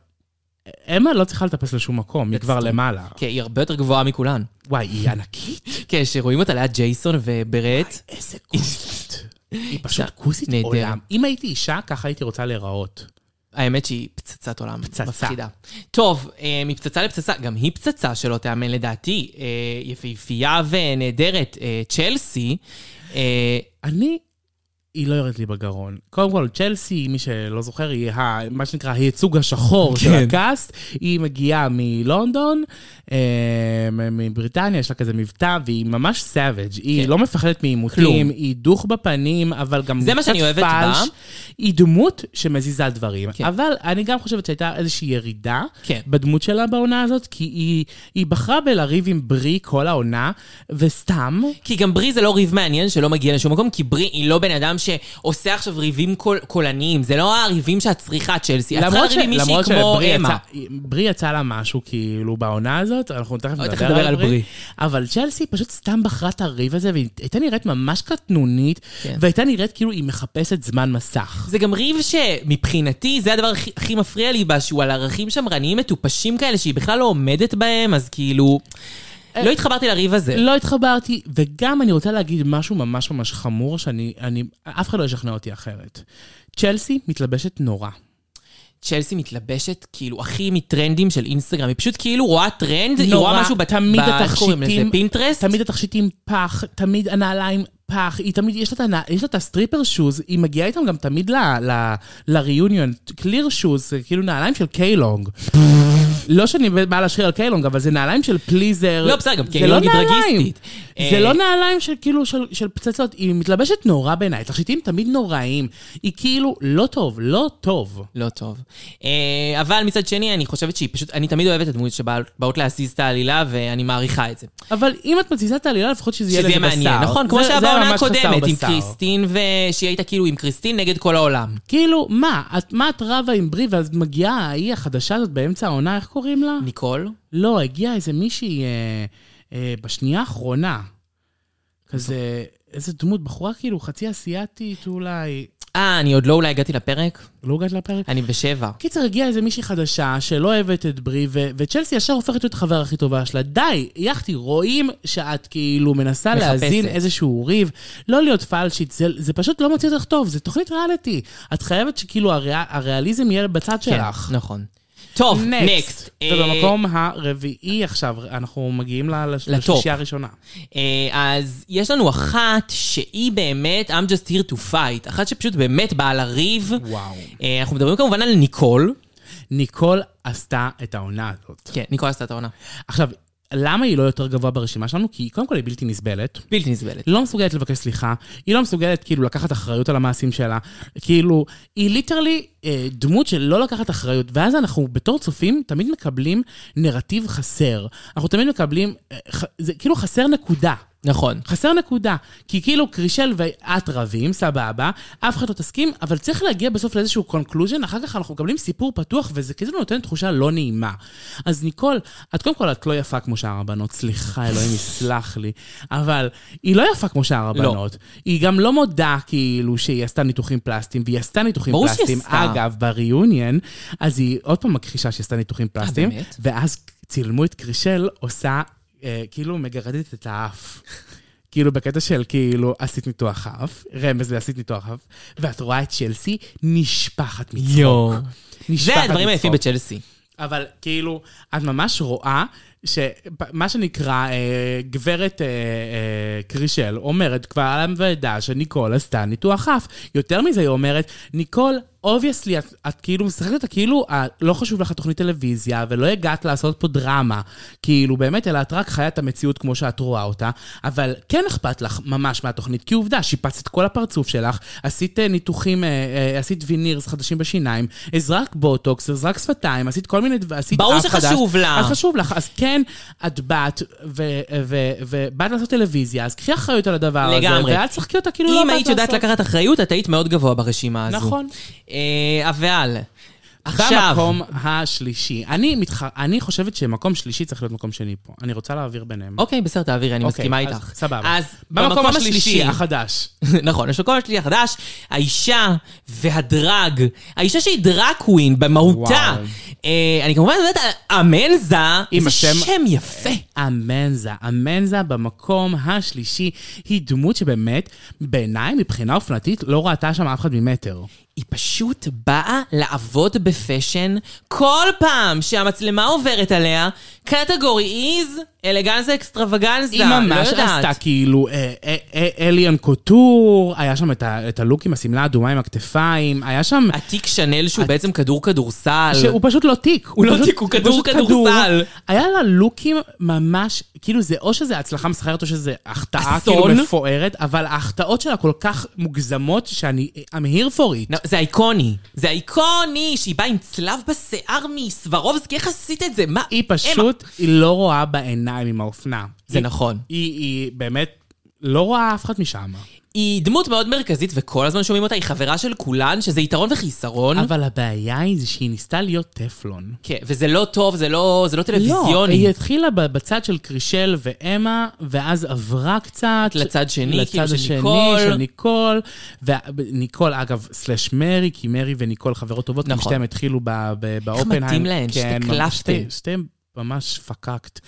Speaker 4: אמה לא צריכה לטפס לשום מקום, היא כבר למעלה.
Speaker 3: כן, היא הרבה יותר גבוהה מכולן.
Speaker 4: וואי, היא ענקית.
Speaker 3: כן, שרואים אותה ליד ג'ייסון וברט.
Speaker 4: איזה כוסית. היא פשוט
Speaker 3: אישה
Speaker 4: כוסית
Speaker 3: נהדרת.
Speaker 4: עולם. אם הייתי אישה, ככה הייתי רוצה להיראות.
Speaker 3: האמת שהיא פצצת עולם.
Speaker 4: פצצה.
Speaker 3: מפחידה. טוב, אה, מפצצה לפצצה, גם היא פצצה שלא תיאמן לדעתי. אה, יפהפייה ונהדרת, אה, צ'לסי. אה,
Speaker 4: אני, היא לא יורדת לי בגרון. קודם כל, צ'לסי, מי שלא זוכר, היא ה, מה שנקרא הייצוג השחור
Speaker 3: כן.
Speaker 4: של הקאסט. היא מגיעה מלונדון, אה, מ- מבריטניה, יש לה כזה מבטא, והיא ממש סאביג'. היא לא מפחדת מעימותים,
Speaker 3: כן. כלום.
Speaker 4: היא דוך בפנים, אבל גם
Speaker 3: זה מה שאני אוהבת בה.
Speaker 4: היא דמות שמזיזה דברים.
Speaker 3: כן.
Speaker 4: אבל אני גם חושבת שהייתה איזושהי ירידה
Speaker 3: כן.
Speaker 4: בדמות שלה בעונה הזאת, כי היא, היא בחרה בלריב עם ברי כל העונה, וסתם...
Speaker 3: כי גם ברי זה לא ריב מעניין שלא מגיע לשום מקום, כי ברי היא לא בן אדם שעושה עכשיו ריבים קול, קולניים. זה לא הריבים שאת צריכה, צ'לסי. את צריכה
Speaker 4: למרות ש-
Speaker 3: לריב עם מישהי
Speaker 4: למרות
Speaker 3: כמו
Speaker 4: שברי
Speaker 3: אמה.
Speaker 4: יצא- ברי יצא לה משהו כאילו בעונה הזאת, אנחנו תכף
Speaker 3: עוד תכף
Speaker 4: נדבר על ברי.
Speaker 3: ברי.
Speaker 4: אבל צ'לסי פשוט סתם בחרה את הריב הזה, והיא הייתה נראית ממש קטנונית,
Speaker 3: כן.
Speaker 4: והייתה נראית כאילו היא מחפשת זמן מסך.
Speaker 3: זה גם ריב שמבחינתי זה הדבר הכי, הכי מפריע לי בה, שהוא על ערכים שמרניים מטופשים כאלה, שהיא בכלל לא עומדת בהם, אז כאילו...
Speaker 4: אה,
Speaker 3: לא התחברתי לריב הזה.
Speaker 4: לא התחברתי, וגם אני רוצה להגיד משהו ממש ממש חמור, שאני, אני, אף אחד לא ישכנע אותי אחרת. צ'לסי מתלבשת נורא.
Speaker 3: צ'לסי מתלבשת כאילו הכי מטרנדים של אינסטגרם, היא פשוט כאילו רואה טרנד, היא
Speaker 4: נורא,
Speaker 3: רואה משהו בת-
Speaker 4: תמיד
Speaker 3: ב- איך קוראים לזה?
Speaker 4: התכשיטים-
Speaker 3: פינטרסט?
Speaker 4: תמיד התכשיטים פח, תמיד הנעליים פח, היא תמיד, יש לה, את הנע- יש לה את הסטריפר שוז, היא מגיעה איתם גם תמיד ל- ל- לריוניון, קליר שוז, זה כאילו נעליים של קיילונג. לא שאני באה לשיר על קיילונג, אבל זה נעליים של פליזר.
Speaker 3: לא, בסדר, גם
Speaker 4: זה
Speaker 3: קיילונג
Speaker 4: לא
Speaker 3: היא
Speaker 4: נעליים.
Speaker 3: דרגיסטית.
Speaker 4: זה
Speaker 3: אה,
Speaker 4: לא נעליים של כאילו, של, של פצצות, היא מתלבשת נורא בעיניי, תכשיטים תמיד נוראים. היא כאילו, לא טוב, לא טוב.
Speaker 3: לא טוב. אה, אבל מצד שני, אני חושבת שהיא פשוט, אני תמיד אוהבת את הדמות שבאות להזיז את העלילה, ואני מעריכה את זה.
Speaker 4: אבל אם את מציזה את העלילה, לפחות שזה יהיה
Speaker 3: שזה
Speaker 4: לזה
Speaker 3: יהיה
Speaker 4: בשר.
Speaker 3: מעניין, נכון? כמו
Speaker 4: זה-
Speaker 3: שהיה
Speaker 4: זה
Speaker 3: בעונה
Speaker 4: ממש חסר
Speaker 3: הקודמת, עם
Speaker 4: בשר.
Speaker 3: קריסטין, ושהיא הייתה כאילו עם קריסטין נגד כל העולם.
Speaker 4: כאילו, מה? את, מה את רבה עם ברי, ואז מגיעה ההיא החדשה הזאת באמצע העונה, איך קוראים לה?
Speaker 3: ניקול?
Speaker 4: לא, הגיעה איזה מישהי אה, אה, בשנייה האחרונה. כזה, איזה דמות, בחורה כאילו חצי אסיאתית אולי.
Speaker 3: אה, אני עוד לא אולי הגעתי לפרק?
Speaker 4: לא הגעת לפרק?
Speaker 3: אני בשבע.
Speaker 4: קיצר, הגיעה איזה מישהי חדשה שלא אוהבת את ברי, ו- וצ'לסי ישר הופכת להיות החבר הכי טובה שלה. די, יחתי, רואים שאת כאילו מנסה
Speaker 3: מחפשת.
Speaker 4: להזין איזשהו ריב, לא להיות פלשית, זה, זה פשוט לא מוציא אותך טוב, זה תוכנית ריאליטי. את חייבת שכאילו הריאל, הריאליזם יהיה בצד
Speaker 3: כן,
Speaker 4: שלך.
Speaker 3: נכון. טוב, אה, נקסט.
Speaker 4: נקסט. ובמקום הרביעי עכשיו, אנחנו מגיעים ל- לש-
Speaker 3: לטופ.
Speaker 4: לשלישייה הראשונה.
Speaker 3: אה, אז יש לנו אחת שהיא באמת, I'm just here to fight, אחת שפשוט באמת באה לריב.
Speaker 4: וואו.
Speaker 3: אה, אנחנו מדברים כמובן על ניקול.
Speaker 4: ניקול עשתה את העונה הזאת.
Speaker 3: כן, ניקול עשתה את העונה.
Speaker 4: עכשיו, למה היא לא יותר גבוה ברשימה שלנו? כי קודם כל היא בלתי נסבלת.
Speaker 3: בלתי נסבלת.
Speaker 4: לא מסוגלת לבקש סליחה, היא לא מסוגלת כאילו לקחת אחריות על המעשים שלה, כאילו, היא ליטרלי אה, דמות של לא לקחת אחריות, ואז אנחנו בתור צופים תמיד מקבלים נרטיב חסר. אנחנו תמיד מקבלים, אה, ח, זה כאילו חסר נקודה.
Speaker 3: נכון.
Speaker 4: חסר נקודה, כי כאילו קרישל ואת רבים, סבבה, אף אחד לא תסכים, אבל צריך להגיע בסוף לאיזשהו קונקלוז'ן, אחר כך אנחנו מקבלים סיפור פתוח, וזה כאילו נותן תחושה לא נעימה. אז ניקול, את קודם כל, את לא יפה כמו שאר הבנות, סליחה,
Speaker 3: [laughs]
Speaker 4: אלוהים יסלח לי, אבל היא לא יפה כמו שאר הבנות. לא. היא גם לא מודה כאילו שהיא עשתה ניתוחים פלסטיים, והיא עשתה ניתוחים
Speaker 3: ברור שהיא
Speaker 4: פלסטיים.
Speaker 3: עשתה.
Speaker 4: אגב, בריאיוניון, אז היא עוד פעם מכחישה שהיא עשתה ניתוחים פלסטיים,
Speaker 3: אה, באמת?
Speaker 4: ואז צילמו את קרישל עושה, אה, כאילו מגרדת את האף. כאילו בקטע של כאילו עשית ניתוח אף, רמז לעשית ניתוח אף, ואת רואה את צ'לסי נשפחת מצחוק.
Speaker 3: יואו.
Speaker 4: נשפחת
Speaker 3: זה הדברים היפים
Speaker 4: מצחוק.
Speaker 3: בצ'לסי.
Speaker 4: אבל כאילו, את ממש רואה שמה שנקרא אה, גברת אה, אה, קרישל אומרת כבר על הוועדה שניקול עשתה ניתוח אף. יותר מזה היא אומרת, ניקול, אובייסלי, את, את כאילו משחקת אותה כאילו, אה, לא חשוב לך תוכנית טלוויזיה ולא הגעת לעשות פה דרמה. כאילו, באמת, אלא את רק חיה את המציאות כמו שאת רואה אותה, אבל כן אכפת לך ממש מהתוכנית, כי עובדה, שיפצת את כל הפרצוף שלך, עשית אה, ניתוחים, אה, אה, עשית וינירס חדשים בשיניים, הזרק בוטוקס, הזרק שפתיים, עשית כל מיני דברים, עשית
Speaker 3: ברור
Speaker 4: אף חדש.
Speaker 3: שחשוב לה.
Speaker 4: אז חשוב לך, אז כן, את באת, ו- ו- ובאת לעשות טלוויזיה, אז קחי אחריות על הדבר הזה.
Speaker 3: לגמרי.
Speaker 4: ואל תשחקי אותה כאילו לא
Speaker 3: אם
Speaker 4: באת
Speaker 3: היית יודעת
Speaker 4: לעשות.
Speaker 3: לקחת אחריות, את היית מאוד גבוה ברשימה הזו.
Speaker 4: נכון.
Speaker 3: אה, אבל, עכשיו,
Speaker 4: במקום השלישי. אני, מתח... אני חושבת שמקום שלישי צריך להיות מקום שני פה. אני רוצה להעביר ביניהם.
Speaker 3: אוקיי, בסדר, תעבירי, אני מסכימה
Speaker 4: אוקיי, אז
Speaker 3: איתך.
Speaker 4: סבבה.
Speaker 3: אז במקום השלישי,
Speaker 4: החדש.
Speaker 3: [laughs] נכון, יש מקום שלי החדש, האישה והדרג, האישה שהיא דרג קווין במהותה.
Speaker 4: וואו.
Speaker 3: אה, אני כמובן מדברת על אמנזה,
Speaker 4: עם
Speaker 3: זה
Speaker 4: השם-
Speaker 3: שם יפה.
Speaker 4: אמנזה. אמנזה במקום השלישי היא דמות שבאמת, בעיניי, מבחינה אופנתית, לא ראתה שם אף אחד ממטר.
Speaker 3: היא פשוט באה לעבוד בפאשן כל פעם שהמצלמה עוברת עליה, קטגורי איז, אלגנזה אקסטרווגנזה,
Speaker 4: היא
Speaker 3: לא
Speaker 4: ממש
Speaker 3: יודעת.
Speaker 4: עשתה כאילו אה, אה, אה, אליאן קוטור, היה שם את ה- את הלוק עם השמלה האדומה עם הכתפיים, היה שם...
Speaker 3: התיק שנל שהוא בעצם כדור כדורסל.
Speaker 4: שהוא פשוט לא תיק. הוא
Speaker 3: לא
Speaker 4: פשוט-
Speaker 3: תיק, אה. הוא כדור
Speaker 4: פשוט
Speaker 3: כדורסל.
Speaker 4: היה לה לוקים ממש, כאילו זה או שזה הצלחה מסחררת או שזה החטאה
Speaker 3: אסון.
Speaker 4: כאילו מפוארת, אבל ההחטאות שלה כל כך מוגזמות שאני, I'm here for it.
Speaker 3: לא, זה איקוני, זה איקוני, שהיא באה עם צלב בשיער מסברובסקי, איך עשית את זה? מה?
Speaker 4: היא פשוט, היא לא רואה בעיניים עם האופנה.
Speaker 3: זה
Speaker 4: היא-
Speaker 3: נכון.
Speaker 4: היא- היא באמת לא רואה אף אחד משם.
Speaker 3: היא דמות מאוד מרכזית, וכל הזמן שומעים אותה, היא חברה של כולן, שזה יתרון וחיסרון.
Speaker 4: אבל הבעיה היא זה שהיא ניסתה להיות טפלון.
Speaker 3: כן, וזה לא טוב, זה לא, זה לא
Speaker 4: לא,
Speaker 3: טלוויזיוני.
Speaker 4: היא התחילה ב- בצד של קרישל ואמה, ואז עברה קצת.
Speaker 3: לצד שני,
Speaker 4: לצד
Speaker 3: כאילו, של
Speaker 4: השני,
Speaker 3: ניקול.
Speaker 4: של ניקול. וניקול, אגב, סלאש מרי, כי מרי וניקול חברות טובות,
Speaker 3: נכון.
Speaker 4: כי שתיהן התחילו ב- ב- באופנהיים.
Speaker 3: מתאים להן,
Speaker 4: כן,
Speaker 3: שתי
Speaker 4: ממש,
Speaker 3: קלפטים.
Speaker 4: שתי- שתיהן ממש פקקט.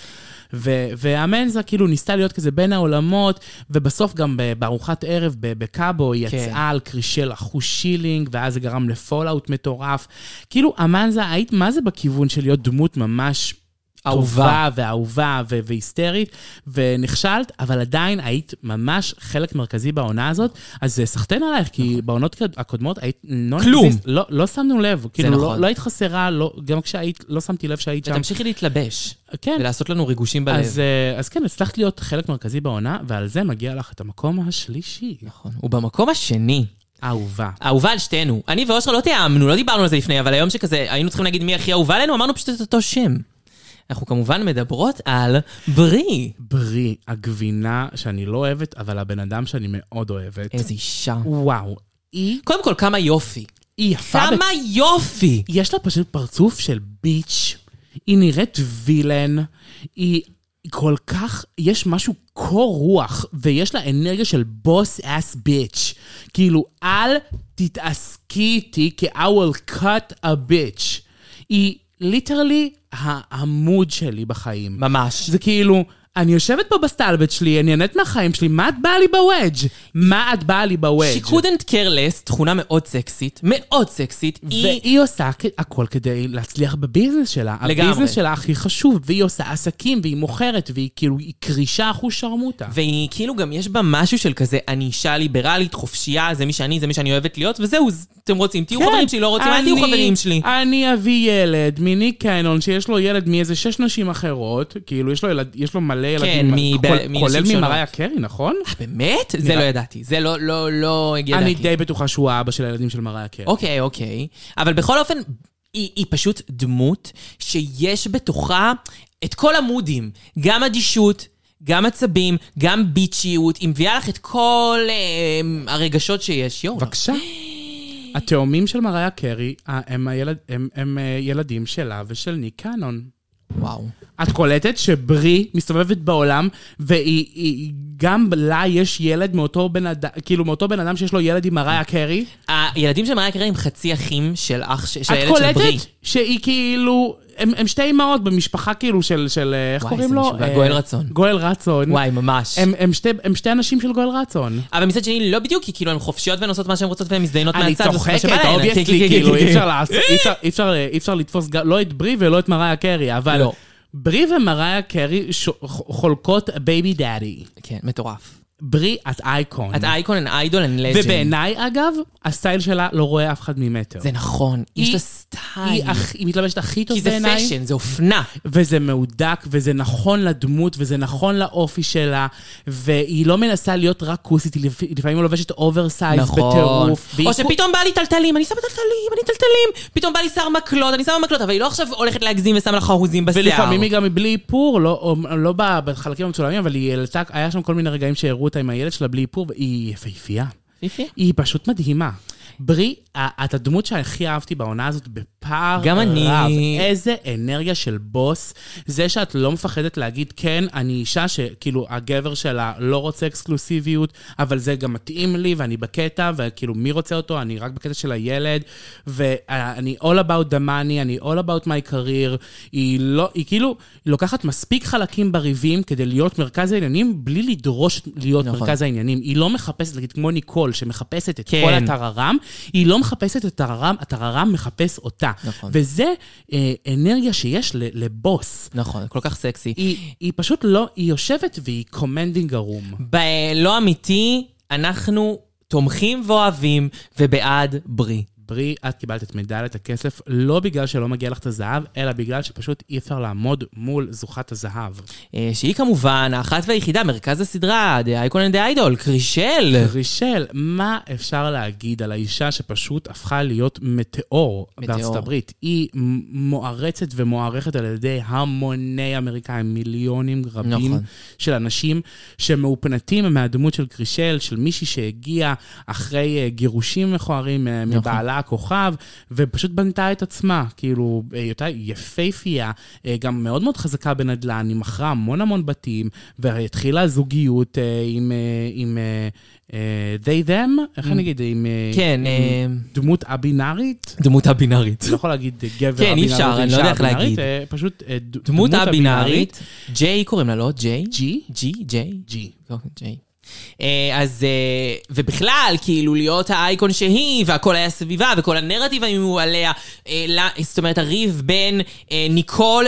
Speaker 4: ו- והמנזה כאילו ניסתה להיות כזה בין העולמות, ובסוף גם ב- בארוחת ערב ב- בקאבו היא
Speaker 3: כן.
Speaker 4: יצאה על קרישל אחוז שילינג, ואז זה גרם לפולאאוט מטורף. כאילו, המנזה, היית מה זה בכיוון של להיות דמות ממש
Speaker 3: אהובה.
Speaker 4: טובה ואהובה ו- והיסטרית, ונכשלת, אבל עדיין היית ממש חלק מרכזי בעונה הזאת, אז אה, סחטיין עלייך, כי בעונות הקד- הקודמות היית... non-exist.
Speaker 3: נכון. כלום.
Speaker 4: לא, לא שמנו לב, כאילו,
Speaker 3: נכון.
Speaker 4: לא, לא היית חסרה, לא, גם כשהיית, לא שמתי לב שהיית שם.
Speaker 3: ותמשיכי להתלבש.
Speaker 4: כן.
Speaker 3: ולעשות לנו ריגושים בלב.
Speaker 4: אז, אה, אז כן, הצלחת להיות חלק מרכזי בעונה, ועל זה מגיע לך את המקום השלישי.
Speaker 3: נכון. ובמקום השני,
Speaker 4: אהובה.
Speaker 3: אהובה על שתינו. אני ואושרה לא תיאמנו, לא דיברנו על זה לפני, אבל היום שכזה היינו צריכים להגיד מי הכי אהובה עלינו, אמרנו פשוט את אותו שם. אנחנו כמובן מדברות על ברי.
Speaker 4: ברי, הגבינה שאני לא אוהבת, אבל הבן אדם שאני מאוד אוהבת.
Speaker 3: איזה אישה.
Speaker 4: וואו, היא,
Speaker 3: קודם כל, כמה יופי.
Speaker 4: היא יפה
Speaker 3: כמה יופי!
Speaker 4: יש לה פשוט פרצוף של ביץ', היא נראית וילן, היא היא כל כך, יש משהו קור רוח, ויש לה אנרגיה של בוס אס ביץ'. כאילו, אל תתעסקי איתי, כי I will cut a bitch. היא ליטרלי העמוד שלי בחיים.
Speaker 3: ממש.
Speaker 4: זה כאילו, אני יושבת פה בסטלבט שלי, אני נהנית מהחיים שלי, מה את באה לי בוודג'? מה את באה לי בוודג'?
Speaker 3: She couldn't care less, תכונה מאוד סקסית, מאוד סקסית. היא...
Speaker 4: והיא עושה כ- הכל כדי להצליח בביזנס שלה.
Speaker 3: לגמרי.
Speaker 4: הביזנס שלה הכי חשוב, והיא עושה עסקים, והיא מוכרת, והיא כאילו, היא קרישה אחוז שרמוטה.
Speaker 3: והיא כאילו גם יש בה משהו של כזה, אני אישה ליברלית, חופשייה, זה מי שאני, זה מי שאני אוהבת להיות, וזהו, ז- אתם רוצים, תהיו חברים שלי, לא רוצים, אל תהיו
Speaker 4: כן. אני-
Speaker 3: חברים שלי.
Speaker 4: אני אביא ילד מניק קיינון, שיש לו ילד מאיזה שש נשים אחרות, כאילו, יש לו, ילד, יש לו מלא ילדים,
Speaker 3: מב-
Speaker 4: כול-
Speaker 3: מנשים
Speaker 4: כולל
Speaker 3: שונות.
Speaker 4: ממריה קרי, נכון?
Speaker 3: באמת? זה
Speaker 4: נראה-
Speaker 3: לא ידעתי, זה לא, לא, לא הגיע
Speaker 4: אני
Speaker 3: דעתי.
Speaker 4: די בטוחה שהוא האבא של הילדים של מריה קרי.
Speaker 3: אוקיי, אוקיי. אבל בכל אופן, היא, היא פשוט דמות שיש בתוכה את כל המודים. גם אדישות, גם עצבים, גם ביצ'יות. היא מביאה לך את כל אה, הרגשות שיש. יואו,
Speaker 4: בבקשה. התאומים של מריה קרי אה, הם, הילד, הם, הם אה, ילדים שלה ושל ניק קאנון.
Speaker 3: וואו.
Speaker 4: את קולטת שברי מסתובבת בעולם, והיא היא- גם לה יש ילד מאותו בן אדם, כאילו מאותו בן אדם שיש לו ילד עם מריה קרי.
Speaker 3: הילדים של מריה קרי הם חצי אחים של אח, ש- של
Speaker 4: את
Speaker 3: הילד של ברי.
Speaker 4: קולטת שהיא כאילו, הם, הם שתי אימהות במשפחה כאילו של, של אה, איך
Speaker 3: וואי,
Speaker 4: קוראים
Speaker 3: זה
Speaker 4: לו?
Speaker 3: משוגע.
Speaker 4: אה,
Speaker 3: גואל רצון.
Speaker 4: גואל רצון.
Speaker 3: וואי, ממש.
Speaker 4: הם, הם, שתי, הם שתי אנשים של גואל רצון.
Speaker 3: אבל מצד שני, לא בדיוק, כי כאילו הן חופשיות והן עושות מה שהן רוצות והן מזדיינות
Speaker 4: אני
Speaker 3: מהצד. ועושות מה
Speaker 4: צוחקת,
Speaker 3: שבא להן. כן, כן,
Speaker 4: אובייסלי,
Speaker 3: כן,
Speaker 4: כאילו,
Speaker 3: כן,
Speaker 4: אי
Speaker 3: כן.
Speaker 4: אפשר לעשות- אי אפשר- אי אפשר- אי אפשר לתפוס גם- לא את ברי ולא את מריה קרי, אבל
Speaker 3: לא.
Speaker 4: ברי ומריה קרי ש- חולקות בייבי דאדי.
Speaker 3: כן, מטורף.
Speaker 4: ברי, את אייקון.
Speaker 3: את אייקון, הן איידול, הן לג'נד.
Speaker 4: ובעיניי, אגב, הסטייל שלה לא רואה אף אחד ממטר.
Speaker 3: זה נכון, יש
Speaker 4: היא-
Speaker 3: לה סטייל.
Speaker 4: היא הכ- היא מתלבשת הכי טוב
Speaker 3: כי זה
Speaker 4: בעיניי.
Speaker 3: פשן, זה אופנה.
Speaker 4: וזה מהודק, וזה נכון לדמות, וזה נכון לאופי שלה, והיא לא מנסה להיות רק כוסית, היא לפ- היא לפעמים לובשת אוברסייז בטירוף. נכון. והיא
Speaker 3: נכון. או
Speaker 4: כו-
Speaker 3: שפתאום בא לי טלטלים, אני שמה טלטלים, אני טלטלים. פתאום בא לי שר מקלות, אני שמה מקלות, אבל היא לא עכשיו הולכת להגזים ושמה לך חרוזים בשיער.
Speaker 4: ולפעמים היא גם בלי איפור, לא, או- לא ב- בחלקים המצולמים, אבל היא העלתה, היה שם כל מיני רגעים שהראו אותה עם הילד שלה בלי איפור, והיא יפהפייה.
Speaker 3: יפהפייה.
Speaker 4: היא פשוט מדהימה. ברי, ה- את הדמות שהכי אהבתי בעונה הזאת בפער
Speaker 3: גם
Speaker 4: רב.
Speaker 3: אני.
Speaker 4: איזה אנרגיה של בוס. זה שאת לא מפחדת להגיד, כן, אני אישה שכאילו הגבר שלה לא רוצה אקסקלוסיביות, אבל זה גם מתאים לי ואני בקטע, וכאילו מי רוצה אותו? אני רק בקטע של הילד, ואני all about the money, אני all about my career. היא לא, היא כאילו היא לוקחת מספיק חלקים בריבים כדי להיות מרכז העניינים, בלי לדרוש להיות
Speaker 3: נכון.
Speaker 4: נכון. מרכז העניינים. היא לא מחפשת, נגיד, כמו ניקול, שמחפשת את
Speaker 3: כן.
Speaker 4: כן. כל הטררם, היא לא מחפשת את הטררם, הטררם מחפש אותה.
Speaker 3: נכון.
Speaker 4: וזה אה, אנרגיה שיש ל, לבוס.
Speaker 3: נכון, כל כך סקסי.
Speaker 4: היא, היא פשוט לא, היא יושבת והיא קומנדינג ערום.
Speaker 3: בלא לא אמיתי, אנחנו תומכים ואוהבים ובעד ברי.
Speaker 4: ברי, את קיבלת את מדליית הכסף לא בגלל שלא מגיע לך את הזהב, אלא בגלל שפשוט אי אפשר לעמוד מול זוכת הזהב.
Speaker 3: אה, שהיא כמובן האחת והיחידה, מרכז הסדרה, The Icon and the Idol, קרישל.
Speaker 4: רישל, מה אפשר להגיד על האישה שפשוט הפכה להיות מטאור,
Speaker 3: מטאור.
Speaker 4: בארצות הברית? היא מ- מוערצת ומוערכת על ידי המוני אמריקאים, מיליונים רבים
Speaker 3: נכון.
Speaker 4: נכון. של אנשים שמאופנתים מהדמות של קרישל, של מישהי שהגיעה אחרי אה, גירושים מכוערים אה,
Speaker 3: נכון.
Speaker 4: מבעלה הכוכב, ופשוט בנתה את עצמה, כאילו, אה, היותה יפייפייה, אה, גם מאוד מאוד חזקה בנדל"ן, היא מכרה המון המון בתים, והתחילה זוגיות אה, עם, אה, עם אה, אה, they them, איך אני אגיד, עם אה,
Speaker 3: Mm. כן, אה,
Speaker 4: דמות א-בינארית?
Speaker 3: דמות א-בינארית.
Speaker 4: לא יכול להגיד אה, גבר
Speaker 3: כן, אי
Speaker 4: א-בינארי
Speaker 3: אפשר,
Speaker 4: או
Speaker 3: אני
Speaker 4: אישה
Speaker 3: לא יודע איך
Speaker 4: א-בינארית,
Speaker 3: להגיד.
Speaker 4: אה, פשוט אה, ד-
Speaker 3: דמות
Speaker 4: א-בינארית,
Speaker 3: א-בינארית, ג'יי קוראים לה, לא? ג'יי?
Speaker 4: ג'י?
Speaker 3: ג'י? ג'יי?
Speaker 4: ג'י.
Speaker 3: אוקיי, ג'יי. אה, אז, אה, ובכלל, כאילו, להיות האייקון שהיא, והכל היה סביבה, וכל הנרטיב היו עליה, אה, לה- זאת אומרת, הריב בין אה, ניקול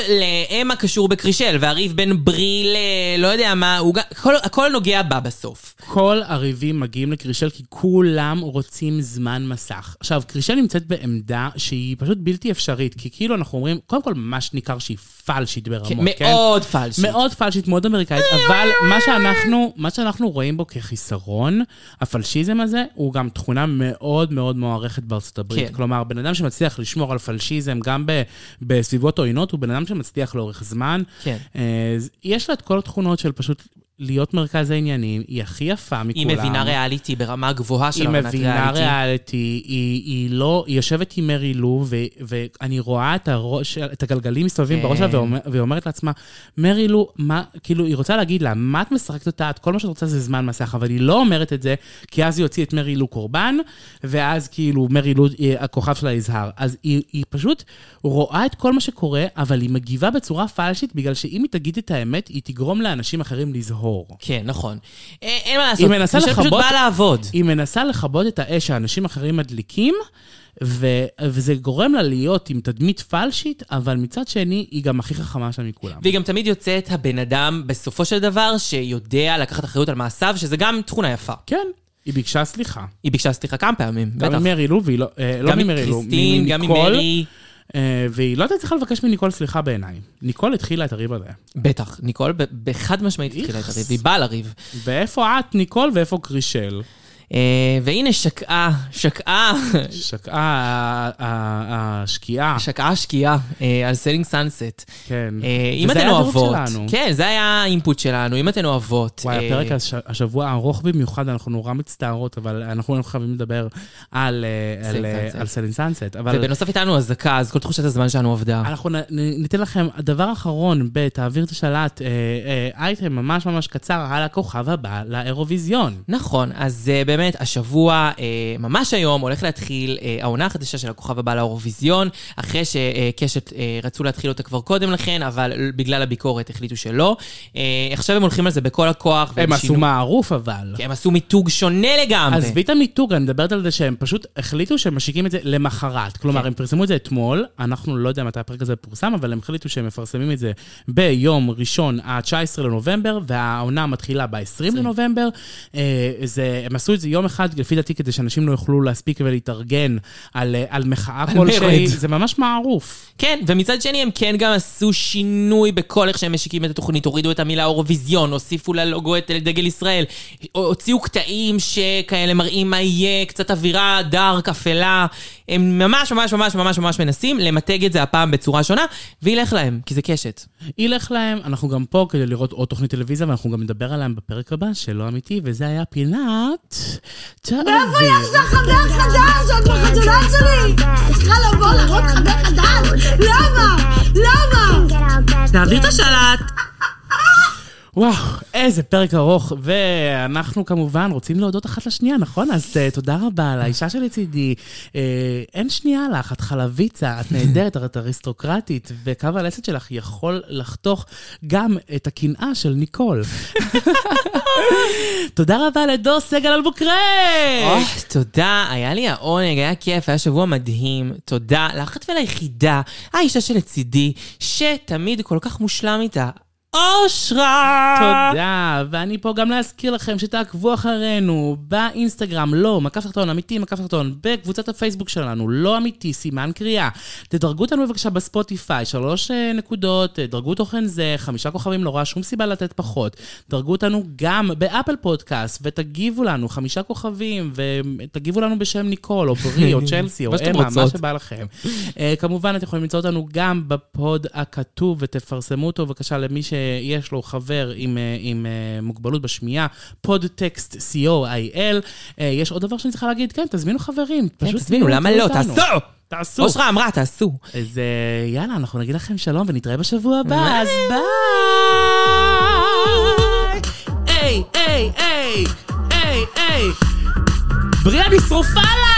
Speaker 3: לאמה קשור בקרישל, והריב בין ברי ל... לא יודע מה, הוא גם- הכל- הכל נוגע בה בסוף.
Speaker 4: כל הריבים מגיעים לקרישל כי כולם רוצים זמן מסך. עכשיו, קרישל נמצאת בעמדה שהיא פשוט בלתי אפשרית, כי כאילו אנחנו אומרים, קודם כל, ממש ניכר שהיא פלשית ברמות, כן?
Speaker 3: מאוד פלשי.
Speaker 4: מאוד פלשית, מאוד אמריקאית,
Speaker 3: אה,
Speaker 4: אבל מה שאנחנו, מה שאנחנו רואים בו כחיסרון, הפלשיזם הזה, הוא גם תכונה מאוד מאוד מוערכת בארצות הברית.
Speaker 3: כן.
Speaker 4: כן. כלומר, בן אדם שמצליח לשמור על פלשיזם גם ב, בסביבות עוינות, הוא בן אדם שמצליח לאורך זמן.
Speaker 3: כן.
Speaker 4: אה, ז- יש לה את כל התכונות של פשוט... להיות מרכז העניינים, היא הכי יפה מכולם.
Speaker 3: היא מבינה ריאליטי ברמה גבוהה של
Speaker 4: היא
Speaker 3: אמנת
Speaker 4: מבינה
Speaker 3: ריאליטי.
Speaker 4: ריאליטי, היא, היא לא, היא יושבת עם מרי לו, ו, ואני רואה את, הראש, את הגלגלים מסתובבים
Speaker 3: כן.
Speaker 4: בראש שלה, ואומר, ואומרת לעצמה, מרי לו, מה, כאילו, היא רוצה להגיד לה, מה את משחקת אותה, את כל מה שאת רוצה זה זמן מסך, אבל היא לא אומרת את זה, כי אז היא הוציאה את מרי לו קורבן, ואז כאילו מרי לו, אה, הכוכב שלה יזהר. אז היא, היא פשוט רואה את כל מה שקורה, אבל היא מגיבה בצורה פלשית, בגלל שאם היא תגיד את האמת, היא תגרום לאנשים אחרים לזהור.
Speaker 3: כן, נכון. אה, אין מה לעשות.
Speaker 4: היא מנסה
Speaker 3: אני חושב
Speaker 4: לכבות...
Speaker 3: פשוט באה לעבוד.
Speaker 4: היא מנסה לכבות את האש שאנשים אחרים מדליקים, ו... וזה גורם לה להיות עם תדמית פלשית, אבל מצד שני, היא גם הכי חכמה שם מכולם.
Speaker 3: והיא גם תמיד יוצאת הבן אדם, בסופו של דבר, שיודע לקחת אחריות על מעשיו, שזה גם תכונה יפה.
Speaker 4: כן, היא ביקשה סליחה.
Speaker 3: היא ביקשה סליחה כמה פעמים,
Speaker 4: גם
Speaker 3: בטח.
Speaker 4: ממרי לו, והיא לא... אה, לא ממרי לו,
Speaker 3: מקריסטין, גם
Speaker 4: מניקול,
Speaker 3: ממרי.
Speaker 4: אה, והיא לא הייתה צריכה לבקש מניקול סליחה בעיניי. ניקול התחילה את הריב הזה.
Speaker 3: בטח, ניקול ב- בחד משמעית התחילה את
Speaker 4: איכס.
Speaker 3: הריב, היא באה לריב.
Speaker 4: ואיפה את, ניקול, ואיפה קרישל?
Speaker 3: אה, והנה שקעה, שקעה, [laughs]
Speaker 4: שקעה ה- ה- השקיעה.
Speaker 3: שקעה שקיעה אה, על סלינג סאנסט.
Speaker 4: כן.
Speaker 3: אם
Speaker 4: וזה
Speaker 3: אתן
Speaker 4: היה הדירוג
Speaker 3: אוהבות,
Speaker 4: שלנו.
Speaker 3: כן, זה היה האינפוט שלנו, אם אתן אוהבות.
Speaker 4: וואי,
Speaker 3: אה,
Speaker 4: הפרק הש- השבוע ארוך במיוחד, אנחנו נורא מצטערות, אבל אנחנו לא חייבים לדבר על, אה, על, אה,
Speaker 3: סנסט.
Speaker 4: על סלין סאנסט. אבל
Speaker 3: ובנוסף איתנו אזעקה, אז כל תחושת הזמן שלנו עבדה.
Speaker 4: אנחנו נ- נ- ניתן לכם, הדבר אחרון ב"תעביר את השלט", אה, אה, אייטם ממש ממש קצר על הכוכב הבא לאירוויזיון.
Speaker 3: נכון, אז אה, באמת, השבוע, אה, ממש היום, הולך להתחיל אה, העונה החדשה של הכוכב הבא לאירוויזיון, אחרי שקשת אה, רצו להתחיל אותה כבר קודם לכן, אבל בגלל הביקורת החליטו שלא. אה, עכשיו הם הולכים על זה בכל הכוח. והם
Speaker 4: הם עשו
Speaker 3: שינו-
Speaker 4: מערוף אבל.
Speaker 3: כי הם עשו מיתוג שונה לגמרי.
Speaker 4: עזבי את המיתוג, אני מדברת על זה שהם פשוט החליטו שהם משיקים את זה למחרת. כלומר,
Speaker 3: כן.
Speaker 4: הם פרסמו את זה אתמול, אנחנו לא יודע מתי הפרק הזה פורסם, אבל הם החליטו שהם מפרסמים את זה ביום ראשון, ה-19 לנובמבר, והעונה מתחילה ב-20 לנובמבר. אה, זה, הם עשו את זה יום אחד, לפי דעתי, כדי שאנשים לא יוכלו להספיק ולהתארגן על, אה, על מחאה כלשהי.
Speaker 3: מרד.
Speaker 4: זה ממש מערוף.
Speaker 3: כן, ומצד שני הם כן גם עשו שינוי בכל איך שהם משיקים את התוכנית, הורידו את המילה אירוויזיון, הוסיפו ללוגו את דגל ישראל, הוציאו קטעים שכאלה מראים מה יהיה, קצת אווירה דארק, אפלה. הם ממש ממש ממש ממש ממש מנסים למתג את זה הפעם בצורה שונה, וילך להם, כי זה קשת.
Speaker 4: ילך להם, אנחנו גם פה כדי לראות עוד תוכנית טלוויזיה, ואנחנו גם נדבר עליהם בפרק הבא, שלא אמיתי, וזה היה פינת...
Speaker 6: מאיפה יש לך חבר חדש? את בחתונה שלי! את צריכה לבוא להראות חבר חדש? למה? למה?
Speaker 1: תעביר את השלט!
Speaker 4: וואו, איזה פרק ארוך, ואנחנו כמובן רוצים להודות אחת לשנייה, נכון? אז uh, תודה רבה לאישה שלצידי. Uh, אין שנייה לך, את חלביצה, את נהדרת, את אריסטוקרטית, וקו הלסת שלך יכול לחתוך גם את הקנאה של ניקול. [laughs] תודה רבה לדור סגל אלבוקרי!
Speaker 3: אוי, אה, תודה, היה לי העונג, היה כיף, היה שבוע מדהים. תודה לאחת וליחידה, האישה שלצידי, שתמיד כל כך מושלם איתה. אושרה!
Speaker 4: תודה, ואני פה גם להזכיר לכם שתעקבו אחרינו באינסטגרם, לא, מקף תחתון, אמיתי, מקף תחתון, בקבוצת הפייסבוק שלנו, לא אמיתי, סימן קריאה. תדרגו אותנו בבקשה בספוטיפיי, שלוש אה, נקודות, אה, דרגו תוכן זה, חמישה כוכבים, לא רואה שום סיבה לתת פחות. דרגו אותנו גם באפל פודקאסט, ותגיבו לנו חמישה כוכבים, ותגיבו לנו בשם ניקול, או ברי,
Speaker 3: [laughs]
Speaker 4: או צ'לסי, או
Speaker 3: מה שאתם
Speaker 4: אמה, מה
Speaker 3: רוצות.
Speaker 4: שבא לכם. אה, כמובן, אתם יכולים למצוא אותנו גם בפוד הכתוב, ותפרסמו אותו בבקשה למי שיש לו חבר עם, אה, עם אה, מוגבלות בשמיעה, פודטקסט co.il. אה, יש עוד דבר שאני צריכה להגיד, כן, תזמינו חברים.
Speaker 3: כן,
Speaker 4: פשוט
Speaker 3: תזמינו,
Speaker 4: תהיו
Speaker 3: למה לא?
Speaker 4: איתנו.
Speaker 3: תעשו!
Speaker 4: תעשו.
Speaker 3: אושרה אמרה, תעשו.
Speaker 4: אז אה, יאללה, אנחנו נגיד לכם שלום ונתראה בשבוע הבא, אז ביי! היי, היי, היי, היי, היי! בריאה, אני שרופה לך!